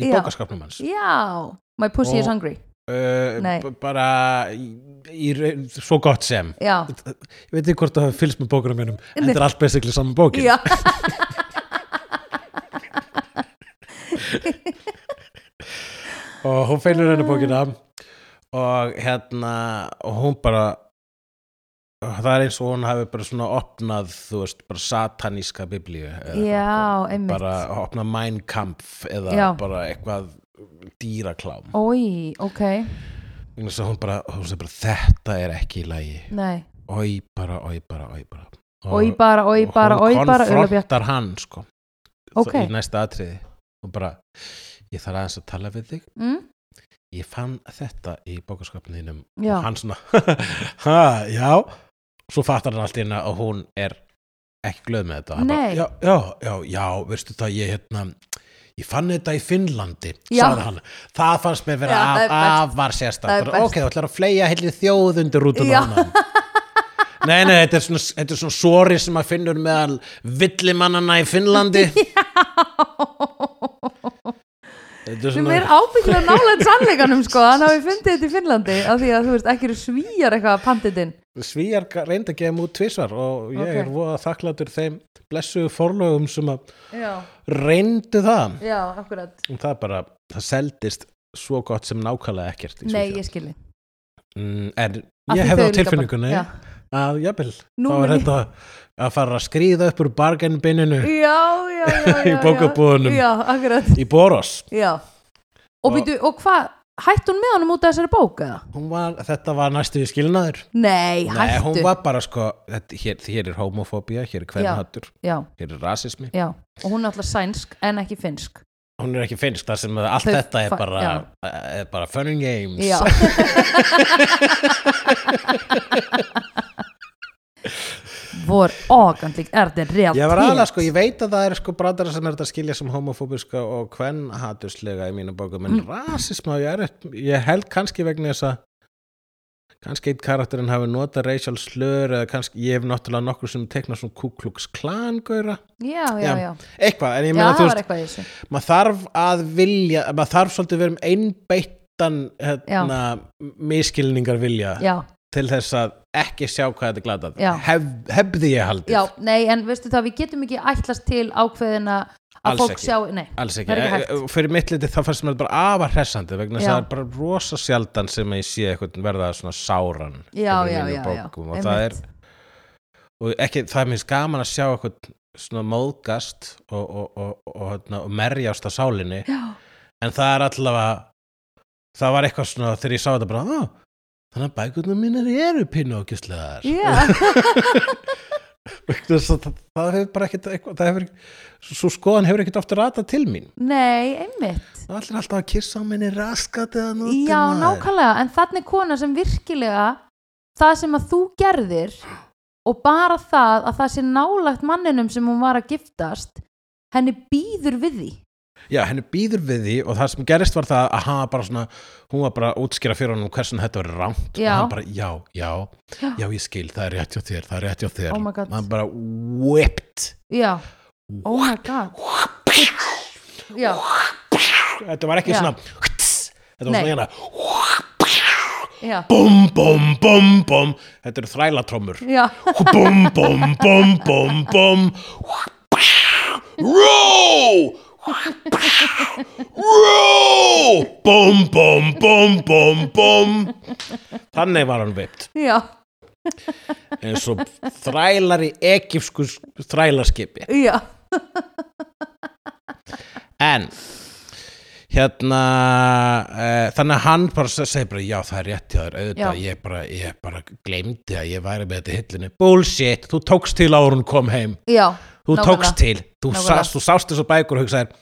Speaker 1: í
Speaker 2: Já.
Speaker 1: bókaskapnum hans
Speaker 2: Já, my pussy
Speaker 1: Og-
Speaker 2: is hungry
Speaker 1: uh,
Speaker 2: Nei.
Speaker 1: b- bara í, í, raun- svo gott sem
Speaker 2: Já,
Speaker 1: ég veit ekki hvort það fylgst með bókunum mínum en
Speaker 2: Nei.
Speaker 1: þetta er allt basically saman bókin
Speaker 2: já,
Speaker 1: og hún finnur henni bókina
Speaker 2: Ah.
Speaker 1: og hérna og hún bara það er eins og hún hafi bara svona opnað þú veist, bara sataníska biblíu eða eitthvað.
Speaker 2: já, einmitt
Speaker 1: bara opnað Mein Kampf eða
Speaker 2: Já.
Speaker 1: bara eitthvað dýraklám
Speaker 2: Ói, ok,
Speaker 1: Vegna þess að hún bara, hún segir bara þetta er ekki í lagi
Speaker 2: nei
Speaker 1: oi bara, oi bara, oi bara
Speaker 2: Ói bara, ói bara, ói bara,
Speaker 1: hún
Speaker 2: Ulabjörg
Speaker 1: konfrontar hann sko
Speaker 2: Ok.
Speaker 1: í næsta atriði og bara, ég þarf aðeins að tala við þig
Speaker 2: mm? [laughs]
Speaker 1: ég fann þetta í bókaskapinu þínum
Speaker 2: Já.
Speaker 1: og hann svona [laughs] ha, já svo fattar hann allt í hérna að hún er ekki glöð með þetta Hann bara,
Speaker 2: Nei.
Speaker 1: já, já, já, já, veistu það ég hérna ég fann þetta í Finnlandi
Speaker 2: Já.
Speaker 1: sagði hann, það fannst mér vera
Speaker 2: Já, það er
Speaker 1: af,
Speaker 2: best.
Speaker 1: afar
Speaker 2: Það er
Speaker 1: sérstætt
Speaker 2: best.
Speaker 1: ok, þú ætlar að fleia heilir þjóð undir rútun
Speaker 2: Já.
Speaker 1: á
Speaker 2: [laughs]
Speaker 1: hann Nei, nei, þetta er svona, þetta er svona sori sem maður finnur meðal villimannana í Finnlandi Þetta er
Speaker 2: sem
Speaker 1: svona
Speaker 2: er ábygglega nálega sannleikanum sko, hann hafi fundið þetta í Finnlandi af því að þú veist, ekki eru svíjar eitthvað panditinn
Speaker 1: svíjar ga- reyndu að gefa mér út tvisvar og ég
Speaker 2: Ok.
Speaker 1: er voða þakklátur þeim blessuðu forlögum sem að
Speaker 2: já,
Speaker 1: reyndu það
Speaker 2: já, akkurat
Speaker 1: og það bara, það seldist svo gott sem nákvæmlega ekkert
Speaker 2: Nei,
Speaker 1: í Svíþjóð.
Speaker 2: ég skilji
Speaker 1: Mm, en
Speaker 2: Af
Speaker 1: ég
Speaker 2: því þau
Speaker 1: hefði á
Speaker 2: líka bara-
Speaker 1: tilfinningunni
Speaker 2: Já,
Speaker 1: að jafnvel,
Speaker 2: Nú
Speaker 1: þá er
Speaker 2: mun ég-
Speaker 1: þetta að fara að skríða upp úr bargainbeininu
Speaker 2: já, [laughs] já, já, já
Speaker 1: í bókabúðunum
Speaker 2: Já, akkurat
Speaker 1: í Boros
Speaker 2: já. Og,
Speaker 1: Og-
Speaker 2: býtu, og hvað, hætti hún með honum út af þessari bóka?
Speaker 1: Hún var, þetta var næstu í skilnaður
Speaker 2: Nei,
Speaker 1: Nei,
Speaker 2: hættu
Speaker 1: hún var bara sko þetta, hér, hér er homofóbía, hér er kvennhattur
Speaker 2: Já,
Speaker 1: hér er rasismi,
Speaker 2: já, og hún er alltaf sænsk en ekki finnsk
Speaker 1: hún er ekki finnsk þar sem að allt
Speaker 2: Þau-
Speaker 1: þetta er
Speaker 2: fa-
Speaker 1: bara,
Speaker 2: já.
Speaker 1: er bara fun and games
Speaker 2: Já [laughs] Vor ágandlik er det reelt
Speaker 1: Ég var aðlega sko, ég veit að það er sko brandara sem er þetta að skilja sem homofóbiska og kvennhatuslega í mínu bókum
Speaker 2: Mm.
Speaker 1: en rasisma, ég, er, eitt- ég held kannski vegna þess að kannski eitt karakterinn hafi notað racial slur eða kannski, ég hef náttúrulega nokkur sem tekna svona Ku Klux Klan gaura
Speaker 2: Já, já, já,
Speaker 1: Já,
Speaker 2: já,
Speaker 1: eitthvað, en ég meina
Speaker 2: það var
Speaker 1: þú veist
Speaker 2: eitthvað í þessu
Speaker 1: maður þarf að vilja, maður þarf svolítið að vera um einbeittan hérna, miskilningar vilja
Speaker 2: Já,
Speaker 1: til þess að ekki sjá hvað þetta er glatað
Speaker 2: Já.
Speaker 1: Hef, hefði ég haldið,
Speaker 2: já, nei, en veistu það, við getum ekki ætlast til ákveðina að
Speaker 1: Alls
Speaker 2: fólk
Speaker 1: ekki.
Speaker 2: sjá, nei,
Speaker 1: alls ekki,
Speaker 2: Það er ekki
Speaker 1: Eh, fyrir mitt liti þá fannst mér þetta bara afar hressandi vegna þess
Speaker 2: Já.
Speaker 1: að það er bara rosa sjaldan sem ég sé eitthvað verða svona sáran
Speaker 2: já,
Speaker 1: í
Speaker 2: já,
Speaker 1: mínum
Speaker 2: já, já
Speaker 1: bókum og það er
Speaker 2: einmitt.
Speaker 1: og ekki, það er minnst gaman að sjá eitthvað svona móðgast og, og, og, og, og, hérna, og merjast á sálinni
Speaker 2: Já,
Speaker 1: en það er allavega það var eitthvað svona þegar ég sá þetta bara "Á, þannig að bækurnar mínir eru pínu ágjöfslegar [laughs]
Speaker 2: já, [laughs]
Speaker 1: það, það hefur bara ekkit eitthvað, það hefur, svo skoðan hefur ekkit ofta ratað til mín
Speaker 2: nei, einmitt
Speaker 1: það allir alltaf að kissa á minni raskat eða nótum
Speaker 2: Já, nákvæmlega, en þannig kona sem virkilega það sem að þú gerðir og bara það að það sé nálægt manninum sem hún var að giftast henni býður við því
Speaker 1: Já, henni býður við því og það sem gerist var það að hann var bara svona, hún var bara að útskýra fyrir honum hversin þetta var rangt
Speaker 2: Já.
Speaker 1: og hann bara, já, já,
Speaker 2: Já.
Speaker 1: já, ég skil, það er rétt hjá þér, það er rétt hjá þér
Speaker 2: Oh my god.
Speaker 1: hann bara whipped
Speaker 2: Já, oh my god Já,
Speaker 1: þetta var ekki
Speaker 2: Já.
Speaker 1: svona þetta var
Speaker 2: Nei.
Speaker 1: svona hérna
Speaker 2: já,
Speaker 1: bum, bum, bum, bum þetta eru þrælatrómur
Speaker 2: já
Speaker 1: bum, bum, bum, bum, bum row row bum, bum, bum, bum, bum þannig var hann vipt
Speaker 2: Já,
Speaker 1: eins og þrælar í ekipsku þrælarskipi
Speaker 2: já,
Speaker 1: en hérna uh, þannig að hann bara se- segir bara já það er rétt hjá þér auðvitað
Speaker 2: Já.
Speaker 1: ég bara, ég bara gleymdi að ég væri með þetta í hillinu bullshit, þú tókst til áður en hún kom heim
Speaker 2: já
Speaker 1: þú
Speaker 2: Nákvæmlega.
Speaker 1: tókst til, þú,
Speaker 2: Nákvæmlega.
Speaker 1: sást, þú sást þessu bækur og hugsaðir,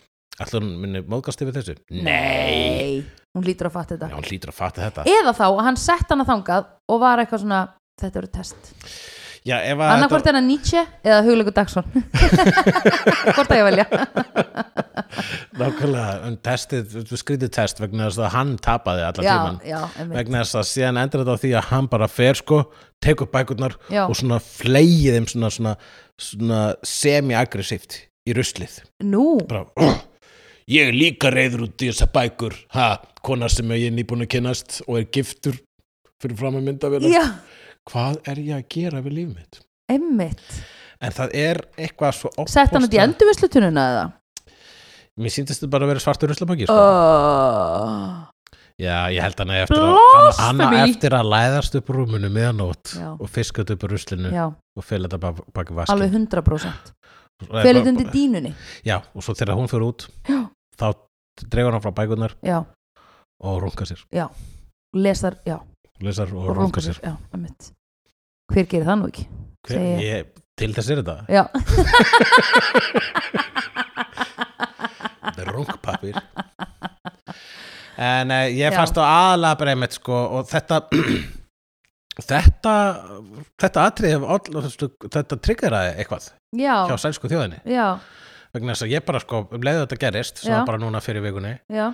Speaker 1: allir hún minni móðgast yfir þessu, nei
Speaker 2: Hún lítur að fatta
Speaker 1: já,
Speaker 2: þetta
Speaker 1: hún hlýtur að fatta þetta
Speaker 2: Eða þá að hann sett hana þangað og var eitthvað svona Þetta eru test
Speaker 1: já,
Speaker 2: [laughs]
Speaker 1: ef að
Speaker 2: Annarkvort er hann Nietzsche eða Hugleikur Dagsson [laughs] Hvort að ég velja
Speaker 1: nákvæmlega, um testið, skrítið test vegna þess að hann tapaði allan
Speaker 2: Já,
Speaker 1: tíman
Speaker 2: já, einmitt
Speaker 1: vegna þess að síðan endur þetta á því að hann bara fer sko, tekur bækurnar
Speaker 2: Já.
Speaker 1: og svona fleigið þeim svona, svona, svona semi-aggressíft í ruslið
Speaker 2: Nú,
Speaker 1: bara, [clears throat] "Ugh, ég er líka reyður út í þessa bækur ha, kona sem ég er nýbúin að kynnast og er giftur fyrir fram að mynda vel
Speaker 2: já,
Speaker 1: hvað er ég að gera við líf mitt
Speaker 2: einmitt
Speaker 1: en það er eitthvað svo
Speaker 2: Sett hann út í
Speaker 1: ofboðslega-
Speaker 2: endurvislutununa eða?
Speaker 1: mér síndist þetta bara að vera svartur ruslapakki sko.
Speaker 2: Oh.
Speaker 1: Já, ég held hana eftir, að,
Speaker 2: Blasphemy!
Speaker 1: hana, hana eftir að læðast upp úr rúmunu meðanót
Speaker 2: Já.
Speaker 1: og fiskat upp úr ruslinu
Speaker 2: Já,
Speaker 1: og fela þetta bak- bak vaskinn
Speaker 2: alveg 100%
Speaker 1: Nei,
Speaker 2: Fyrir
Speaker 1: bara-
Speaker 2: undir dínunni
Speaker 1: Já, og svo þegar hún fyrir út þá dregur hann frá bækurnar
Speaker 2: Já,
Speaker 1: og rungar sér,
Speaker 2: lesar, já,
Speaker 1: lesar og,
Speaker 2: og rungar sér Já, einmitt Hver gerir það nú ekki?
Speaker 1: Hver,
Speaker 2: segi
Speaker 1: ég, til þess er þetta,
Speaker 2: Já,
Speaker 1: [laughs] þetta er rungpapir En uh, ég
Speaker 2: Já.
Speaker 1: fannst á aðalega bara einmitt sko og þetta [clears throat] þetta þetta atrið þetta triggeraði eitthvað hjá
Speaker 2: já,
Speaker 1: sænsku þjóðinni
Speaker 2: já,
Speaker 1: vegna þess að ég bara sko um leiðu þetta gerist sem
Speaker 2: Já.
Speaker 1: var bara núna fyrir vikunni
Speaker 2: já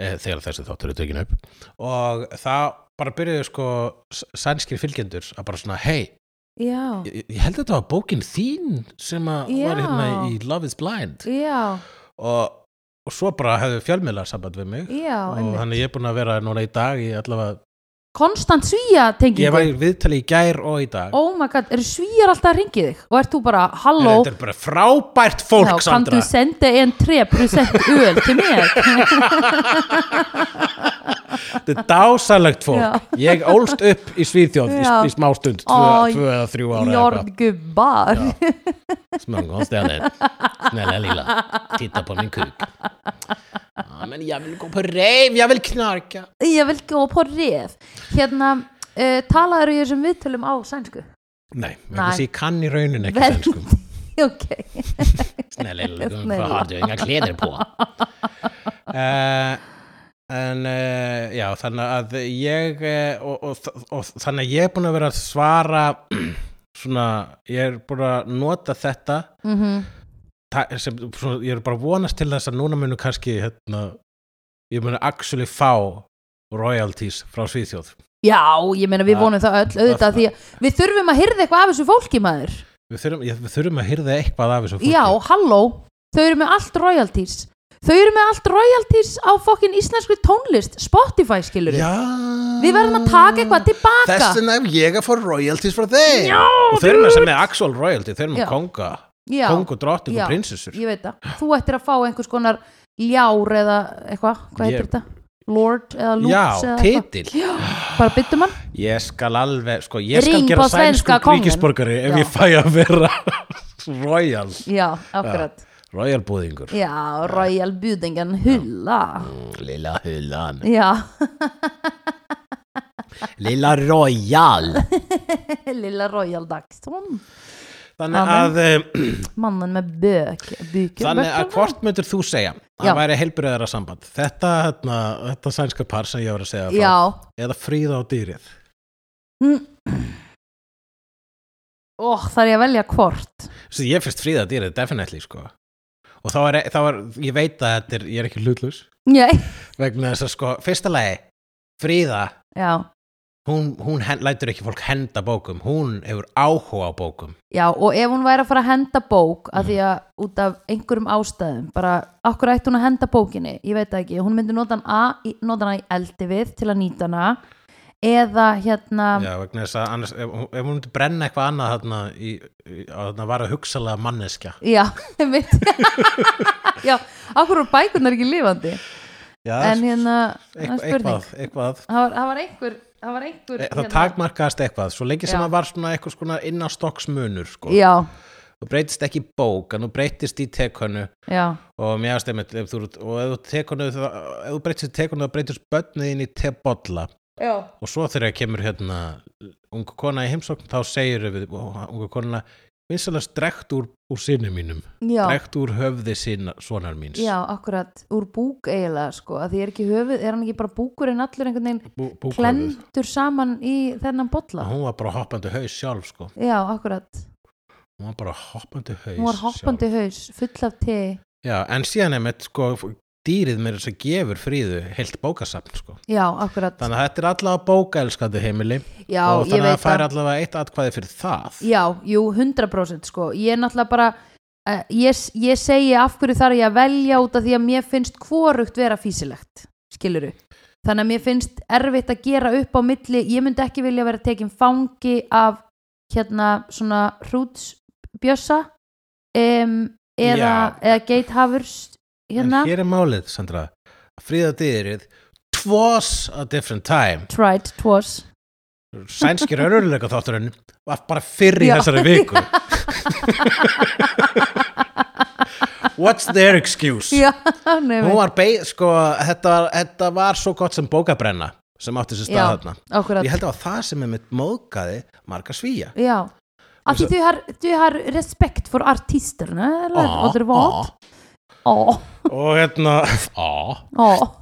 Speaker 1: eh, þegar þessi þáttur er tekin upp og það bara byrjuðu sko s- sænskir fylgjendur að bara svona hei,
Speaker 2: Já,
Speaker 1: ég, ég held að þetta var bókin þín sem að
Speaker 2: Já.
Speaker 1: var hérna í Love is Blind
Speaker 2: já,
Speaker 1: og, og svo bara hefðu fjölmiðlar samband við mig
Speaker 2: já,
Speaker 1: og
Speaker 2: einmitt
Speaker 1: þannig ég er búin að vera núna í dag í allavega
Speaker 2: konstant svíja
Speaker 1: Ég var
Speaker 2: tengingu
Speaker 1: í viðtali í gær og í dag
Speaker 2: oh my god, eru svíjar alltaf að ringið þig og ert þú bara, halló
Speaker 1: Þetta er bara frábært fólk,
Speaker 2: Já,
Speaker 1: Sandra
Speaker 2: Kanntu senda en 3% öl til mér
Speaker 1: Þetta er dásalegt fólk
Speaker 2: Já.
Speaker 1: Ég ólst upp í Svíþjóð í,
Speaker 2: Já.
Speaker 1: í smástund, tvö,
Speaker 2: Ó,
Speaker 1: tvö eða þrjú ára
Speaker 2: Jórgubar
Speaker 1: Smångångsställen. Snälla lilla, titta på min kuk.
Speaker 2: [laughs]
Speaker 1: Ah, Ja, men jag vill gå på rave, jag vill knarka.
Speaker 2: Ég vil gå på reð Hérna, uh, talaður í þessum viðtölum á sænsku [laughs]
Speaker 1: Nei,
Speaker 2: Nej.
Speaker 1: men Nej. jag kan i röjnen inte
Speaker 2: Väl-
Speaker 1: svenskum.
Speaker 2: Ok,
Speaker 1: Snälla
Speaker 2: [laughs]
Speaker 1: lilla,
Speaker 2: Snälla.
Speaker 1: varför har du inga kläder på? Eh, En, eh, já, þannig að ég eh, og, og, og, þannig að ég er búin að vera að svara [clears throat] svona, ég er búin að nota þetta
Speaker 2: mm
Speaker 1: það er sem, svona, ég er bara að vonast til þess að núna munu kannski hérna, ég munu actually fá royalties frá Svíþjóð
Speaker 2: já, ég meina við
Speaker 1: Það-
Speaker 2: vonum það öll auðvitað því að við þurfum að hyrða eitthvað af þessu fólki maður
Speaker 1: við þurfum, ég, við þurfum að hyrða eitthvað af þessu fólki
Speaker 2: Já, halló, þau eru með allt royalties Þau eru með allt royalties á fokkin íslenskri tónlist Spotify skilur
Speaker 1: Já.
Speaker 2: Við verðum að taka eitthvað tilbaka
Speaker 1: þess vegna ef ég að fá royalties frá þeim
Speaker 2: Já,
Speaker 1: og þau eru með sem er actual royalty þau eru
Speaker 2: Já.
Speaker 1: með konga,
Speaker 2: Já,
Speaker 1: kongu drotting
Speaker 2: Já.
Speaker 1: og prinsessur
Speaker 2: ég veit það Þú ættir að fá einhvers konar ljár eða eitthvað, hvað heitir
Speaker 1: Ég-
Speaker 2: þetta? Lord eða Loops
Speaker 1: Já,
Speaker 2: eða eitthvað
Speaker 1: titil
Speaker 2: Bara byttum hann
Speaker 1: Ég skal alveg, sko, ég skal
Speaker 2: Ring
Speaker 1: gera
Speaker 2: på svenska
Speaker 1: sænsku
Speaker 2: kongen.
Speaker 1: ríkisborgari ef
Speaker 2: Já.
Speaker 1: ég fæ að vera [laughs] royal,
Speaker 2: Já, akkurat
Speaker 1: royal búðingur
Speaker 2: Já, Royal Budingen Hulla
Speaker 1: Lilla hullan
Speaker 2: Já,
Speaker 1: Lilla Royal
Speaker 2: [laughs] Lilla Royal Dagsson Amen.
Speaker 1: Þannig að, um,
Speaker 2: Mannen með bök Bökur
Speaker 1: þannig að hvort myndir þú segja
Speaker 2: Já.
Speaker 1: að væri heilbriðara samband þetta, þetta, þetta sænska par sem ég var að segja frá,
Speaker 2: Já Mm.
Speaker 1: eða fríða á dýrið
Speaker 2: Ó, þarf ég að velja hvort
Speaker 1: Svo ég finnst fríða á dýrið, definitely sko og þá er, þá er ég veit að þetta er, ég er ekki hlutlaus
Speaker 2: Nei,
Speaker 1: vegna þess að sko, fyrsta lagi fríða,
Speaker 2: já
Speaker 1: hún, hún hen, lætur ekki fólk henda bókum, hún hefur áhuga á bókum
Speaker 2: Já, og ef hún væri að fara að henda bók af því að út af einhverjum ástæðum bara, okkur ætti hún að henda bókinni ég veit það ekki, hún myndi nota hann a- í- nota hana í eldi við til að nýta hana eða hérna
Speaker 1: Já, vegna þess að annars, ef, ef hún myndi brenna eitthvað annað þarna, í, í, að þarna var að hugsalega manneskja
Speaker 2: já, [laughs] mitt já, okkur voru bækurnar ekki lifandi
Speaker 1: Já,
Speaker 2: en hérna, það er
Speaker 1: eitthvað,
Speaker 2: spurning
Speaker 1: eitthvað, eitthvað.
Speaker 2: það var, það var einhver, það var einhver hérna-
Speaker 1: E- það takmarkaðast eitthvað, svo lengi sem
Speaker 2: Já.
Speaker 1: það var svona eitthvað svona innastokksmunur sko.
Speaker 2: já,
Speaker 1: þú breytist ekki í bók, en þú breytist í tekönnu
Speaker 2: já,
Speaker 1: og mér aðeins einmitt ef þú, og ef þú, tekonu, ef þú breytist í tekönnu þá breytist börniðin í tebolla
Speaker 2: já
Speaker 1: og svo þegar kemur hérna ungu kona í heimsókn þá segir við ó, ungu konuna vinsalast drekt úr, úr sinni mínum
Speaker 2: já,
Speaker 1: drekt úr höfði sinna, sonar míns
Speaker 2: já, akkurat úr búk eiginlega sko, að því er ekki höfuð, er hann ekki bara búkurinn allur einhvern veginn
Speaker 1: Bú, búkhöfuð.
Speaker 2: klendur saman í þennan bolla
Speaker 1: hún var bara hoppandi haus sjálf sko.
Speaker 2: já, akkurat,
Speaker 1: hún var bara hoppandi haus
Speaker 2: hún var hoppandi haus full af te
Speaker 1: Já, en síðan er með sko, dýrið mér þess að gefur fríðu heilt bókasafn sko.
Speaker 2: já, akkurat,
Speaker 1: Þannig að þetta er allavega bókaelskandi heimili
Speaker 2: já,
Speaker 1: og
Speaker 2: ég
Speaker 1: þannig að
Speaker 2: veit
Speaker 1: það fær
Speaker 2: það
Speaker 1: allavega eitt atkvæði fyrir það.
Speaker 2: já, jú, 100% sko ég er náttúrulega bara uh, ég, ég segi af hverju þarf ég að velja út af því að mér finnst hvorugt vera físilegt skiluru, þannig að mér finnst erfitt að gera upp á milli ég myndi ekki vilja vera tekin fangi af hérna svona hrútsbjössa um, eða,
Speaker 1: Já.
Speaker 2: eða geithafurs hérna,
Speaker 1: En hér er málið, Sandra, fríða dýrið twas a different time.
Speaker 2: tried,
Speaker 1: [laughs]
Speaker 2: twas
Speaker 1: Sænskir öruleika þátturinn var bara fyrr í
Speaker 2: Já.
Speaker 1: þessari viku. What's their excuse?
Speaker 2: já, nefnir
Speaker 1: Hún var beig, sko, þetta, var- þetta var svo gott sem bókabrenna sem átti sér stað
Speaker 2: Já.
Speaker 1: þarna.
Speaker 2: Akkurat.
Speaker 1: Ég held að það var það sem er mitt móðgæði marga svíja.
Speaker 2: Ja. Att
Speaker 1: Alltså-
Speaker 2: du, har, du har respekt för artisterna eller
Speaker 1: Ah,
Speaker 2: vad det var? Ja.
Speaker 1: Og hérna Á
Speaker 2: Ja.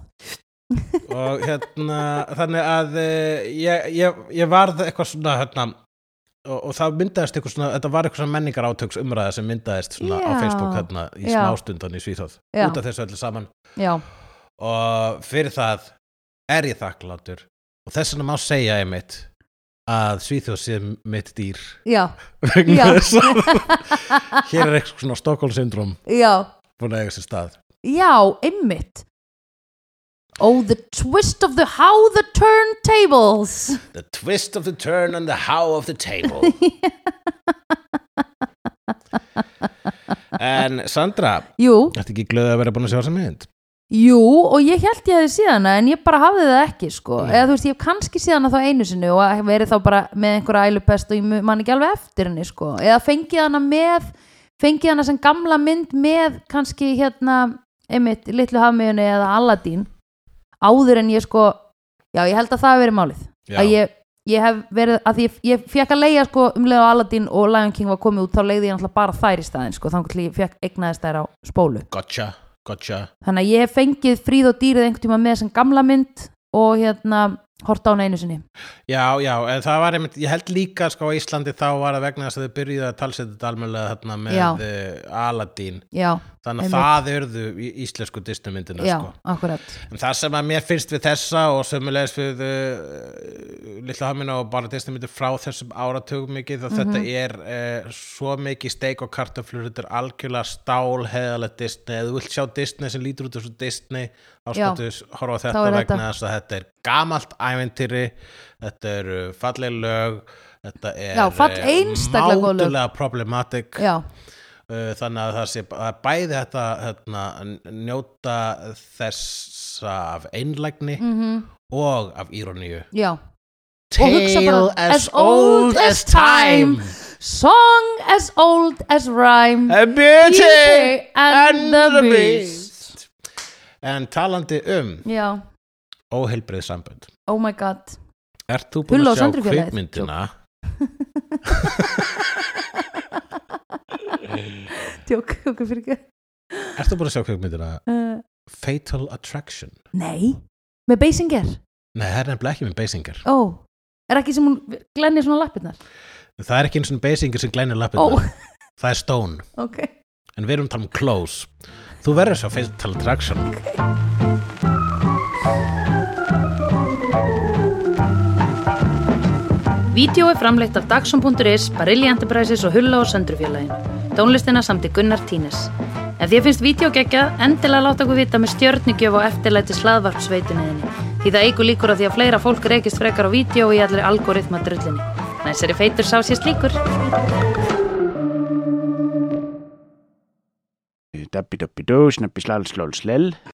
Speaker 1: Og hérna Þannig að eh, ég, ég, ég varð eitthvað svona hérna Og, og það myndaðist eitthvað svona, þetta var eitthvað svona menningar átöks umræða sem myndaðist svona á
Speaker 2: Já.
Speaker 1: Facebook hérna í
Speaker 2: Já.
Speaker 1: smástundan í Svíþóð
Speaker 2: Já.
Speaker 1: út af þessu öllu saman
Speaker 2: Ja.
Speaker 1: og fyrir það er ég þakklátur og þess vegna má segja ég mitt að Svíþjóð sé mitt dýr
Speaker 2: Ja.
Speaker 1: vegna
Speaker 2: Já.
Speaker 1: þess að [laughs] hér er eitthvað svona Stockholm syndrom
Speaker 2: Ja.
Speaker 1: búin að eiga sér stað
Speaker 2: Ja, einmitt. Oh, the twist of the how the turntables
Speaker 1: The twist of the turn and the how of
Speaker 2: [laughs]
Speaker 1: the table En Sandra,
Speaker 2: Jú,
Speaker 1: ertu ekki glöð að vera búin að sjá þessa mynd?
Speaker 2: jú, og ég held ég að þið síðan en ég bara hafði það ekki, sko
Speaker 1: Mm.
Speaker 2: eða þú veist, ég hef kannski síðan að þá einu sinni og verið þá bara með einhverja ælupest og ég mu- man ekki alveg eftir henni, sko eða fengið hana með, fengið hana sem gamla mynd með kannski hérna einmitt, litlu hafmiðunni eða Aladdin áður en ég sko já, ég held að það hafi verið málið
Speaker 1: Já.
Speaker 2: að ég, ég hef verið að ég, ég fekk að leiða sko um leið á Aladdin og Lion King var komið út þá leiði ég náttúrulega bara þær í staðin sko þannig að ég fekk eignaðist þær á spólu
Speaker 1: Gotcha, gotcha
Speaker 2: þannig að ég hef fengið fríð og dýrið einhvern tíma með sem gamla mynd og hérna horta á hana einu sinni
Speaker 1: Já, já, en það var einmitt, ég held líka sko á Íslandi þá var það vegna þess að þau byrjuðu að talsetja þetta almennlega þarna með
Speaker 2: Já.
Speaker 1: uh, Aladdin
Speaker 2: já,
Speaker 1: þannig að
Speaker 2: Einmitt.
Speaker 1: það urðu í- íslensku disnumyndina
Speaker 2: já,
Speaker 1: sko.
Speaker 2: akkurat
Speaker 1: en það sem að mér finnst við þessa og sömulegis við uh, litla hafmina og bara disnumyndir frá þessum áratugum mikið þá
Speaker 2: Mhm.
Speaker 1: þetta er uh, svo mikið steik og kartöflur þetta er algjörlega stál heðalegt Disney, ef þú vilt sjá Disney sem lítur út þessu Disney
Speaker 2: Já.
Speaker 1: þá skáttu horfa
Speaker 2: Þá
Speaker 1: á þetta
Speaker 2: er
Speaker 1: vegna
Speaker 2: þetta.
Speaker 1: þess að þetta er gamalt æventýri þetta eru falleg lög þetta er
Speaker 2: Já, fall-
Speaker 1: eh,
Speaker 2: einstaklega góð lög.
Speaker 1: mátulega problematic
Speaker 2: já,
Speaker 1: Uh, þannig að það sé það er bæði þetta hérna, n- njóta þessa af einlægni
Speaker 2: mhm,
Speaker 1: og af íroníu
Speaker 2: já Og hugsa bara, as old as time. song as old as rhyme
Speaker 1: a beauty
Speaker 2: Beauty and the beast
Speaker 1: en talandi um
Speaker 2: já,
Speaker 1: óheilbrið sambönd
Speaker 2: oh my god
Speaker 1: ert þú búin
Speaker 2: Hulla og
Speaker 1: að sjá
Speaker 2: Sandri félagið?
Speaker 1: kvikmyndina [laughs]
Speaker 2: tjók, [laughs] okkur fyrir ekki
Speaker 1: ert þú búin að sjá kvikmyndina
Speaker 2: uh,
Speaker 1: Fatal Attraction
Speaker 2: Nei, með Basinger
Speaker 1: nei það er nefnilega ekki með Basinger
Speaker 2: Ó, er ekki sem hún glennir svona lappirnar
Speaker 1: það er ekki eins og Basinger sem glænir
Speaker 2: Ó,
Speaker 1: lappinu
Speaker 2: [laughs]
Speaker 1: það er Stone
Speaker 2: ok
Speaker 1: en við erum að tala um Close þú verður svo Fatal Attraction
Speaker 4: Vídeó er framleitt af Dagsum.is, Barilli Enterprises og Hulla og Söndrufjörlægin. Tónlistina samt í Gunnar Tínes. Ef þér finnst vídeo gegja, endilega láta okkur vita með stjörnigjöf og eftirlæti slaðvartsveituninni. Því það eigur líkur á því að fleira fólk reykist frekar á vídeo í allir algoritma drullinni. Næs er í feitur sá sér slíkur.
Speaker 5: Dabbi dabbi dó, snabbi slal slal slel